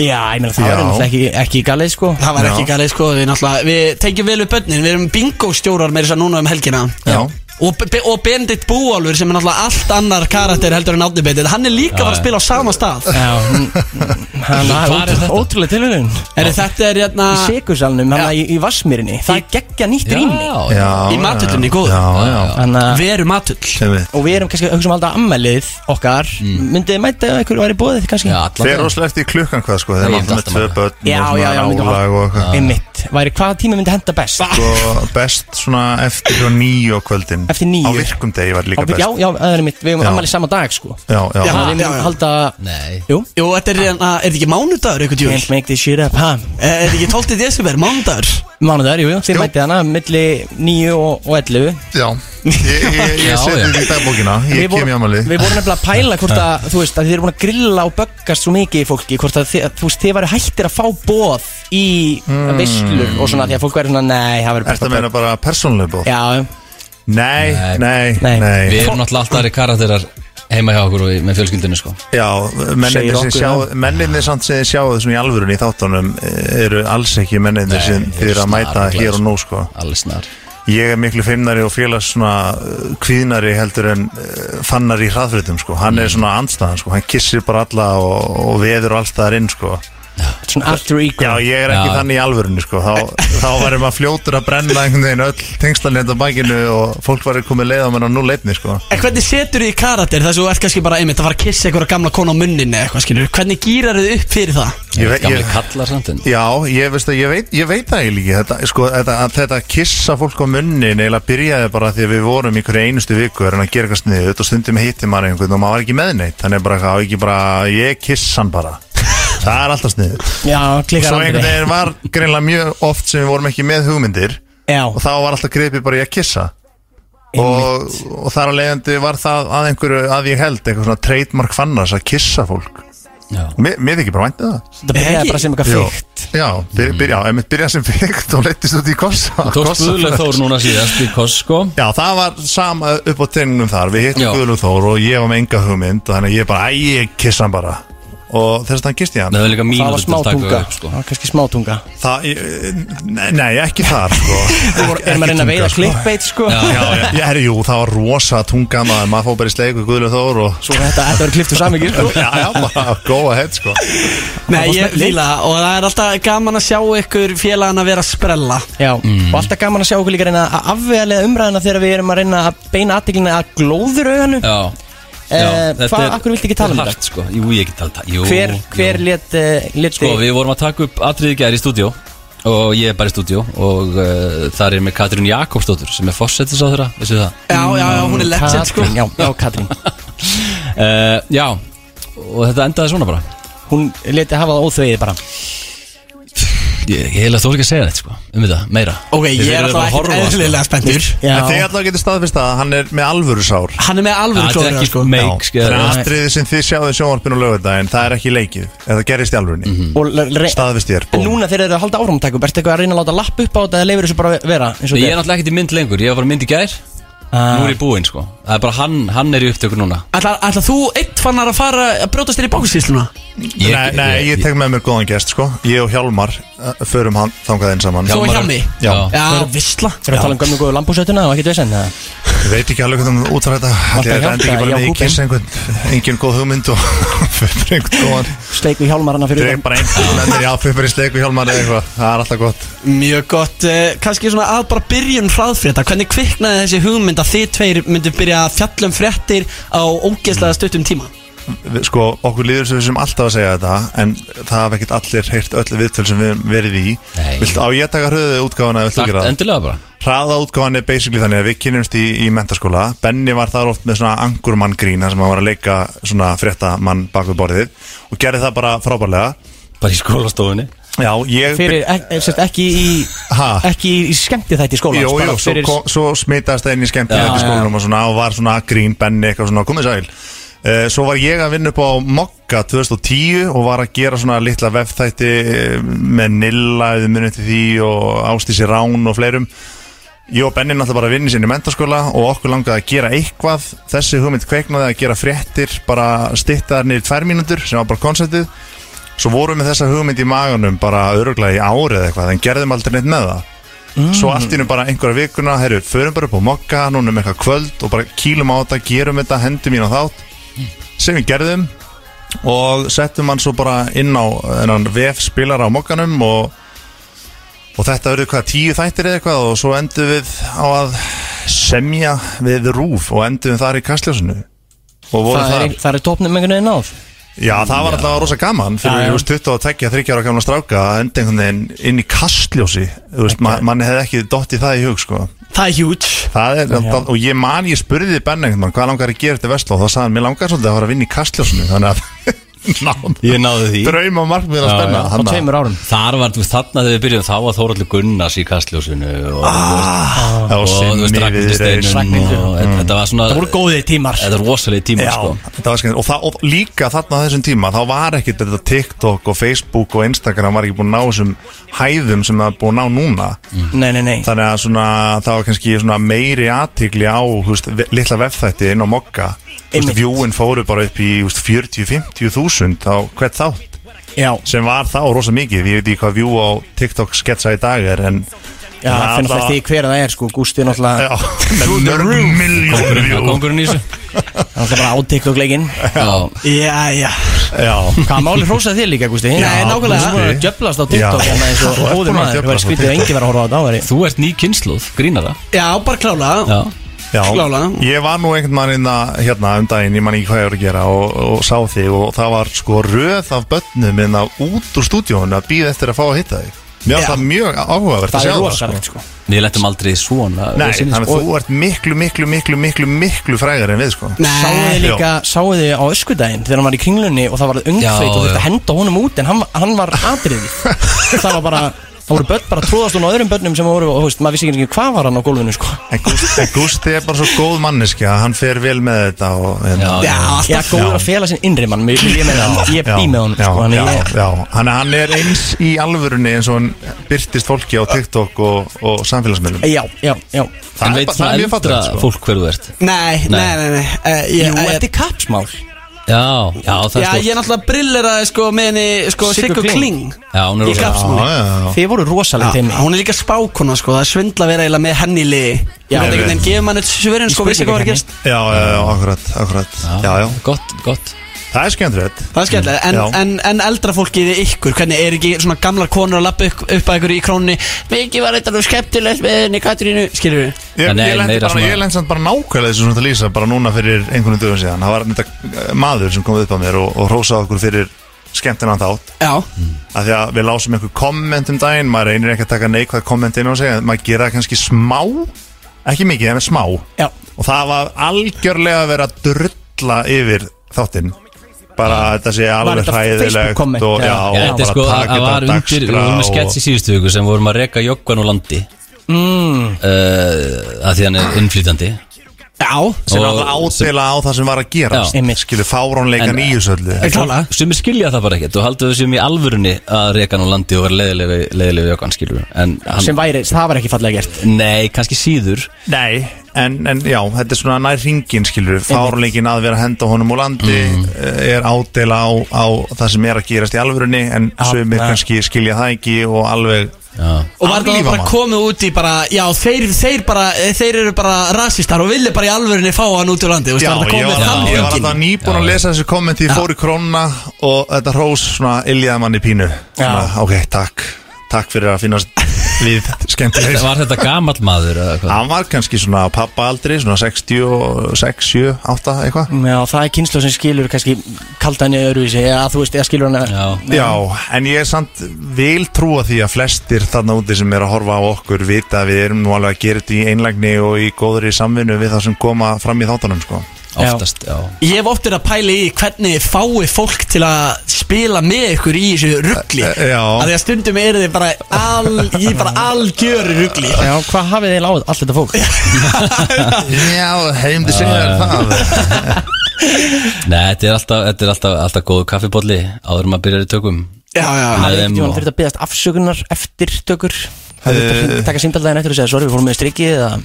[SPEAKER 4] Já, ég meina það
[SPEAKER 6] Já.
[SPEAKER 4] er náttúrulega ekki, ekki galið sko
[SPEAKER 2] Það var ekki galið sko, við náttúrulega Við tengjum vel við bönnin, við erum bingóstjórar með þess að núna um helgina
[SPEAKER 6] Já.
[SPEAKER 2] Og, Be- og Bendit Búálfur sem er náttúrulega allt annar karakter heldur en Átni Bendit Hann er líka að fara að spila á sama stað
[SPEAKER 4] Hann
[SPEAKER 2] Hvar
[SPEAKER 4] er
[SPEAKER 2] er þetta?
[SPEAKER 4] ótrú- ótrúlega tilvægum
[SPEAKER 2] Er þetta er hérna
[SPEAKER 4] Í Sigursalnum, hann er í, í Vassmýrinni Það er geggja nýtt rými
[SPEAKER 2] Í matullunni góð
[SPEAKER 4] Við
[SPEAKER 2] erum matull
[SPEAKER 4] Og við erum kannski að hugsa um alltaf ammælið okkar Myndið þið mæta ef einhverju væri bóðið kannski Já,
[SPEAKER 6] Fer rosalega eftir klukkan hvað, sko Þeir
[SPEAKER 4] Ég
[SPEAKER 6] máttum með
[SPEAKER 4] myndi
[SPEAKER 6] tvö
[SPEAKER 4] alltaf
[SPEAKER 6] börn
[SPEAKER 4] Já,
[SPEAKER 6] og svona
[SPEAKER 4] já, já, myndum að-
[SPEAKER 6] álag og eitthvað.
[SPEAKER 4] Einmitt, væri hvaða tíma myndi henda best?
[SPEAKER 6] sko, best svona eftir hjá nýju á kvöldin
[SPEAKER 4] Eftir níu?
[SPEAKER 6] á virkum degi var líka
[SPEAKER 4] Á,
[SPEAKER 6] best
[SPEAKER 4] Já, já, það er mitt, við erum
[SPEAKER 6] Já.
[SPEAKER 4] ammæli sama dag sko
[SPEAKER 6] já, já,
[SPEAKER 4] Þannig að
[SPEAKER 6] já,
[SPEAKER 4] við myndum halda
[SPEAKER 2] Nei
[SPEAKER 4] Jú,
[SPEAKER 2] Jú, þetta er hérna, er þetta ekki mánudagur eitthvað djúl?
[SPEAKER 4] Can't make this shit up, ha?
[SPEAKER 2] Er þetta ekki 12. desember, mánudagur?
[SPEAKER 4] Mánudagur, jú, jú, þið mætið hana milli 9 og, og 11
[SPEAKER 6] Já, ég, ég,
[SPEAKER 4] Já,
[SPEAKER 6] ég seti
[SPEAKER 4] já.
[SPEAKER 6] því í dagbókina
[SPEAKER 4] Við
[SPEAKER 6] ég
[SPEAKER 4] vorum-
[SPEAKER 6] kem í amali
[SPEAKER 4] Við vorum nefnilega að pæla hvort að, þú veist, að þið eru búin að grilla og böggast svo mikið í fólki Hvort að þið, þú veist, þið væri hættir að fá bóð í mm. veislur og svona Því að fólk væri svona, nei, það verður
[SPEAKER 6] Hmm. Ertu að meina bara persónuleg bóð?
[SPEAKER 4] Já
[SPEAKER 6] Nei, nei, nei,
[SPEAKER 11] Við erum náttúrulega alltaf aðri karakterar heima hjá okkur og í- með fjölskyldinu sko
[SPEAKER 6] Já,
[SPEAKER 11] Segir
[SPEAKER 6] mennindir sem
[SPEAKER 11] okkur
[SPEAKER 6] sjá
[SPEAKER 11] það.
[SPEAKER 6] mennindir samt sem þið sjáu þessum í alvörun í þáttunum eh, eru alls ekki mennindir sem þið eru að mæta
[SPEAKER 11] snaruglaðir,
[SPEAKER 6] hér og nú sko
[SPEAKER 11] Alls snar
[SPEAKER 6] Ég er miklu feimnari og félags svona eh, kvíðnari heldur en eh, fannar í hraðfritum sko, hann
[SPEAKER 11] Mm.
[SPEAKER 6] er svona andstæðan sko, hann kissir bara alla og, og veður alls þaðar inn sko
[SPEAKER 4] Svona after ego
[SPEAKER 6] Já, ég er ekki
[SPEAKER 11] Já.
[SPEAKER 6] þannig í alvörunni sko, þá, þá varum að fljótur að brenna einhvern veginn öll tengslanend á bakinu og fólk varum komið leið á mér á nú leifni sko
[SPEAKER 2] En hvernig setur þið í karakter þess að þú ert kannski bara einmitt að fara að kissa einhverja gamla konu á munninni eða eitthvað skilur Hvernig gýrar þið upp fyrir það?
[SPEAKER 6] Ég veit-
[SPEAKER 11] Gamli
[SPEAKER 6] ég-
[SPEAKER 11] kallar samt en
[SPEAKER 6] Já, ég veist að ég veit, ég veit það eiginlega ekki þetta, sko, þetta, að þetta kissa fólk á munnin eiginlega byrjaði bara því að við vorum í hverju einustu viku er hann að gera eitthvað sniðið og stundum hitti maður einhvern og maður var ekki með neitt þannig bara, á ekki bara, ég kiss hann bara það er alltaf sniðið
[SPEAKER 4] Já, klikkar
[SPEAKER 6] svo einhvern
[SPEAKER 4] aldrei
[SPEAKER 6] veginn var greinlega mjög oft sem við vorum ekki með hugmyndir
[SPEAKER 4] Já.
[SPEAKER 6] og þá var alltaf greipið bara í að kissa og, og þar að leiðandi var það að einhverju að ég held eitthvað svona trademark fannars að kissa fólk
[SPEAKER 11] Já.
[SPEAKER 6] Mér, mér þykir bara væntið það
[SPEAKER 4] Það byrjaði bara sem eitthvað
[SPEAKER 6] Jú.
[SPEAKER 4] fíkt
[SPEAKER 6] Já, byr, byr, já emitt byrjaði sem fíkt og leittist út í kossa
[SPEAKER 11] Þú tókst
[SPEAKER 6] kossa-
[SPEAKER 11] Guðlaug Þór núna síðast í Koss sko
[SPEAKER 6] Já, það var sama upp á teiningnum þar Við hittum
[SPEAKER 11] Já.
[SPEAKER 6] Guðlug Þór og ég var með enga hugmynd og Þannig að ég bara, æ, ég kissa hann bara Og þess að hann kisti hann
[SPEAKER 11] Það var líka
[SPEAKER 4] Það
[SPEAKER 11] mínútur
[SPEAKER 4] var
[SPEAKER 11] til að taka
[SPEAKER 4] smátunga,
[SPEAKER 11] upp, sko.
[SPEAKER 4] það var kannski smátunga
[SPEAKER 6] Það, eh, nei, nei, ekki þar sko. Ekki-
[SPEAKER 4] erum að
[SPEAKER 6] ekki
[SPEAKER 4] reyna að
[SPEAKER 6] tunga,
[SPEAKER 4] veiða
[SPEAKER 6] sko.
[SPEAKER 4] clickbait, sko.
[SPEAKER 6] Já, já, já, já herri, jú, það var rosa tunga maður Maður fór bara í sleik við Guðlug Þór og...
[SPEAKER 4] Svo þetta, þetta var kliptu samingir sko
[SPEAKER 6] Já, já, bara go ahead sko
[SPEAKER 2] Nei, ég fíla það og það er alltaf gaman að sjá ykkur félagana vera að sprella
[SPEAKER 4] Já,
[SPEAKER 11] Mm.
[SPEAKER 4] og alltaf gaman að sjá okkur líka reyna að afvegalega umræðina þegar við erum að reyna að beina aðtiklina að glóður auðanu
[SPEAKER 11] Já,
[SPEAKER 4] Eh,
[SPEAKER 11] já þetta
[SPEAKER 4] hvað-
[SPEAKER 11] er-
[SPEAKER 4] af hverju viltu ekki tala um
[SPEAKER 11] er hart, sko. Jú, ég get tala um þetta Jú,
[SPEAKER 4] Hver,
[SPEAKER 11] jú.
[SPEAKER 4] hver eh, let, let
[SPEAKER 11] Sko, við vorum að taka upp atriði gæri í stúdíó og ég er bara í stúdíó og uh, þar er með Katrín Jakobsdóttur sem er fossetis á þeirra, vissu það?
[SPEAKER 2] Já, já, já, hún er legend sko
[SPEAKER 4] Katrín, já, já, Katrín
[SPEAKER 11] Uh, já, og þetta endaði svona bara
[SPEAKER 4] Hún leti hafa það óþvegið bara
[SPEAKER 11] Ég, ég heila þóri ekki að segja þetta, sko, um þetta, meira
[SPEAKER 2] Ok, ég er alltaf ekkert
[SPEAKER 4] sko.
[SPEAKER 2] eðlilega spenntur
[SPEAKER 6] En þið alltaf getur staðfist að hann er með alvöru sár
[SPEAKER 2] Hann er með alvöru
[SPEAKER 11] Þetta er
[SPEAKER 2] klóra
[SPEAKER 11] ekki
[SPEAKER 2] sko
[SPEAKER 11] make, sko.
[SPEAKER 6] Það er atriði sem þið sjáðu í sjónvarpinu og lögudaginn Það er ekki leikið, það gerist í alvörunni Staðfist ég er
[SPEAKER 4] En núna þeir eru að halda áfram að taka upp Ertu eitthvað að reyna að láta lapp upp á þetta eða leifur þessu bara vera eins og
[SPEAKER 11] Ég er
[SPEAKER 4] þetta er? Ah.
[SPEAKER 11] náttúrulega ekkert í mynd lengur, ég var bara í mynd í gær Nú er ég búinn, sko Það er bara hann, hann er í upptöku núna
[SPEAKER 2] Ætla, ætla þú eitt fannar að fara að brjótast þér í bókisísluna?
[SPEAKER 11] Ég-
[SPEAKER 6] Nei, nei, ég tek með mér góðan gest sko Ég og Hjálmar uh, förum hann þangað einn saman
[SPEAKER 2] Þú og Hjálmi?
[SPEAKER 6] Já,
[SPEAKER 2] Já, visla
[SPEAKER 4] Þeir eru að tala um gömlu góðu lambúsötuna og ekkert vesen eða?
[SPEAKER 6] Ég veit ekki alveg hvernig út frá þetta Ætli
[SPEAKER 4] að
[SPEAKER 6] Þetta endi ekki
[SPEAKER 4] hjálpa,
[SPEAKER 6] bara með
[SPEAKER 4] já,
[SPEAKER 6] ég kynst einhvern Engin góð hugmynd og fyrir einhvern góðan
[SPEAKER 4] Sleik við hjálmar hana fyrir
[SPEAKER 6] Dreg bara einhvern mennir Já, fyrir í sleik við hjálmar eða eitthvað Það er alltaf gott
[SPEAKER 2] Mjög gott, uh, kannski svona að bara byrjun hraðfrétta Hvernig kviknaði þessi hugmynd að þið tveir myndu byrja að fjalla um fréttir á ógeðslega stuttum tíma?
[SPEAKER 6] Við- Sko, okkur líður sem við sem alltaf að segja þetta En það hafa ekkert allir heyrt öll viðtöl sem við höfum verið í Nei. Vilt á ég taka hröðu útgáfana eða viltu
[SPEAKER 11] Takk,
[SPEAKER 6] gera það?
[SPEAKER 11] endilega bara
[SPEAKER 6] Hraða útgáfan er basically þannig að við kynnumst í, í mentaskóla Benni var þar oft með svona angurmann grín þar sem hann var að leika svona fréttamann bak við borðið og gerði það bara frábærlega
[SPEAKER 11] Bara í skólastofunni
[SPEAKER 6] Já, ég
[SPEAKER 4] Fyrir, ek,
[SPEAKER 2] eh,
[SPEAKER 4] ek, ekki í Ekki í skemmti þætti skóla
[SPEAKER 6] Jó, jó, svo, kom, svo smitaðist það inn í skemmtina
[SPEAKER 4] Já,
[SPEAKER 6] eftir skólanum
[SPEAKER 4] já.
[SPEAKER 6] og svona og var svona grín, benni eitthvað svona, komið sæl Uh, svo var ég að vinna upp á Mokka 2010 og var að gera svona litla vefþætti eh, með Nilla eða munið til því og Ástísi Rán og fleirum Ég og Benni náttúrulega bara að vinna sinni í mentaskóla og okkur langaði að gera eitthvað þessi hugmynd kveiknaði að gera fréttir bara styttaðar niður tvær mínútur sem var bara konceptið svo vorum við með þessa hugmynd í maganum bara öruglega í árið eitthvað en gerðum aldrei neitt með það svo allt í nú bara einhverja vikuna herru, förum bara upp á mokka, núna um eitthvað kvöld og bara kýlum á þetta, gerum þetta, hendum í á þátt sem við gerðum og settum hann svo bara inn á þennan VF spilara á mokkanum og, og þetta verður hvað tíu þættir eða eitthvað og svo endum við á að semja við rúf og endum við þar í kastljósinu og vorum
[SPEAKER 4] Það er,
[SPEAKER 6] þar
[SPEAKER 4] það er topnum einhvern veginn náð
[SPEAKER 6] Já, það var alltaf rosa gaman
[SPEAKER 4] Já,
[SPEAKER 6] fyrir
[SPEAKER 4] já.
[SPEAKER 6] þú veist, 22, 30 ára gamla stráka að enda einhvern veginn inn í kastljósi þú veist, ma manni hefði ekki dottið það í hug sko.
[SPEAKER 2] Það er huge
[SPEAKER 6] það er,
[SPEAKER 2] Já.
[SPEAKER 6] og ég man, ég spurði Ben einhvern veginn, hvað langar að gera þetta vestló og þá sagði hann, mér langar svolítið að fara að vinna í kastljósinu þannig að
[SPEAKER 11] Ég náði því
[SPEAKER 6] Drauma markmið að spenna þannig að-
[SPEAKER 4] árum
[SPEAKER 11] Þar var, þú veist, þarna þegar við byrjuðum Þá var Þóraldur Gunnars í kastljósinu Og,
[SPEAKER 6] ah,
[SPEAKER 11] og, og,
[SPEAKER 6] Sinni
[SPEAKER 11] og,
[SPEAKER 6] við
[SPEAKER 11] Ragnhildur
[SPEAKER 6] þeir.
[SPEAKER 11] Steinunn og, og
[SPEAKER 6] Mm.
[SPEAKER 11] Þetta var svona
[SPEAKER 6] Það voru
[SPEAKER 4] góðið tímar
[SPEAKER 11] Þetta voru rosalega tímar,
[SPEAKER 6] Já,
[SPEAKER 11] sko
[SPEAKER 6] þetta var skemmt og, það- og líka þarna á þessum tíma þá var ekkert þetta TikTok og Facebook og Instagram var ekki búin að ná þessum hæðum sem það er búin að ná núna
[SPEAKER 4] Nei, nei, nei
[SPEAKER 6] Þannig að svona, það var kannski svona meiri aðtigli á þú veist, ve- litla vefþætti inn á mokka Þú veist,
[SPEAKER 4] Einmitt.
[SPEAKER 6] Vjúin fóru bara upp í 40-50 þúsund á hvert þátt
[SPEAKER 4] Já.
[SPEAKER 6] sem var þá rosa mikið ég veit ekki hvað vjú á TikTok sketsa í dag er en
[SPEAKER 4] Já, það finnst alltaf því hver að það er sko Gústi er náttúrulega
[SPEAKER 6] mörg miljón
[SPEAKER 4] Kóngurinn-
[SPEAKER 6] vjú
[SPEAKER 4] kóngurinn í þessu. Það er alltaf bara átikk og leikinn
[SPEAKER 2] Já, já
[SPEAKER 4] Hvað máli hrósaði þér líka, Gústi?
[SPEAKER 2] Nei, nákvæmlega.
[SPEAKER 4] Þú er djöflast á TikTok
[SPEAKER 11] Já.
[SPEAKER 4] hérna eins og
[SPEAKER 11] Þú ert
[SPEAKER 4] óður
[SPEAKER 11] búin
[SPEAKER 4] maður
[SPEAKER 11] að
[SPEAKER 4] Það
[SPEAKER 11] djöflast
[SPEAKER 4] er
[SPEAKER 11] á
[SPEAKER 4] skrítið að
[SPEAKER 11] TikTok.
[SPEAKER 4] engi var að horfa á það væri.
[SPEAKER 11] Þú ert ný kynnslóð, grínara
[SPEAKER 2] Já, bara klála
[SPEAKER 11] Já.
[SPEAKER 6] Já,
[SPEAKER 2] Klálega.
[SPEAKER 6] ég var nú einhvern mann inna, hérna um daginn, ég man ekki hvað ég var að gera og, og sá þig og það var sko röð af börnum inna út úr stúdíónu að býða eftir að fá að hitta þig Mér
[SPEAKER 11] Já.
[SPEAKER 6] finnst það mjög áhugavert að sjá
[SPEAKER 11] sko Við letum aldrei svona
[SPEAKER 6] Nei,
[SPEAKER 11] við sinni,
[SPEAKER 6] þannig
[SPEAKER 11] sko.
[SPEAKER 6] að þú ert miklu, miklu, miklu, miklu, miklu frægar en við sko
[SPEAKER 4] Sáuð þið
[SPEAKER 6] Já.
[SPEAKER 4] líka, sáuð þið á öskudaginn þegar hann var í kringlunni og það var ungfeit
[SPEAKER 6] Já,
[SPEAKER 4] og þurfti
[SPEAKER 6] já.
[SPEAKER 4] að henda honum út en hann, hann var atriði það var bara, það voru börn bara að tróðast hún á öðrum börnum sem voru, og þú veist, maður vissi ekki hvað var hann á gólfinu sko
[SPEAKER 6] En Gústi, en Gústi er bara svo góð manneski að hann fer vel með þetta og, hérna. en,
[SPEAKER 4] Já, alltaf Já, góður að fela sinn innri mann, ég, ég, meina, ég bý með honum
[SPEAKER 6] já,
[SPEAKER 4] sko, hann
[SPEAKER 6] já,
[SPEAKER 4] ég,
[SPEAKER 6] já, hann, hann er eins í alvörunni eins og hann byrtist fólki á TikTok og, og samfélagsmiðlum
[SPEAKER 4] Já, já, já
[SPEAKER 6] Það
[SPEAKER 11] En
[SPEAKER 6] er bara- það
[SPEAKER 11] veit svona
[SPEAKER 6] er mjög
[SPEAKER 11] eldra
[SPEAKER 6] fallegt, sko.
[SPEAKER 11] fólk hverðu ert
[SPEAKER 2] Nei, nei, nei, nei, nei. Uh,
[SPEAKER 4] Jú, þetta er kappsmál
[SPEAKER 11] Já, já, það er
[SPEAKER 2] Já,
[SPEAKER 11] stórt.
[SPEAKER 2] ég náttúrulega brilleraði sko með henni sko
[SPEAKER 4] Siggu
[SPEAKER 2] Siggu
[SPEAKER 4] Kling.
[SPEAKER 2] Kling
[SPEAKER 11] Já, hún er
[SPEAKER 2] Í
[SPEAKER 11] rosalega
[SPEAKER 2] kapsmáli.
[SPEAKER 4] Þið voru rosalega
[SPEAKER 2] Já, Hún er líka spákona sko, það er svindla að vera eiginlega með henni í liði
[SPEAKER 6] Já.
[SPEAKER 2] Ég veit ekki, en gefur mann eitt svörin sko, vissi hvað var að gerst
[SPEAKER 6] Já, já, já, akkurat, akkurat Já, já
[SPEAKER 11] Gott, gott
[SPEAKER 6] Það er skemmtilegt
[SPEAKER 2] Það er skemmtilega, en,
[SPEAKER 6] Já.
[SPEAKER 2] en, en eldra fólkið í ykkur, hvernig er ekki svona gamlar konur að lappa upp, upp að ykkur í krónni Mikið var þetta nú skemmtilegt með henni Katrínu, skilur við?
[SPEAKER 6] Ég, ég, lendi bara, ég lendi samt bara nákvæmlega þessu sem þetta lýsa bara núna fyrir einhvern dögum síðan það var þetta eh, maður sem kom upp að mér og, og rósaði okkur fyrir skemmtina þátt
[SPEAKER 2] Já
[SPEAKER 6] af því að við lásum einhver komment um daginn maður reynir ekki að taka neikvæð komment inn og segja en maður gera það kannski smá ekki mikið, en smá
[SPEAKER 4] Já.
[SPEAKER 6] og það var algjörlega að vera að drulla yfir þáttinn bara að þetta sé alveg
[SPEAKER 11] þetta
[SPEAKER 6] hræðilegt
[SPEAKER 11] Facebook-komment?
[SPEAKER 6] og, já,
[SPEAKER 11] Já, þetta er
[SPEAKER 6] bara
[SPEAKER 11] sko,
[SPEAKER 6] taka
[SPEAKER 11] það
[SPEAKER 6] þetta
[SPEAKER 11] var
[SPEAKER 6] á
[SPEAKER 11] undir, við
[SPEAKER 6] dagskrá
[SPEAKER 11] vorum með skets í síðustu viku sem vorum að reka joggan úr landi
[SPEAKER 4] mm.
[SPEAKER 11] uh, að því hann er innflýtandi
[SPEAKER 2] Já
[SPEAKER 6] sem náttúrulega ádela á það sem var að gerast. skilur fárónleikan í þessu öllu.
[SPEAKER 11] sem skilja það bara ekkert og haldur þessum í alvörunni að reka hann úr landi og vera leiðilegu leiðilegu joggan skilur en hann,
[SPEAKER 4] sem væri, það var ekki fallega gert
[SPEAKER 11] nei, kannski síður
[SPEAKER 6] Nei, en, en já, þetta er svona nær ringin skilur, fárleikin að vera að henda honum úr landi
[SPEAKER 2] Mm.
[SPEAKER 6] eh, er ádela á, á það sem er að gerast í alvörunni en
[SPEAKER 11] Ah,
[SPEAKER 6] sömur
[SPEAKER 11] nei.
[SPEAKER 6] kannski skilja það ekki og alveg
[SPEAKER 2] Og var það
[SPEAKER 6] Aflífa
[SPEAKER 2] bara
[SPEAKER 6] mann.
[SPEAKER 2] komið út í bara Já, þeir, þeir, bara, þeir eru bara rasistar Og vilja bara í alvörinni fá hann út úr landi
[SPEAKER 6] Já, ég var, ég var alltaf nýbúin að lesa þessu kommenti Ég
[SPEAKER 2] Já.
[SPEAKER 6] fór í krónuna og þetta hrós svona iljaði manni pínu svona, Ok, takk, takk fyrir að finnast við skemmtilegir
[SPEAKER 11] Var þetta gamall maður? eða hvað?
[SPEAKER 6] Hann var kannski svona pappaaldri, svona 66, 7, 8 eitthvað
[SPEAKER 4] Já, það er kynslu sem skilur kannski kaldan í öruvísi, eða þú veist, eða skilur hana Já,
[SPEAKER 6] Já, en ég er samt vil trúa því að flestir þarna úti sem er að horfa á okkur vita að við erum nú alveg að gera þetta í einlægni og í góðri samvinnu við það sem koma fram í þáttunum sko.
[SPEAKER 11] Oftast, já
[SPEAKER 2] Ég hef oft verið að pæla í hvernig fái fólk til að spila með ykkur í þessu ruggli
[SPEAKER 6] Eh, Já
[SPEAKER 2] Af því að stundum eru þið bara, al, ég er bara algjöru ruggli
[SPEAKER 4] Já, hvað hafið þið láð allt þetta fólk?
[SPEAKER 6] Já, heim þið segja þér það
[SPEAKER 11] Nei, þetta er alltaf, þetta er alltaf, alltaf góðu kaffibólli áður en maður byrjar í tökum
[SPEAKER 2] Já, já
[SPEAKER 4] Það er
[SPEAKER 11] Með þeim
[SPEAKER 4] ekki, hann
[SPEAKER 11] og-
[SPEAKER 4] þurft að beðast afsökunar eftir tökur Það þurft að
[SPEAKER 6] Eh.
[SPEAKER 4] hring- taka síndaldaginn eftir og segja, sorry, við fórum með strikið eða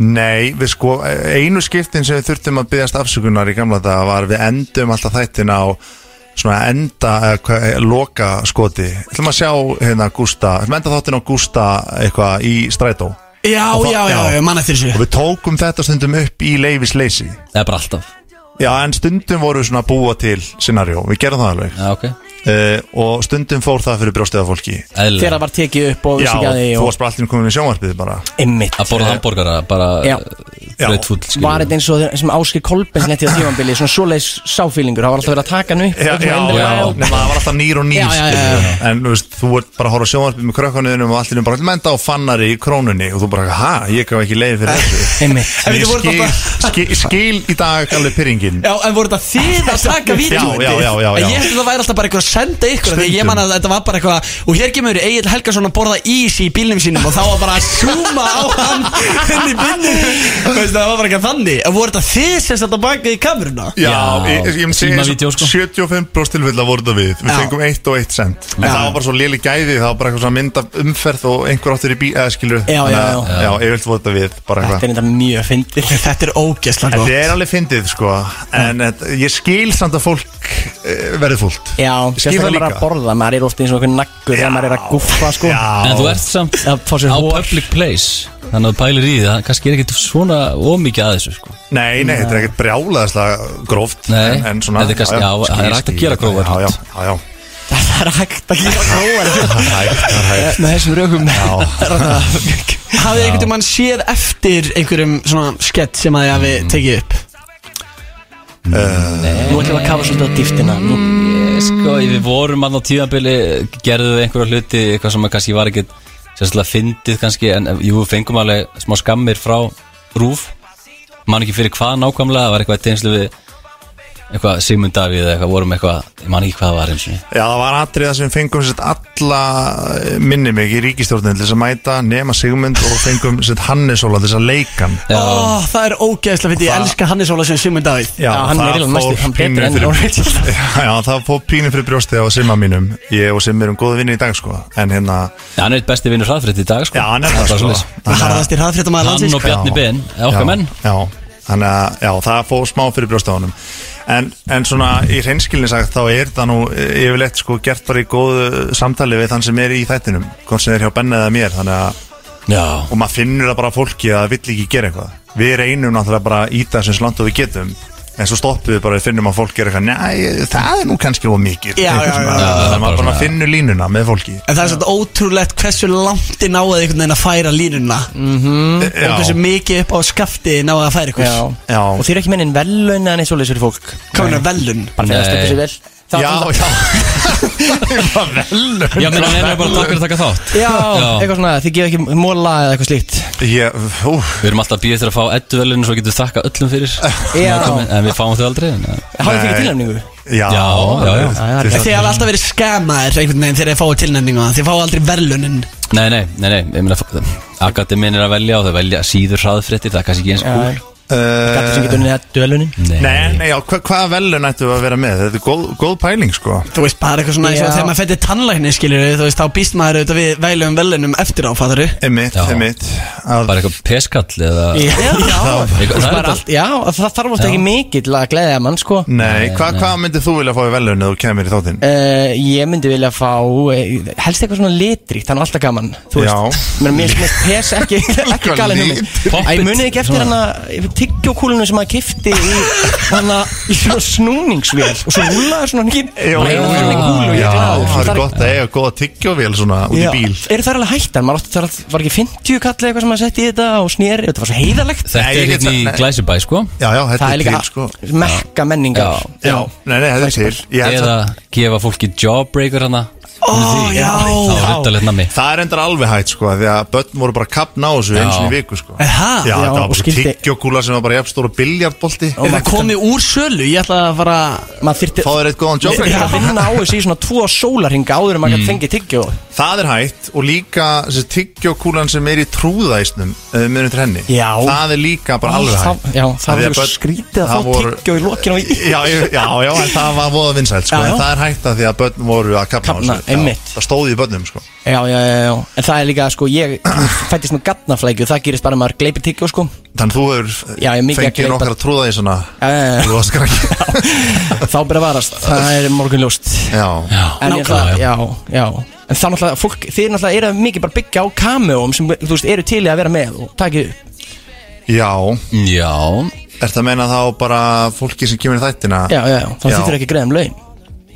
[SPEAKER 6] Nei, við sko, einu skiptin sem við þurftum að byggast afsökunar í gamla daga var við endum alltaf þættin á svona enda, eða hvað, eh, loka skoti. Þú maður sjá hérna Gústa, þú enda þáttin á Gústa eitthvað í strætó.
[SPEAKER 2] Já,
[SPEAKER 6] Og þá-
[SPEAKER 2] já, já, já, mann eftir þessu
[SPEAKER 6] Og við tókum þetta stundum upp í leifisleysi.
[SPEAKER 11] Það er bara alltaf.
[SPEAKER 6] Já, en stundum voru við svona að búa til scenarjó, við gerum það alveg. Eh,
[SPEAKER 11] Já, ok.
[SPEAKER 6] og stundum fór það fyrir brjóstið af fólki.
[SPEAKER 4] Þegar það var tekið upp og
[SPEAKER 6] Já,
[SPEAKER 4] vissi ekki að því
[SPEAKER 6] þú
[SPEAKER 4] og
[SPEAKER 6] varst bara allir komin í sjónvarpið bara.
[SPEAKER 4] Einmitt
[SPEAKER 11] Að borða eh, hambúrgara, bara
[SPEAKER 4] Já.
[SPEAKER 11] Þrautfúll, skilur
[SPEAKER 4] Var þetta eins og þeir- sem Áskir Kolbens netti á tímanbili Svona svoleiðs sáfílingur, það var alltaf verið að taka hann upp
[SPEAKER 6] Já,
[SPEAKER 4] og svona
[SPEAKER 6] já,
[SPEAKER 4] endilega
[SPEAKER 6] já,
[SPEAKER 4] og-
[SPEAKER 6] nema það var alltaf nýr og nýr
[SPEAKER 4] Já, já, já, já.
[SPEAKER 6] skilurðu. En þú veist, þú ert bara að horfa á sjónvarpið með krökkunniðinum og allir erum bara allir menda á fannari í krónunni og þú bara, ha, ég gaf ekki leið fyrir þessu En ég
[SPEAKER 2] voru
[SPEAKER 6] skil, skil, skil í dag alveg pyrringin
[SPEAKER 2] Já, en voru þetta þið að taka vídjómyndi?
[SPEAKER 6] Já, já, já, já, já.
[SPEAKER 2] Ég held að það væri alltaf bara eitthvað að senda ykkur Þegar ég
[SPEAKER 6] Stundum.
[SPEAKER 2] man að þetta var bara eitthvað Og hér kemur Egil Helgason að borða ís í bílnum sínum Og þá var bara að súma á hann Henni binnu Veistu, það var bara eitthvað þannig En voru þetta þið sem satt að baka í kameruna?
[SPEAKER 6] Já, ég, ég, ég myndi segja eins og 75% tilfella voru þetta við Við
[SPEAKER 2] Já.
[SPEAKER 6] fengum 1 og 1 cent En
[SPEAKER 2] Já.
[SPEAKER 6] það var bara svo léli gæði, það var bara eitthvað svona mynd af umferð og einhver áttur í bí, eða skilur
[SPEAKER 2] Já, já, já.
[SPEAKER 6] Já, yfirleitt voru þetta við, bara eitthvað
[SPEAKER 4] Þetta er þetta mjög fyndið
[SPEAKER 2] Þetta er ógeðslega
[SPEAKER 6] Þetta
[SPEAKER 2] gott
[SPEAKER 6] er alveg fyndið sko En þetta- ég skil samt að fólk eh, verði fúlt
[SPEAKER 4] Já, sérstaklega maður er
[SPEAKER 6] Skil það
[SPEAKER 4] að
[SPEAKER 6] líka.
[SPEAKER 4] borða, maður er ofta eins og einhvern naggur þegar maður er að guffa sko
[SPEAKER 6] Já.
[SPEAKER 11] En þú ert samt
[SPEAKER 4] að fá sér
[SPEAKER 11] á
[SPEAKER 4] hór
[SPEAKER 11] public place Þannig að þú pælir í því, það kannski er ekkert svona ómikið að þessu sko.
[SPEAKER 6] Nei, nei, þetta er ekkert brjálaðislega gróft
[SPEAKER 11] Nei,
[SPEAKER 6] en, en svona,
[SPEAKER 11] þetta er kannski- já, það er hægt að gera grófa
[SPEAKER 6] Já, já, já, já
[SPEAKER 4] Það er hægt að gera
[SPEAKER 6] Það er hægt, það er hægt
[SPEAKER 4] Með þessum rökum
[SPEAKER 2] Hafið einhvern veginn séð eftir einhverjum svona skett sem að þið hafi tekið upp?
[SPEAKER 4] Nú ætlum við að kafa svolítið á dýftina
[SPEAKER 6] Mm.
[SPEAKER 4] Nú
[SPEAKER 11] Ég, Sko, við vorum að á tíðanbili gerðum við einhverja hluti, eitthvað sem að kannski var ekkert sérstaklega fyndið kannski en eh, jú, fengum alveg smá skammir frá rúf, man ekki fyrir hvað nákvæmlega, það var eitthvað teinslu við eitthvað Sigmund Davíð eða eitthvað, vorum eitthvað, ég man ekki hvað það var eins og niður.
[SPEAKER 6] Já, það var atriða sem fengum sett alla eh, minni mig í ríkistjórnin til þess að mæta, nema Sigmund og fengum sett Hannes Óla til þess að leikan
[SPEAKER 2] Ó, Ah, það er ógeðslega fyrir, ég elska Hannes Óla sem Simon Davíð
[SPEAKER 6] Já, það fór pínu fyrir, já, já, það fór pínu fyrir brjóstið á Simma mínum Ég og Simma erum góða vinni í dag, sko En hérna,
[SPEAKER 11] Já, hann er eitt besti vinnur hraðfrétt í dag, sko.
[SPEAKER 6] já, hann er
[SPEAKER 11] bara
[SPEAKER 6] það, sko
[SPEAKER 11] svoleiðis.
[SPEAKER 2] Harðasti hraðfréttamaður landsins.
[SPEAKER 11] Hann og Bjarni
[SPEAKER 6] Já.
[SPEAKER 11] Ben, eða okkar
[SPEAKER 6] Já,
[SPEAKER 11] menn.
[SPEAKER 6] Já, þannig að já, það fóð smá fyrir brjósta á honum en, en svona í hreinskilni sagt þá er það nú eh, yfirleitt sko gert bara í góðu samtali við þann sem er í þættinum hvort sem er hjá Benna eða mér þannig að
[SPEAKER 11] Já.
[SPEAKER 6] og maður finnur það bara á fólki að það vill ekki gera eitthvað við reynum náttúrulega bara að íta þessum slant og við getum en svo stoppum við bara og finnum að fólk gera eitthvað næ, það er nú kannski of mikið
[SPEAKER 2] Já, já, já.
[SPEAKER 6] Eitthvað svona.
[SPEAKER 2] Já,
[SPEAKER 6] þannig
[SPEAKER 2] það er
[SPEAKER 6] að
[SPEAKER 2] bara
[SPEAKER 6] maður bara
[SPEAKER 2] svona-
[SPEAKER 6] finnur línuna með fólki
[SPEAKER 2] En það er svolítið ótrúlegt hversu langt þið náðu einhvern veginn að færa línuna -hmm.
[SPEAKER 6] Já.
[SPEAKER 2] Og hversu mikið upp á skaftið þið náðu að færa ykkur
[SPEAKER 4] Já.
[SPEAKER 6] Já.
[SPEAKER 4] Og þið eru ekki mennin velun eða neitt svolítið fyrir fólk
[SPEAKER 2] Hvað er velun?
[SPEAKER 4] Bara með að stöpa sér vel Það-
[SPEAKER 6] Já,
[SPEAKER 4] það-
[SPEAKER 6] já velun
[SPEAKER 11] Já, menn, hann er bara takk fyrir að taka þátt.
[SPEAKER 4] Já, eitthvað svona, þið gefa ekki móla eða eitthvað slíkt
[SPEAKER 6] Ég, ú,
[SPEAKER 11] Við erum alltaf að býja eftir að fá edduvelinu svo getum við þakka öllum fyrir
[SPEAKER 4] Já.
[SPEAKER 11] En við fáum þau aldrei en,
[SPEAKER 4] Hafið þið ekki tilnæmningu?
[SPEAKER 6] Já,
[SPEAKER 11] já, já, já.
[SPEAKER 2] Þið hafa alltaf verið skamaðir einhvern veginn þegar þið fáið tilnefningu Þið fáið aldrei velunin
[SPEAKER 11] Nei, nei, nei, nei, ég meina Akademin er að velja og þau velja síður hraðfréttir, það er kannski ekki eins
[SPEAKER 4] Já.
[SPEAKER 11] kúl
[SPEAKER 4] Gæti sem getur niður dölunin
[SPEAKER 6] Eh, Nei, nei, já, hva, hvaða velun ættu að vera með? Þetta er góð, góð pæling, sko
[SPEAKER 2] Þú veist, bara eitthvað svona eins og
[SPEAKER 6] Já.
[SPEAKER 2] þegar maður fættir tannlækni skilur þú veist, þá býst maður auðvitað við vælum velunum eftir á, fattar
[SPEAKER 6] Einmitt, einmitt Bara
[SPEAKER 11] eitthvað peskall eða
[SPEAKER 4] Já,
[SPEAKER 11] Það er
[SPEAKER 4] Þú veist,
[SPEAKER 11] þetta-
[SPEAKER 4] bara allt- já, það þarf alltaf ekki mikill að gleðja mann sko
[SPEAKER 6] Nei, hvað hva myndir þú vilja fá í velun eða þú kemur í
[SPEAKER 2] Eh,
[SPEAKER 6] þáttinn?
[SPEAKER 4] Uh, ég myndi vilja fá eh, helst eitthvað svona litrikt, þannig alltaf gaman þú veist,
[SPEAKER 6] Já.
[SPEAKER 4] menn mér finnst pes ekki ekki
[SPEAKER 6] Eitthvað
[SPEAKER 4] galin um
[SPEAKER 6] litríkt.
[SPEAKER 4] Æ, munið ekki eftir hana tyggjókúlunu sem maður kifti í hana í svona snúningsvél og svo rúlaði svona nýjum
[SPEAKER 6] Jó, jó, jó, já, það er gott að eiga góða tyggjóvél svona út í bíl
[SPEAKER 4] eru þær alveg hættar, maður átti þar að var ekki 50 kallið eitthvað sem maður setti í þetta og snýri, þetta var svo heiðalegt
[SPEAKER 11] Þetta er hérna í Glæsibæ sko
[SPEAKER 6] Já, já,
[SPEAKER 4] það er líka mekka menningar
[SPEAKER 11] Já,
[SPEAKER 6] sko. nei, nei, þetta er til Ég held
[SPEAKER 11] Eða gefa fólki jawbreaker hana
[SPEAKER 2] Ó, já.
[SPEAKER 11] Það var undarlegt nami
[SPEAKER 6] Það er endar alveg hægt sko Því að börn voru bara að kapna á þessu
[SPEAKER 11] Já.
[SPEAKER 6] eins og í viku sko Já,
[SPEAKER 2] Eha?
[SPEAKER 6] já,
[SPEAKER 2] Já,
[SPEAKER 6] það var
[SPEAKER 2] og
[SPEAKER 6] bara
[SPEAKER 2] skildi-
[SPEAKER 6] tyggjókúla sem var bara jafnstóra biljardbolti
[SPEAKER 4] Oh
[SPEAKER 2] Ef það komi úr sölu, ég ætla að fara
[SPEAKER 4] maður þyrfti
[SPEAKER 6] Fá þér eitt góðan jobb
[SPEAKER 4] Ég er að vinna á þessu í svona tvo sólarhinga áður en maður mm. fengið tyggjó
[SPEAKER 6] Það er hægt og líka þessi tyggjókúlan sem er í trúðæsnum uh, munið til henni já. Það er líka bara alveg hægt
[SPEAKER 4] Það- Ah, já, það
[SPEAKER 6] Af því
[SPEAKER 4] var
[SPEAKER 6] að
[SPEAKER 4] svo
[SPEAKER 6] börn-
[SPEAKER 4] skrítið að
[SPEAKER 6] það
[SPEAKER 4] fá
[SPEAKER 6] voru-
[SPEAKER 4] tyggjó í lokin á í
[SPEAKER 6] Já, ég- já, já, en það var voða vinsælt sko,
[SPEAKER 4] Já, já.
[SPEAKER 6] en það er hægt að því að börn voru að kapna
[SPEAKER 4] Kafna,
[SPEAKER 6] Já,
[SPEAKER 4] einmitt.
[SPEAKER 6] Það stóði í börnum sko
[SPEAKER 4] já, já, já, já, en það er líka sko ég fættist með gatnaflækju, það gerist bara að maður gleipir tyggjó sko
[SPEAKER 6] Þannig þú hefur
[SPEAKER 4] já, ég er mikið að
[SPEAKER 6] Fengið
[SPEAKER 4] gleypa-
[SPEAKER 6] nokkar að trúða í svona
[SPEAKER 4] Já, já, já.
[SPEAKER 6] Þú varst krakki
[SPEAKER 4] þá byrja að varast, það er morgunljóst
[SPEAKER 6] Já, já.
[SPEAKER 4] en ég ætla, já, já en þá náttúrulega, fólk, þið náttúrulega eru að mikið bara byggja á kameóm sem, þú veist, eru til í að vera með og takið upp
[SPEAKER 6] Já
[SPEAKER 11] Mm,
[SPEAKER 6] Já Ertu að meina þá bara fólki sem kemur í þættina?
[SPEAKER 4] já, já, já, þá þýttur ekki að greiða um laun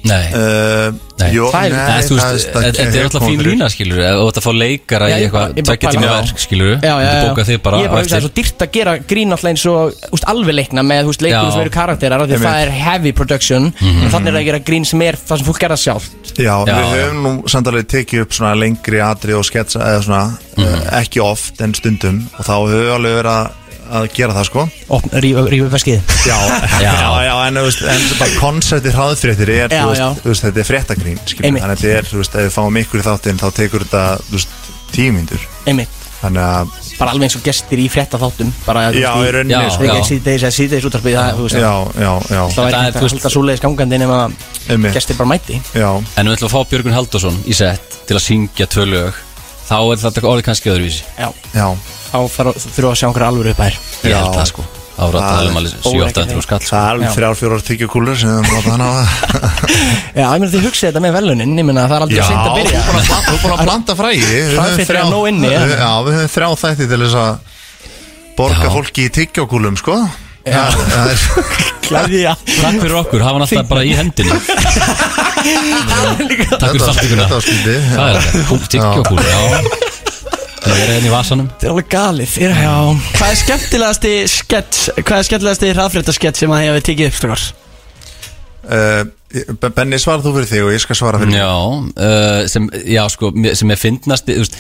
[SPEAKER 11] Nei,
[SPEAKER 6] uh, jó,
[SPEAKER 11] það er,
[SPEAKER 6] nei,
[SPEAKER 11] nei, þú veist,
[SPEAKER 6] það-
[SPEAKER 11] þetta er alltaf fín
[SPEAKER 6] konur.
[SPEAKER 11] lína skilur Ef þú ætti að fá leikara
[SPEAKER 4] Já,
[SPEAKER 11] í
[SPEAKER 4] ég bara-
[SPEAKER 11] eitthvað
[SPEAKER 4] ég bara
[SPEAKER 11] Tvekja tíma
[SPEAKER 4] pæla-
[SPEAKER 11] verk skilur
[SPEAKER 4] já, já, já.
[SPEAKER 11] Bóka þig bara
[SPEAKER 4] Ég er
[SPEAKER 11] á
[SPEAKER 4] bara að hugsa
[SPEAKER 11] eftir.
[SPEAKER 4] það er svo dýrt að gera grín alltaf eins og úst, alveg leikna með úst, leikur
[SPEAKER 11] Já. Mhm.
[SPEAKER 4] sem eru karakterar af því að
[SPEAKER 11] Einmitt.
[SPEAKER 4] það er heavy production en þannig er það að gera grín sem er það sem fólk gera sjálf
[SPEAKER 6] Já,
[SPEAKER 4] Já,
[SPEAKER 6] við
[SPEAKER 4] já.
[SPEAKER 6] höfum nú samt alveg tekið upp svona lengri atrið og sketsa eða svona
[SPEAKER 11] Mhm.
[SPEAKER 6] uh, ekki oft en stundum og þá höfum við alveg verið að, að gera það sko
[SPEAKER 4] Rífa upp eskið
[SPEAKER 6] Já, já, já, en, þú veist, en bara konceptið hraðfréttir er,
[SPEAKER 4] Já,
[SPEAKER 6] þú
[SPEAKER 4] já.
[SPEAKER 6] veist, þú veist, þetta er fréttagrín skilur,
[SPEAKER 4] Einmitt.
[SPEAKER 6] þannig að þetta er, þú veist, ef við fáum ykkur í þáttinn þá tekur þetta, þú veist, tímindur
[SPEAKER 4] einmitt
[SPEAKER 6] Þannig að
[SPEAKER 4] bara alveg eins og gestir í frétta þáttum bara,
[SPEAKER 6] Já, í rauninni,
[SPEAKER 4] sko
[SPEAKER 6] sko. Já.
[SPEAKER 4] síðdeis eða síðdeis útarpið það, þú veist,
[SPEAKER 6] Já, já, já
[SPEAKER 4] það er ekki að halda svoleiðis gangandi nema að
[SPEAKER 11] Einmitt.
[SPEAKER 4] gestir bara mæti
[SPEAKER 6] Já
[SPEAKER 11] En við ætlum að fá Björgun Halldórsson í sett Til að syngja tvö lög Þá er þetta orðið kannski öðruvísi
[SPEAKER 4] Já,
[SPEAKER 6] já.
[SPEAKER 4] þá þarf- þurfa að sjá einhverja alvöru upp þær
[SPEAKER 11] Ég held það sko Það voru að tala um alveg 7-800 skall sko.
[SPEAKER 6] Það er alveg þrjár, fjórar tyggjukúlur sem við notum hann á
[SPEAKER 4] Já, ég meina þið hugsið þetta með velunin ég meina það er aldrei
[SPEAKER 6] Já,
[SPEAKER 4] seint að byrja
[SPEAKER 6] þú er bara- þú er búin að blanda fræði Við höfum
[SPEAKER 4] Hraðfréttir
[SPEAKER 6] þrjá-
[SPEAKER 4] er nóg inni, já.
[SPEAKER 6] Já, við höfum þrjá þætti til þess að borga fólki í tyggjókúlum, sko Það er- það er-
[SPEAKER 4] Glæðja
[SPEAKER 11] Takk fyrir okkur, hafa hann alltaf bara í hendinni Takk fyrir þáttíkuna
[SPEAKER 6] Þetta var skyldið
[SPEAKER 11] Það er þetta, kúk tyggjókúl Já Það er henni hérna í vasanum
[SPEAKER 4] Þetta er alveg galið er, já.
[SPEAKER 2] Hvað er skemmtilegasti skets, hvað er skemmtilegasti hraðfréttaskets sem að ég hefði tekið upp strókar?
[SPEAKER 6] Uh, Benni, svar þú fyrir þig og ég skal svara fyrir
[SPEAKER 11] Já, uh, sem, já sko, mér- sem ég fyndnast þú veist,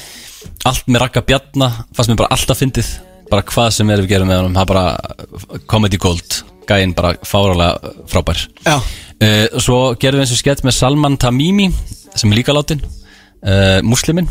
[SPEAKER 11] Allt með rakka bjarna fannst mér bara alltaf fyndið Bara hvað sem er við gerum með honum Það er bara comedy gold Gæinn bara fáralega frábær
[SPEAKER 2] Já
[SPEAKER 11] uh, Svo gerðum við eins og skett með Salman Tamimi Sem er líka látin uh, Muslimin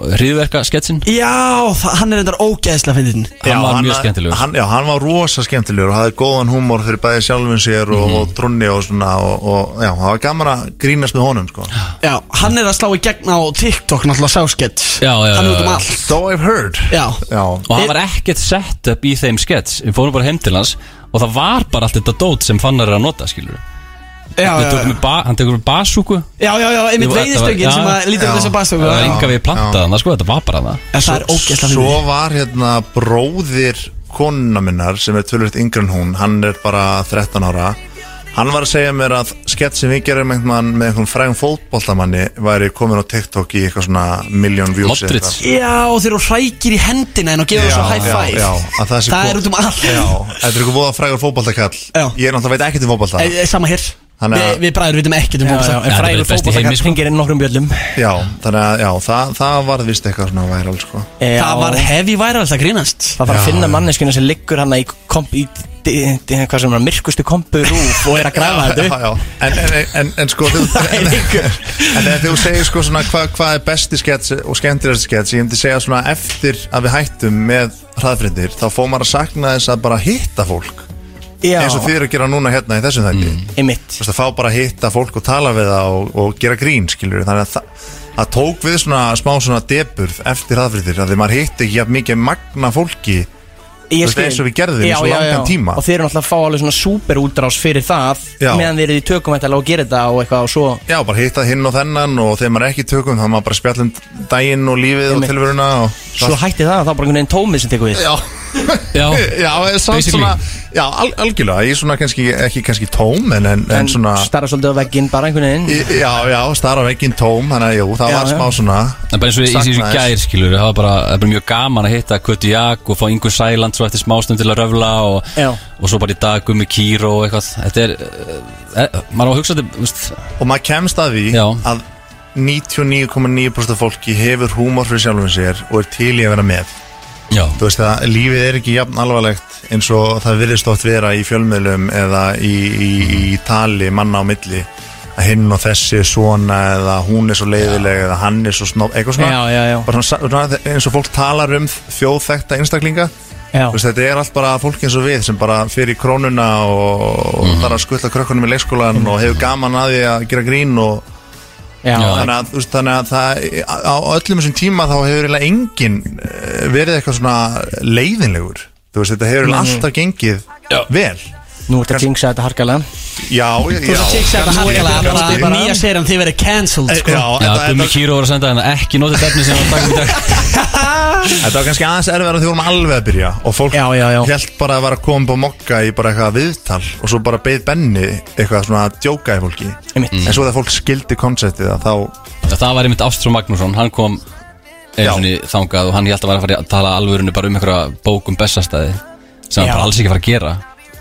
[SPEAKER 11] Hriðverka sketsin
[SPEAKER 2] Já, það- hann er endar ógeðslega fyndin
[SPEAKER 11] Hann var mjög skemmtilegur.
[SPEAKER 6] hann, Já, hann var rosa skemmtilegur og hafði góðan húmor fyrir bæði sjálfum sér og,
[SPEAKER 11] Mhm.
[SPEAKER 6] og trunni og svona og, og já, það var gaman að grínast með honum, sko
[SPEAKER 2] Já, hann er að slá í gegn á TikTok náttúrulega sáskets
[SPEAKER 11] Já, já,
[SPEAKER 2] Hann er út um
[SPEAKER 11] já.
[SPEAKER 2] allt
[SPEAKER 6] So I've heard
[SPEAKER 2] Já,
[SPEAKER 6] já.
[SPEAKER 11] Og hann var ekkert sett upp í þeim skets Við fórum bara heim til hans Og það var bara allt þetta dót sem fannar er að nota skilur
[SPEAKER 2] Já, já, já.
[SPEAKER 11] Hann tekur með basúku
[SPEAKER 2] já, já, já einmitt veiðistöngin sem að lítur um þess að bastöku
[SPEAKER 11] Það var enga við plantaðan, sko, þetta var bara
[SPEAKER 2] En það
[SPEAKER 11] það
[SPEAKER 2] er ógeðslega
[SPEAKER 6] Svo
[SPEAKER 2] fyndið.
[SPEAKER 6] var hérna bróðir konuna minnar sem er tölvöld yngri en hún hann er bara 13 ára hann var að segja mér að skett sem við gerum einhvern mann með einhvern frægum fótboltamanni væri komin á TikTok í eitthvað svona million views eða eitthvað.
[SPEAKER 2] Já, og þeir eru hrækir í hendina
[SPEAKER 4] hérna
[SPEAKER 2] en og gefur svo high
[SPEAKER 6] já,
[SPEAKER 2] five
[SPEAKER 6] já, að það, sé
[SPEAKER 2] Það
[SPEAKER 6] kom-
[SPEAKER 2] er út um allt.
[SPEAKER 6] já, þetta er eitthvað voða frægur fótboltakall ég er náttúrulega veit ekkert um fótbolta
[SPEAKER 2] Eh, eh, Sama hér
[SPEAKER 6] Þannig að-
[SPEAKER 2] Við við bræður vitum ekkert um
[SPEAKER 4] Já, já,
[SPEAKER 2] fótbolta.
[SPEAKER 4] en frægur
[SPEAKER 2] sko.
[SPEAKER 4] fókbóltakall hringir inn nokkrum bjöllum
[SPEAKER 6] já, þannig að já, það, það var vist eitthvað svona væral sko.
[SPEAKER 4] Já.
[SPEAKER 2] Það var heavy viral, það grínast
[SPEAKER 4] Það þarf að
[SPEAKER 6] Já.
[SPEAKER 4] finna manneskina sem liggur hann í, komp, í di- di- hvað sem er myrkustu kompu rúf og er að grafa
[SPEAKER 6] Já,
[SPEAKER 4] þetta
[SPEAKER 6] já, já. En, en, en, en sko þú, en, en þegar þú segir sko svona hvað hva er besti skets og skemmtilegasti skets ég myndi segja svona eftir að við hættum með hraðfrindir þá fór maður að sakna þess að bara hitta fólk
[SPEAKER 4] Já.
[SPEAKER 6] eins og þið eru að gera núna hérna í þessum
[SPEAKER 2] Mm.
[SPEAKER 6] þætti
[SPEAKER 4] einmitt
[SPEAKER 6] Þú veist að fá bara að hitta fólk og tala við það og, og gera grín skilur þannig að það, það tók við svona smá svona deburð eftir hraðfrindir að því maður hitti ekki jafn mikið magna fólki þú veist,
[SPEAKER 4] skil.
[SPEAKER 6] eins og við gerðum í
[SPEAKER 4] Já,
[SPEAKER 6] svo
[SPEAKER 4] já,
[SPEAKER 6] langan
[SPEAKER 4] já.
[SPEAKER 6] tíma
[SPEAKER 4] og þeir eru náttúrulega að fá alveg svona super útrás fyrir það
[SPEAKER 6] Já.
[SPEAKER 4] meðan þeir eru í tökum þetta og gera þetta og eitthvað og svo
[SPEAKER 6] Já, bara hitta hinn og þennan og þegar maður er ekki í tökum þá er maður bara að spjalla um daginn og lífið og
[SPEAKER 4] Einmitt.
[SPEAKER 6] tilveruna og
[SPEAKER 4] svo hætti það þá bara einhvern veginn tómið sem tekur við
[SPEAKER 6] Já,
[SPEAKER 4] já,
[SPEAKER 6] já, eða samt svona, já al algjörlega, ég er svona kannski, ekki kannski tóm en, en, en svona
[SPEAKER 4] starra svolítið á vegginn bara einhvern
[SPEAKER 6] Í-
[SPEAKER 4] veginn
[SPEAKER 6] Já, já, starra vegginn tóm, þannig að jú, það
[SPEAKER 4] Já,
[SPEAKER 6] var
[SPEAKER 4] já.
[SPEAKER 6] smá svona
[SPEAKER 11] Það er bara eins og í í þessu
[SPEAKER 6] Saknaðist.
[SPEAKER 11] gær skilur Það var bara, það er bara mjög gaman að hitta Kötu Jak og fá Ingu Sæland svo eftir smástum til að röfla og,
[SPEAKER 4] Já.
[SPEAKER 11] og svo bara í dag Gummi Kíró og eitthvað Þetta er, e, maður á að hugsa þetta veist,
[SPEAKER 6] Og maður kemst að því að 99,9% af fólki hefur húmor fyrir sjálfum sér og er til í að vera með
[SPEAKER 11] Já.
[SPEAKER 6] Þú veist að lífið er ekki jafn alvarlegt eins og það virðist oft vera í fjölmiðlum eða í, í, í tali manna á milli að hinn og þessi er svona eða hún er svo leiðileg eða hann er svo snob eitthvað svona,
[SPEAKER 4] Já, já, já.
[SPEAKER 6] Bara svona, svona eins og fólk talar um þjóðþekta einstaklinga
[SPEAKER 4] Já.
[SPEAKER 6] Þú veist, þetta er allt bara fólk eins og við sem bara fyrir krónuna og, og
[SPEAKER 4] Mhm.
[SPEAKER 6] þarf að skutla krökkunum í leikskólan og hefur gaman að því að gera grín og
[SPEAKER 4] Já.
[SPEAKER 6] þannig, að, þú veist, þannig að það, á á öllum þessum tíma þá hefur eiginlega enginn eh, verið eitthvað svona leiðinlegur Þú veist, þetta hefur eiginlega
[SPEAKER 4] Nei.
[SPEAKER 6] alltaf gengið vel
[SPEAKER 4] nú ert að jinxa þetta harkalega
[SPEAKER 6] Já,
[SPEAKER 2] Þú
[SPEAKER 6] já
[SPEAKER 2] ert að jinxa þetta
[SPEAKER 6] kannski,
[SPEAKER 2] harkalega, bara-
[SPEAKER 6] kannski. Eh,
[SPEAKER 2] bara- Nýja serían, þið verið cancelled, sko.
[SPEAKER 6] Já,
[SPEAKER 11] Já,
[SPEAKER 6] þetta-
[SPEAKER 11] Gummi
[SPEAKER 6] þetta-
[SPEAKER 11] Kíró var að senda henn ekki notið efni sem var dagum í dag
[SPEAKER 6] Þetta var kannski aðeins erfiðar að því vorum alveg að byrja og fólk já,
[SPEAKER 4] já, já.
[SPEAKER 6] held bara að vera að koma upp á mokka í bara eitthvað viðtal og svo bara beið benni eitthvað svona að djóka í fólki
[SPEAKER 4] Einmitt.
[SPEAKER 6] en svo þegar fólk skildi konceptið að þá
[SPEAKER 11] Já, Það var einmitt Ástrú Magnússon, hann kom einu sinni þangað og hann held að vera að fara að tala alvörinu bara um einhverja bókum bestastæði sem hann
[SPEAKER 4] Já.
[SPEAKER 11] bara alls ekki að fara að gera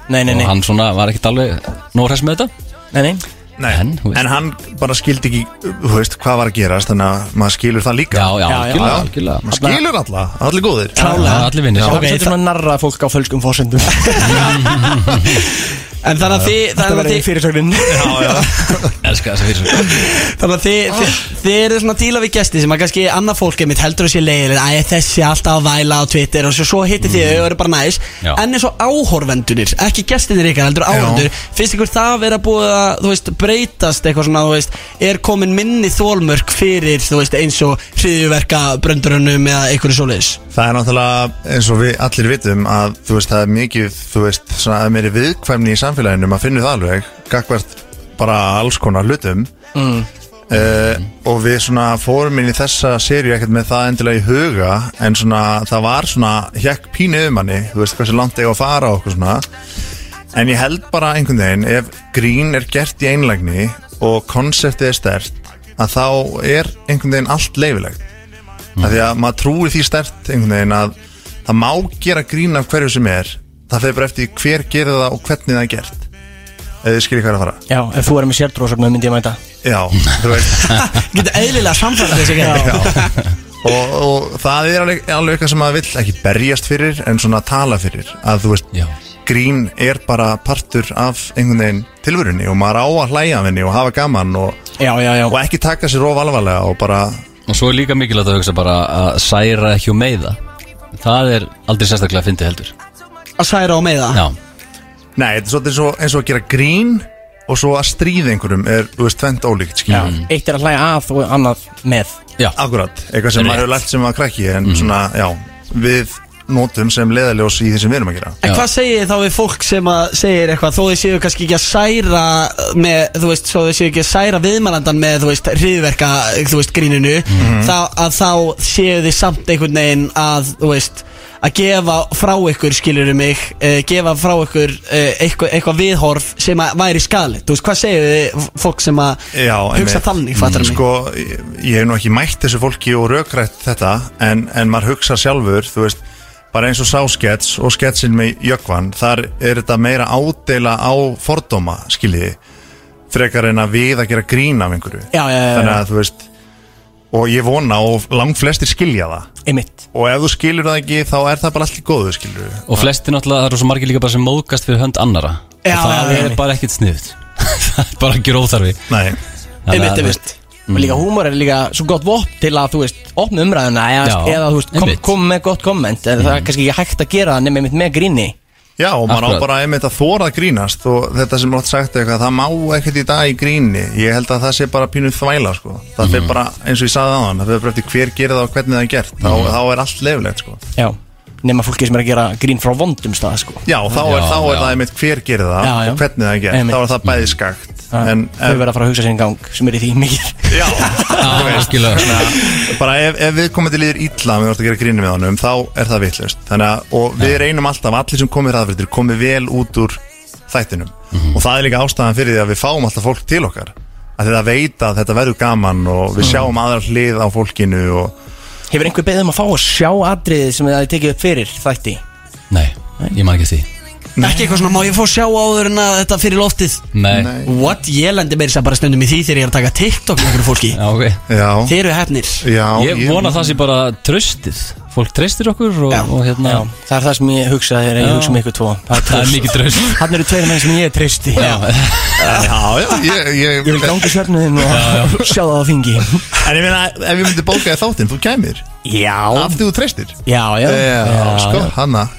[SPEAKER 4] Nei, nei, nei.
[SPEAKER 11] og hann svona var ekkert alveg nóhress með þetta
[SPEAKER 4] nei, nei.
[SPEAKER 6] Nei, en, hann bara skildi ekki þú veist, hvað var að gerast þannig að maður skilur það líka
[SPEAKER 11] Já, já, Já, já. algjörlega, algjörlega.
[SPEAKER 6] Maður skilur alla, allir góðir
[SPEAKER 4] það er svolítið svona narra fólk á fölskum fósendum
[SPEAKER 2] En þannig að þið
[SPEAKER 4] Þetta
[SPEAKER 2] þannig
[SPEAKER 4] var
[SPEAKER 2] að
[SPEAKER 4] einn
[SPEAKER 2] þið-
[SPEAKER 4] fyrirsögnin
[SPEAKER 11] Elskar þessa fyrir
[SPEAKER 2] Þannig að
[SPEAKER 11] Ah.
[SPEAKER 2] þið,
[SPEAKER 4] Ah.
[SPEAKER 2] þið, þið eru svona að díla við gesti sem að kannski annað fólk er mitt heldur þessi leiðin Æ, þessi er alltaf að væla á Twitter og svo, svo hitti þið og eru bara næs
[SPEAKER 11] Já.
[SPEAKER 2] En eins og áhorvendunir, ekki gestinir ykkar heldur áhorvendur Finnst ykkur það vera búið að, þú veist, breytast eitthvað svona, þú veist Er komin minni þólmörk fyrir, þú veist, eins og hriðjuverka bröndurunum eða einhverju svoleiðis
[SPEAKER 6] Það er náttúrulega eins og við allir vitum að þú veist það er mikið, þú veist svona að meiri viðkvæmni í samfélaginu, maður finnur það alveg gagvart bara alls konar hlutum
[SPEAKER 4] Mm.
[SPEAKER 6] uh, og við svona fórum inn í þessa séri ekkert með það endilega í huga en svona það var svona hjekk pínu um manni, þú veist hversu langt eiga að fara og okkur svona en ég held bara einhvern veginn ef grín er gert í einlægni og konseptið er stert að þá er einhvern veginn allt leifilegt af því að maður trúir því stert einhvern veginn að það má gera grín af hverju sem er það fyrir bara eftir hver gerir það og hvernig það er gert eða þið skilir hvað er að fara
[SPEAKER 4] já, ef þú erum með sérdrósögnu myndi ég mæta
[SPEAKER 6] já, þú veist
[SPEAKER 2] Geta eðlilega samfæðið þessi gæði
[SPEAKER 6] og, og það er alveg, alveg eitthvað sem maður vill ekki berjast fyrir en svona tala fyrir að þú veist,
[SPEAKER 11] Já.
[SPEAKER 6] grín er bara partur af einhvern veginn tilvörunni og maður á að hlæja af henni og hafa gaman og,
[SPEAKER 4] já, já, já.
[SPEAKER 6] og ekki taka sér of alvarlega og bara
[SPEAKER 11] Og svo er líka mikilvægt að hugsa bara að særa ekki og meiða Það er aldrei sérstaklega að fyndi heldur
[SPEAKER 2] Að særa og meiða
[SPEAKER 11] Já
[SPEAKER 6] Nei, þetta er svolítið eins og, eins og að gera grín og svo að stríða einhverjum er, þú veist, tvent ólíkt, skiljum
[SPEAKER 4] já. eitt er að hlæja að og annað með
[SPEAKER 11] Já,
[SPEAKER 6] akkurat, eitthvað sem
[SPEAKER 4] Rétt.
[SPEAKER 6] maður hefur lært sem maður krakki en svona, já, við notum sem leðaljós í því sem við erum að gera
[SPEAKER 2] En hvað segir þið þá við fólk sem að segir eitthvað þó þið séu kannski ekki að særa með, þú veist, þó þið séu ekki að særa viðmælandan með, þú veist, hriðverka þú veist, gríninu,
[SPEAKER 17] Mhm.
[SPEAKER 2] þá að þá séu þið samt einhvern veginn að, þú veist, að gefa frá ykkur, skilur mig, uh, gefa frá ykkur uh, eitthvað, eitthvað viðhorf sem að væri skali, þú veist, hvað segir þið fólk sem að
[SPEAKER 6] já,
[SPEAKER 2] hugsa þannig, fattar mig?
[SPEAKER 6] sko, ég, ég hef nú ekki mætt þessu fólki og rökrætt þetta en, en maður hugsa sjálfur, þú veist bara eins og sáskets og sketsin með Jökvan, þar er þetta meira ádeila á fordóma, skiljiði frekar en að við að gera grín af einhverju
[SPEAKER 4] Já, já, já, já.
[SPEAKER 6] þannig að þú veist og ég vona og langflestir skilja það Einmitt. og ef þú skilur það ekki þá er það bara allt í góðu skilur við
[SPEAKER 11] Og flesti náttúrulega, það eru svo margir líka bara sem móðgast fyrir hönd annara
[SPEAKER 6] Já,
[SPEAKER 11] Og Það
[SPEAKER 6] já, já,
[SPEAKER 11] er
[SPEAKER 6] já.
[SPEAKER 11] bara ekkert sniðut Það er bara ekki róþarfi
[SPEAKER 6] Nei
[SPEAKER 4] Einmitt, einmitt Og líka húmor er líka svo gott vopn til að, þú veist, opna umræðuna eða,
[SPEAKER 11] Já,
[SPEAKER 4] eða þú veist, kom,
[SPEAKER 11] einmitt.
[SPEAKER 4] kom með gott komment eða það er kannski ekki hægt að gera það nema einmitt með gríni
[SPEAKER 6] Já, og maður á bara einmitt að þóra að grínast og þetta sem nátt sagt eitthvað, það má ekkert í dag í gríni, ég held að það sé bara pínu þvæla sko,
[SPEAKER 4] Mhm.
[SPEAKER 6] það mm. fer bara eins og ég sagði aðan, það fer bara eftir hver gerir það og hvernig það er gert,
[SPEAKER 4] Mhm.
[SPEAKER 6] þá, þá er allt leiflegt sko
[SPEAKER 4] Já, nema fólki sem er að gera grín frá vondum stað, sko
[SPEAKER 6] Já, þá er, þá er það einmitt hver gerir það
[SPEAKER 4] Já, já.
[SPEAKER 6] og hvernig það er gert,
[SPEAKER 4] Einmitt.
[SPEAKER 6] þá er það bæði skakt
[SPEAKER 4] Já,
[SPEAKER 6] en,
[SPEAKER 4] Þau verða að fara að hugsa sér en gang sem er í því mikið
[SPEAKER 6] Já,
[SPEAKER 11] þú veist,
[SPEAKER 6] þannig að bara ef, ef við komum til líður illa og við vorum að gera grínu með honum, þá er það vitlust þannig að, og við reynum alltaf, allir sem komið ræðfréttir komið vel út úr þættinum og það er líka ástæðan fyrir því að við fáum alltaf fólk til okkar að þetta veit að þetta verður gaman og við
[SPEAKER 4] Mhm.
[SPEAKER 6] sjáum aðra hlið á fólkinu og
[SPEAKER 4] Hefur einhver beðið um að fá að sjá atriðið sem þið hafið tekið upp fyrir þætti?
[SPEAKER 11] Nei, ég man ekki því
[SPEAKER 2] Ekki eitthvað svona, má ég fá sjá áður en að þetta fyrir loftið
[SPEAKER 11] Nei.
[SPEAKER 2] What? Ég lendi meira sem bara stundum í því þegar ég er að taka TikTok með okkur fólki
[SPEAKER 11] Já, ok
[SPEAKER 6] Já
[SPEAKER 2] Þeir eru hefnir
[SPEAKER 11] Ég vona það sé bara tröstið Fólk treystir okkur og, og hérna
[SPEAKER 4] Já, það er það sem ég hugsa þegar ég
[SPEAKER 11] Já.
[SPEAKER 4] hugsa um ykkur tvo
[SPEAKER 11] Það er mikið traust.
[SPEAKER 4] Hann eru tveir menn sem ég er treysti
[SPEAKER 11] Já.
[SPEAKER 6] Já, já, ég, ég,
[SPEAKER 4] Ég vil gangi svefnuðin og
[SPEAKER 6] Já, já.
[SPEAKER 4] sjá það á þingi
[SPEAKER 6] En ég meina, ef ég myndi bóka þér þáttinn, þú kæmir
[SPEAKER 4] Já
[SPEAKER 6] Af því þú treystir
[SPEAKER 4] Já, já
[SPEAKER 6] sko, hanna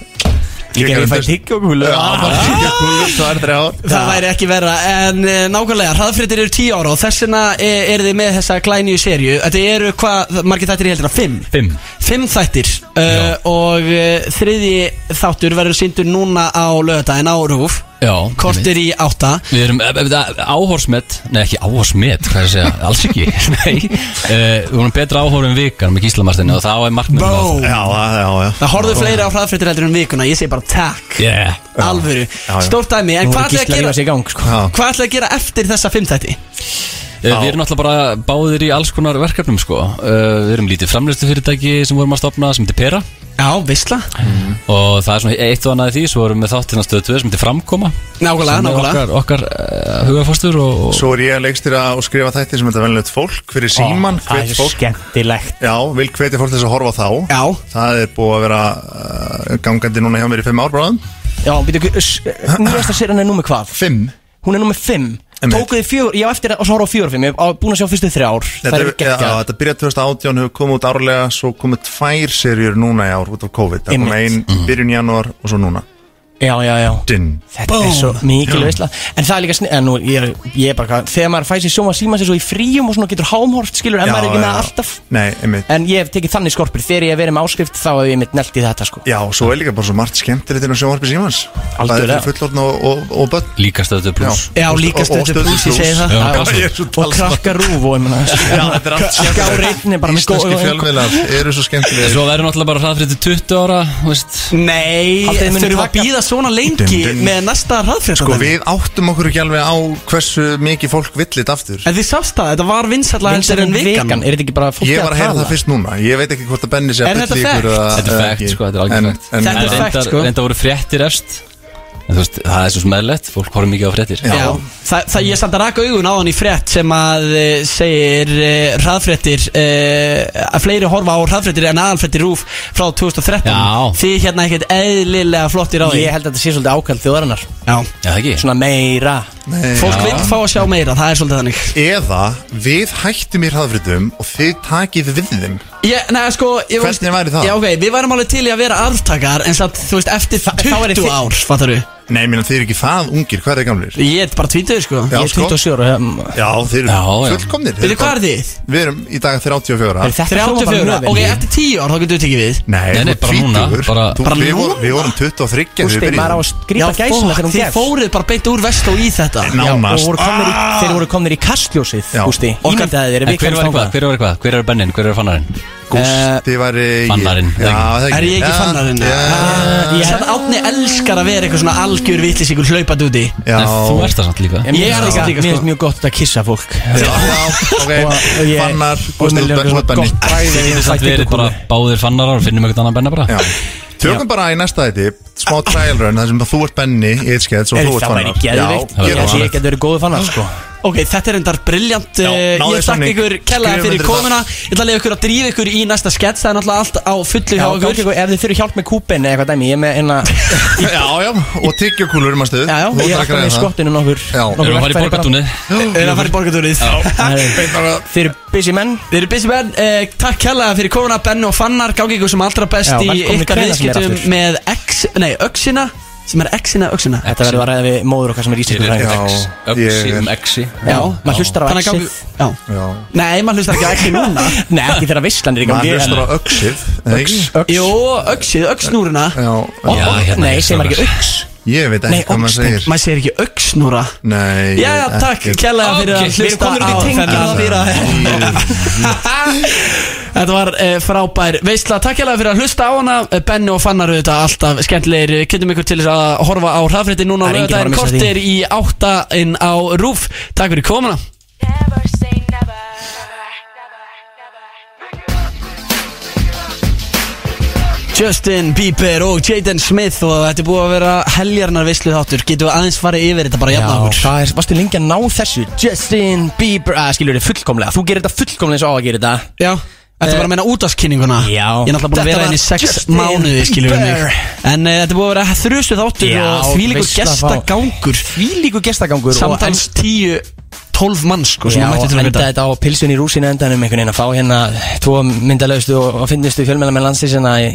[SPEAKER 4] Líka ef ég fæ tyggjokúlu
[SPEAKER 6] Já, bara tyggjokúlu, það er þrjá
[SPEAKER 2] Það væri ekki verra En eh, nákvæmlega, hraðfréttir eru 10 ára og þessina er þið með þessa glænýju serju Þetta eru hvað, margir þættir ég heldur að 5
[SPEAKER 11] 5
[SPEAKER 2] þættir uh, og uh, þriðji þáttur verður sýndur núna á lögadaginn á Rúf
[SPEAKER 11] Já
[SPEAKER 2] Kortir í átta
[SPEAKER 11] Við erum e- e- e- áhorfsmet Nei, ekki áhorfsmet, hvað er að segja, alls ekki Nei, uh, við vorum betra áhorf en vikar með gíslamarstinu og það var markmið
[SPEAKER 2] Bó.
[SPEAKER 6] Já, já, já
[SPEAKER 2] Það horfðu fleiri á hraðfréttir heldur en vikuna Ég segi bara takk,
[SPEAKER 11] Yeah
[SPEAKER 2] alvöru
[SPEAKER 11] já.
[SPEAKER 2] Stórt dæmi, en
[SPEAKER 11] Nú
[SPEAKER 2] hvað
[SPEAKER 11] er Gísli að
[SPEAKER 2] ætlaði
[SPEAKER 11] rífa
[SPEAKER 2] að
[SPEAKER 11] sig í
[SPEAKER 2] gera
[SPEAKER 4] gang, sko.
[SPEAKER 2] Hvað ætlaði að gera eftir þessa 5 þætti?
[SPEAKER 11] Eh, Við erum náttúrulega bara báðir í alls konar verkefnum sko Eh, Við erum lítið framlýstufyrirtæki sem vorum að stopna sem heitir Pera
[SPEAKER 2] Já, veistla
[SPEAKER 11] Og það er svona eitt og annað í því Svo erum við þáttinn að stöðu 2 sem heitir Framkoma
[SPEAKER 2] Nákvæmlega,
[SPEAKER 11] Sem er
[SPEAKER 2] nákvæmlega
[SPEAKER 11] Okkar, okkar uh, hugafóstur og, og
[SPEAKER 6] Svo er ég að leikstýra og skrifa þætti sem þetta venlilegt fólk fyrir síman
[SPEAKER 4] Ó, það er skemmtilegt
[SPEAKER 6] Já, vil hvetja fólk til þess að horfa á þá
[SPEAKER 2] Já
[SPEAKER 6] Það er búið að vera uh, gangandi núna hjá mér í fimm ár bráðum
[SPEAKER 4] Já, býtu, nýjasta seran er nummer hvað?
[SPEAKER 6] Fimm
[SPEAKER 4] Hún er nummer fimm Tókuði fjör, ég á eftir að horfa á fjör og fimm Ég hef á- búin að sjá fyrstu þrjár Það
[SPEAKER 6] Þetta,
[SPEAKER 4] er
[SPEAKER 6] já,
[SPEAKER 4] geggjað
[SPEAKER 6] þetta byrjaði 2018, hefur komið út árlega Svo komið tvær serjur núna í ár út af COVID Það kom ein
[SPEAKER 4] Einmitt. Mm.
[SPEAKER 6] byrjun janúar og svo núna
[SPEAKER 4] Já, já, já
[SPEAKER 6] Dinn
[SPEAKER 4] Þetta er svo mikil veistla En það er líka snið En nú, ég, er- ég er bara hvað Þegar maður fæsir sjóma síma sér svo í fríum Og svona getur hámhort skilur En
[SPEAKER 6] Já,
[SPEAKER 4] maður er ekki með
[SPEAKER 6] já.
[SPEAKER 4] alltaf Eh.
[SPEAKER 6] Nei, einmitt
[SPEAKER 4] En ég hef tekið þannig skorpur Þegar ég hef verið með áskrift Þá hef ég mitt nelt í þetta sko
[SPEAKER 6] Já, og svo er líka bara svo margt skemmtilegt inn á sjónvarpi símans Bæði fyrir
[SPEAKER 4] Algjörlega.
[SPEAKER 6] fullorðna og, og, og börn
[SPEAKER 11] Líka stöðu pluss
[SPEAKER 6] Já, og- og- og Stöð
[SPEAKER 4] plus, ég segi það.
[SPEAKER 6] Já,
[SPEAKER 4] Já,
[SPEAKER 6] ég er svo
[SPEAKER 4] Og krakka rúf og ég meina
[SPEAKER 6] Já, þetta er allt skemmtilegt.
[SPEAKER 4] Skáreitni bara með
[SPEAKER 6] Íslenski
[SPEAKER 4] góð-
[SPEAKER 6] fjölmiðlar eru svo skemmtilegir
[SPEAKER 11] Svo verður náttúrulega bara hraðfrið til 20 ára þú veist.
[SPEAKER 2] Nei,
[SPEAKER 11] Haldið þið muni
[SPEAKER 2] þurfum að
[SPEAKER 11] taka-
[SPEAKER 2] býða svona lengi
[SPEAKER 6] Dun, dun.
[SPEAKER 2] með næsta hraðfrétta
[SPEAKER 6] Sko við áttum okkur ekki alveg á hversu mikið fólk villit aftur
[SPEAKER 2] En þið sást það, þetta var vinsalla heldur en vikan
[SPEAKER 4] Er þetta ekki bara fólk
[SPEAKER 6] Ég var að heyra það fyrst núna, ég veit ekki hvort að Benni sé
[SPEAKER 2] Er
[SPEAKER 6] að
[SPEAKER 2] þetta
[SPEAKER 6] bylla ykkur
[SPEAKER 2] þekkt?
[SPEAKER 6] að-
[SPEAKER 11] Þetta er
[SPEAKER 6] eða
[SPEAKER 11] fækt
[SPEAKER 6] ekki.
[SPEAKER 11] sko, þetta er sko. algjör
[SPEAKER 6] En-
[SPEAKER 11] fækt
[SPEAKER 6] en-
[SPEAKER 11] En
[SPEAKER 6] en-
[SPEAKER 11] reyndar- Reyndar voru fréttir efst En þú veist, það er svo smeðlegt Fólk horfum mikið á fréttir
[SPEAKER 2] Já, það, það ég samt að raka augun á hann í frétt sem að e, segir e, hraðfréttir e, að fleiri horfa á hraðfréttir en aðalfréttir rúf frá 2013 Já. Þið hérna ekkert eðlilega flottir á því
[SPEAKER 4] Ég held að þetta sé svolítið ákald þjóðarinnar
[SPEAKER 2] Já,
[SPEAKER 11] Já, ekki
[SPEAKER 4] Svona meira
[SPEAKER 2] Fólk vil fá að sjá meira, það er svolítið þannig
[SPEAKER 6] Eða við hættum í hraðfritum og þið takið við þeim
[SPEAKER 2] ég, Nei, sko ég,
[SPEAKER 6] Hvernig væri það?
[SPEAKER 2] Já, ok, við værum alveg til í að vera arftakar en samt, þú veist, eftir 20 ár fattar við
[SPEAKER 6] Nei, minna, þið eru ekki það ungir, hvað er þið gamlir?
[SPEAKER 2] Ég er bara tvítuður sko
[SPEAKER 6] Já, sko.
[SPEAKER 4] ára um,
[SPEAKER 6] Já, þið eru
[SPEAKER 11] já.
[SPEAKER 6] fullkomnir
[SPEAKER 2] Veitu, hvað er þið?
[SPEAKER 6] Við erum í dag 34
[SPEAKER 2] 34, ok, eftir 10 ár þá getur við tekið við
[SPEAKER 6] Nei,
[SPEAKER 11] Nei, nei,
[SPEAKER 6] þú
[SPEAKER 11] bara
[SPEAKER 6] ert
[SPEAKER 11] núna,
[SPEAKER 6] tvítugur.
[SPEAKER 11] bara-
[SPEAKER 6] Þú-
[SPEAKER 2] Bara
[SPEAKER 6] við
[SPEAKER 2] núna?
[SPEAKER 6] vorum- Við vorum 23 þegar
[SPEAKER 4] Gústi,
[SPEAKER 6] við byrjuðum.
[SPEAKER 4] maður á að grípa
[SPEAKER 2] Já,
[SPEAKER 4] gæsina þegar hún
[SPEAKER 2] þið
[SPEAKER 4] gefst.
[SPEAKER 2] fóruð bara beint úr vest og í þetta
[SPEAKER 4] Já, og voru komnir í,
[SPEAKER 6] Ah.
[SPEAKER 4] þeir voru komnir í kastljósið Gústi, ímyndaði þeir
[SPEAKER 11] En hver var hvað, hver var hvað, hver er bennin, hver er fannarinn
[SPEAKER 6] Gústi var ég
[SPEAKER 11] Fannarinn
[SPEAKER 6] Já, það
[SPEAKER 2] Er ég Eh, ekki
[SPEAKER 6] Já,
[SPEAKER 2] fannarinn?
[SPEAKER 6] já.
[SPEAKER 2] Ég hef átni elskar að vera eitthvað svona algjör vitlis ykkur hlaupað úti
[SPEAKER 11] En þú ert það samt líka
[SPEAKER 2] Ég er það líka
[SPEAKER 4] Mér finnst
[SPEAKER 2] sko
[SPEAKER 4] mjög gott að kissa fólk
[SPEAKER 6] ok,
[SPEAKER 4] ég-
[SPEAKER 6] fannar
[SPEAKER 4] og
[SPEAKER 6] Gústi,
[SPEAKER 4] mér
[SPEAKER 6] þú
[SPEAKER 4] leikur
[SPEAKER 6] ert
[SPEAKER 4] svona
[SPEAKER 6] svona Benni
[SPEAKER 4] gott bræði
[SPEAKER 11] Við
[SPEAKER 4] yfir
[SPEAKER 11] erum samt
[SPEAKER 4] þætti
[SPEAKER 11] verið
[SPEAKER 4] ykkur
[SPEAKER 11] bara
[SPEAKER 4] komi.
[SPEAKER 11] báðir fannarar og finnum eitthvað annan benna bara
[SPEAKER 6] Já. Tökum bara í næsta þetta smá trial run þar sem þú ert Benni í eitt skeitt og
[SPEAKER 4] Er
[SPEAKER 6] þú ert
[SPEAKER 4] það væri
[SPEAKER 6] fannar
[SPEAKER 4] geðveikt Ég
[SPEAKER 6] Já,
[SPEAKER 4] held að ég get verið góðu fannar sko
[SPEAKER 2] Ok, þetta er endar briljant
[SPEAKER 6] Já,
[SPEAKER 2] Ég
[SPEAKER 6] náðu
[SPEAKER 2] þakka
[SPEAKER 6] samning.
[SPEAKER 2] ykkur kellaði
[SPEAKER 6] Skrifum
[SPEAKER 2] fyrir
[SPEAKER 6] undir
[SPEAKER 2] komuna Ég ætla að leiða ykkur að drífa ykkur í næsta skets Það er náttúrulega allt á fullu hjá
[SPEAKER 4] Já,
[SPEAKER 2] ykkur
[SPEAKER 4] gangi ykkur, ef þið þurfi hjálp með kúpen eða eitthvað dæmi, ég er með einna
[SPEAKER 19] Já, já, og tyggjokúlur um að stuð Já, já,
[SPEAKER 4] Ég er alltaf með skottinu nokkur
[SPEAKER 19] Erum
[SPEAKER 4] nokkur
[SPEAKER 19] við að fara í
[SPEAKER 4] verkfæri bara.
[SPEAKER 19] borgartúnið?
[SPEAKER 2] Erum við að fara í borgartúrið
[SPEAKER 4] Þeir eru busy menn
[SPEAKER 2] Þeir eru busy menn eh, Takk kellaði fyrir komuna Benni og Fannar Gangi ykkur sem allra best
[SPEAKER 4] Já,
[SPEAKER 2] í
[SPEAKER 4] velkomin
[SPEAKER 2] ykkar
[SPEAKER 4] hvenær sem er
[SPEAKER 2] viðskiptum
[SPEAKER 4] aftur.
[SPEAKER 2] Með X, nei, Öxina Sem er Xina, Öxina
[SPEAKER 4] Þetta verður að ræða við móður okkar sem er íslensku
[SPEAKER 2] ég er-
[SPEAKER 11] Exi
[SPEAKER 4] Já, maður hlustar á
[SPEAKER 2] Þannig að
[SPEAKER 4] Exi
[SPEAKER 2] gangi- Já Nei, maður hlustar ekki á Exi núna
[SPEAKER 4] Nei, ekki þegar visslandir
[SPEAKER 6] Maður hlustar á öxið eða ekki?
[SPEAKER 2] Jó, Öxið, Öxnúruna
[SPEAKER 6] Já,
[SPEAKER 2] Já, hérna,
[SPEAKER 4] Nei,
[SPEAKER 2] ég
[SPEAKER 4] segir
[SPEAKER 2] strákar.
[SPEAKER 4] maður ekki öks
[SPEAKER 6] Ég veit ekki
[SPEAKER 2] Nei,
[SPEAKER 6] hvað maður
[SPEAKER 2] Oxnard.
[SPEAKER 6] segir
[SPEAKER 2] Maður segir ekki öxnúra
[SPEAKER 6] Nei
[SPEAKER 2] Já, já, takk kærlega fyrir að hlusta á þennan Þetta var uh, frábær veistla Takk hérlega fyrir að hlusta á hana Eh, Benni og Fannar auðvitað alltaf skemmtilegir Eh, Kynntum ykkur til þess að horfa á hraðfrétti núna
[SPEAKER 4] Það er enginn að fara að
[SPEAKER 2] Lögðaðin
[SPEAKER 4] missa
[SPEAKER 2] kortir í átta inn á Rúf Takk fyrir komuna Justin Bieber og Jaden Smith og þetta er búið að vera heljarnar veistlu þáttur Getum við aðeins farið yfir þetta bara jafna okkur
[SPEAKER 4] hvað er, varstu lengi að ná þessu Justin Bieber, að skilur þið fullkomlega Þú gerir þetta fullkomlega eins og á að gera þetta
[SPEAKER 2] Já, Þetta var að meina útaskinninguna
[SPEAKER 4] Eh, Já
[SPEAKER 2] Ég er náttúrulega búin að
[SPEAKER 4] Þetta
[SPEAKER 2] vera henni í
[SPEAKER 4] var
[SPEAKER 2] sex
[SPEAKER 4] Justin
[SPEAKER 2] mánuði skilur við mig
[SPEAKER 4] Bieber.
[SPEAKER 2] En uh, þetta er búið að vera þrjustu þáttur
[SPEAKER 4] Já,
[SPEAKER 2] og þvílíkur
[SPEAKER 4] veisla fá-
[SPEAKER 2] gestagangur
[SPEAKER 4] Þvílíkur gestagangur og-
[SPEAKER 2] Samtals tíu, tólf manns sko sem
[SPEAKER 4] Já,
[SPEAKER 2] að mættu til að
[SPEAKER 4] enda
[SPEAKER 2] vita
[SPEAKER 4] þetta á pilsun í rúsinu endanum einhvern veginn að fá hérna tvo myndalaustu og, og finnustu fjölmjöla með landsins hérna í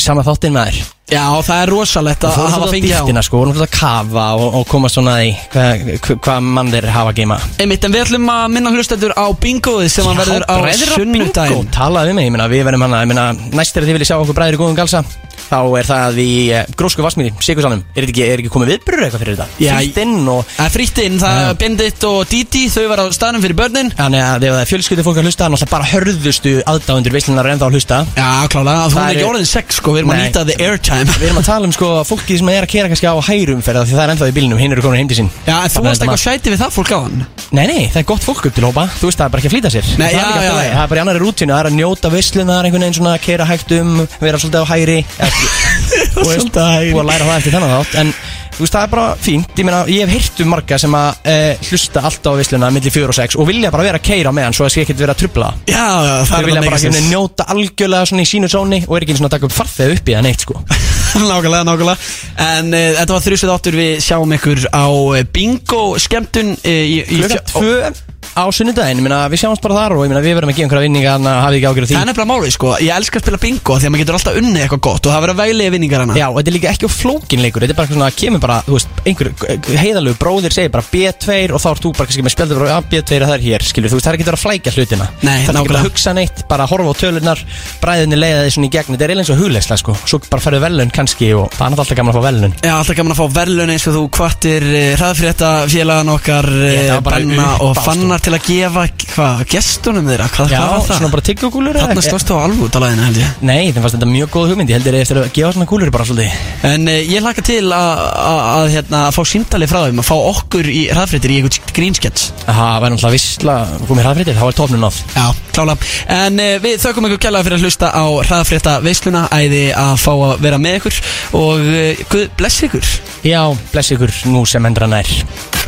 [SPEAKER 4] sama þáttinn maður
[SPEAKER 2] Já, það er rosalegt
[SPEAKER 4] og
[SPEAKER 2] að
[SPEAKER 4] fórum
[SPEAKER 2] hafa
[SPEAKER 4] svolítið á
[SPEAKER 2] fengið á
[SPEAKER 4] dýftina sko, vorum svolítið að kafa og, og koma svona í hvað hva, hva mann þeir hafa að geima
[SPEAKER 2] Einmitt, en við ætlum að minna hlustendur á bingoði sem að verður á sunnudaginn
[SPEAKER 4] talaðu við um mig, ég meina við verðum hann að, ég meina næst er þið viljið sjá okkur bræðir í góðum galsa þá er það í eh, grósku vassmýri, Sigursalum er þetta ekki, er ekki komið viðbrur eitthvað fyrir þetta?
[SPEAKER 2] Já,
[SPEAKER 4] Frítt inn og
[SPEAKER 2] Það er frítt inn, það er Bindit og Didi, þau var á staðnum fyrir börnin
[SPEAKER 4] Þannig að ef það er fjölskyldi fólk að hlusta, þannig að bara hörðustu aðdáðundur veislunar ennþá að hlusta
[SPEAKER 2] Já, klálega, hún er ekki orðin sex sko, við erum að
[SPEAKER 4] Nei.
[SPEAKER 2] nýta the airtime
[SPEAKER 4] Við erum að tala um sko fólki sem er að kera kannski á hæruumferða því það er ennþá í bílinum, hinn eru komin heim til sín
[SPEAKER 2] Já, en þú varst eitthvað sæti við það fólk á hann
[SPEAKER 4] Nei, nei, það er gott fólk upp til hópa, þú veist það er bara ekki að flýta sér
[SPEAKER 2] Nei,
[SPEAKER 4] Það er
[SPEAKER 2] já,
[SPEAKER 4] líka
[SPEAKER 2] já,
[SPEAKER 4] bara-
[SPEAKER 2] já.
[SPEAKER 4] Það er bara í annari rútínu, það er að njóta veislunar einhvern veginn svona að kera hægt um, vera svolítið á hæri Þú veist það er búið að læra það eftir þennan þátt En þú veist það er bara fínt, ég meina ég hef heyrt um marga sem að eh, hlusta alltaf á veisluna milli 4 og 6 og vilja bara vera að keira meðan svo það sé ekkert vera að trubla
[SPEAKER 2] Já, já, það
[SPEAKER 4] Þau
[SPEAKER 2] er
[SPEAKER 4] vilja
[SPEAKER 2] það
[SPEAKER 4] bara hérna
[SPEAKER 2] megasens.
[SPEAKER 4] ekki njóta algjörlega svona í sínu sóni og er ekki einu svona að taka upp farþeg upp í það neitt sko
[SPEAKER 2] Nákvæmlega, nákvæmlega En uh, þetta var þrjusveit áttur Við sjáum ykkur á eh, bingo skemmtun uh, í, í
[SPEAKER 4] Klukkan tvö á sunnudaginn, ég meina við sjáumst bara þar og ég meina við verðum að gefa einhverja vinninga þannig að hafið ekki ágjörð því
[SPEAKER 2] Það er nefnilega málið sko Ég elska að spila bingo Því að maður getur alltaf unnið eitthvað gott Og það verður að vælega vinningar hana
[SPEAKER 4] Já, og þetta er líka ekki of flókin leikur Þetta er bara eitthvað svona, kemur bara, þú veist, einhver heiðalegu bróðir segir bara B2 og þá ert þú bara kannski með spjaldur og B2 er það er hér, skilur, þú veist, það er ekki að vera að flækja hlutina
[SPEAKER 2] Nei,
[SPEAKER 4] Það er ekki
[SPEAKER 2] nákvæmlega.
[SPEAKER 4] að hugsa neitt, bara að horfa á tölunar bræðinni leiða því svona í gegn, þetta er eiginlega eins og huglegslega, sko Svo bara færðu velun kannski og það er náttúrulega alltaf gaman að fá velun
[SPEAKER 2] Já, alltaf gaman að fá verðlun eins og þú kvartir uh, hraðfrétta félagan okkar
[SPEAKER 4] Ég,
[SPEAKER 2] uh,
[SPEAKER 4] það var bara
[SPEAKER 2] Benna og
[SPEAKER 4] uppáhalds,
[SPEAKER 2] Fannar til að gefa hvað, gestunum þeirra, hvað,
[SPEAKER 4] Já,
[SPEAKER 2] hvað var það?
[SPEAKER 4] svona bara tyggjúkúlur eða
[SPEAKER 2] Þarna
[SPEAKER 4] eitthvað?
[SPEAKER 2] stóðst þú á alvút á læðinu held ég
[SPEAKER 4] Nei, þeim fannst þetta mjög góð hugmynd, ég held þeir eigi eftir að gefa svona kúlur bara svolítið
[SPEAKER 2] En uh, ég hlaka til að- að að, hérna, fá símdali frá þeim Að fá okkur í hraðfréttir í einhvern grínskets
[SPEAKER 4] Það var náttúrulega vissla, komið hraðfréttir, þá er tófnun of
[SPEAKER 2] Já, klála En uh, við þökkum ykkur kjærlega fyrir að hlusta á hraðfrétta veisluna Æði að fá að vera með ykkur Og uh, eh, Guð bless ykkur
[SPEAKER 4] Já, bless ykkur nú sem endra nær